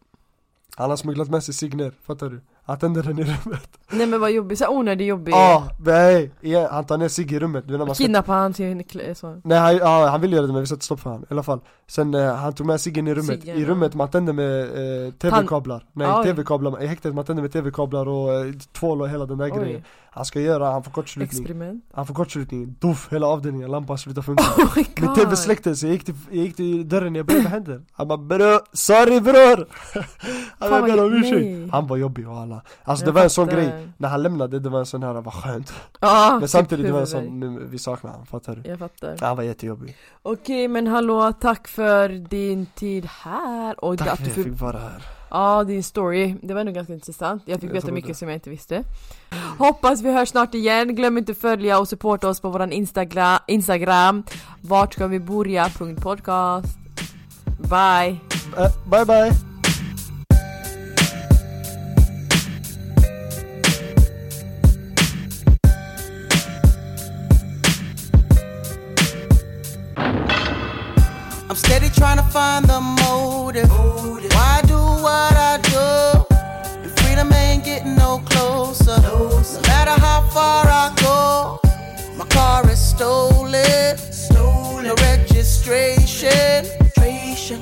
Han har smugglat med sig cigner, fattar du? Han tänder den i rummet
Nej men vad jobbigt, såhär onödig jobbig
Ja, nej! igen, Han tar ner cigg i rummet, du vet när man ska
Kidnappa han till kl- så.
Nej han, ja, han ville göra det men vi satte stopp för han, i alla fall Sen eh, han tog med ciggen i rummet,
Ciggen,
i
ja.
rummet man tände med eh, tv-kablar Nej
Oj.
tv-kablar, i häktet man tände med tv-kablar och eh, tvål och hela den där grejen
Oj,
Han ska göra, han får kortslutning,
experiment
han får kortslutning, doff hela avdelningen, lampan slutar funka
Oh my
Min
god
tv släcktes, jag gick till, jag gick till dörren, jag bara vad händer? Han bara bror, sorry bror! Han
Fan,
bara ber
vad-
om
nej.
ursäkt, han var jobbig och alla Alltså det
Jag
var en sån
fattar.
grej, när han lämnade det var en sån här, vad skönt
Ja,
Men
typ
samtidigt det var en
huvudvärk.
sån, nu, vi saknar han, fattar du?
Jag fattar
Han var jättejobbig
Okej men hallå, tack för din tid här och
Tack
att
för
du
att
fick
jag fick vara här
Ja, din story. Det var nog ganska intressant. Jag fick
Jag
veta
tror
mycket
det.
som jag inte visste. Hoppas vi hörs snart igen. Glöm inte följa och supporta oss på våran Instagra- Instagram. Vart ska vi börja? Punkt Podcast. Bye!
Eh, Bye bye!
I'm steady trying to find the motive. Why I do what I do? And freedom ain't getting no closer. No matter how far I go, my car is stolen. Stolen. No registration.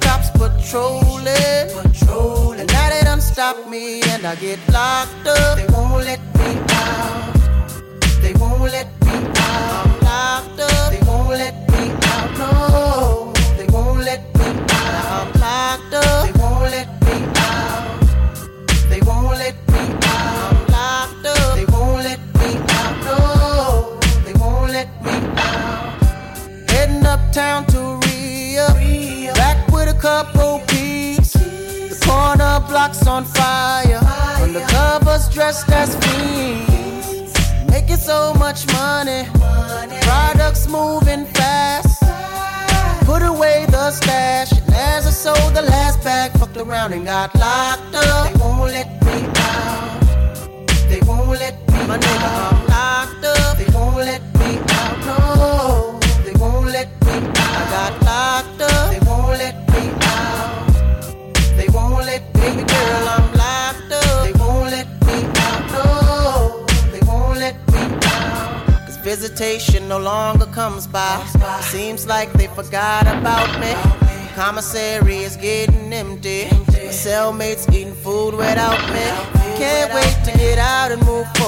Cops patrolling. Patrolling. And now they done stop me and I get locked up. They won't let me out. They won't let me out. I'm locked up. They won't let me out. No. They won't let me out. I'm locked up. They won't let me out. They won't let me out. I'm locked up. They won't let me out. No. They won't let me out. Heading uptown to Rio. Back with a couple peeps. The corner blocks on fire. Undercovers dressed as fiends. Making so much money. Products moving fast. Put away the stash. And as I sold the last bag, fucked around and got locked up. They won't let me out. They won't let me My nigga, I'm locked up. They won't let me out. No, they won't let me out. I got locked up. They won't let me out. They won't let me Baby girl, I'm locked up. They won't let me out. No, they won't let me out. Cause visitation no longer comes by. Seems like they forgot about me. Commissary is getting empty. My cellmates eating food without me. Can't wait to get out and move forward. Oh,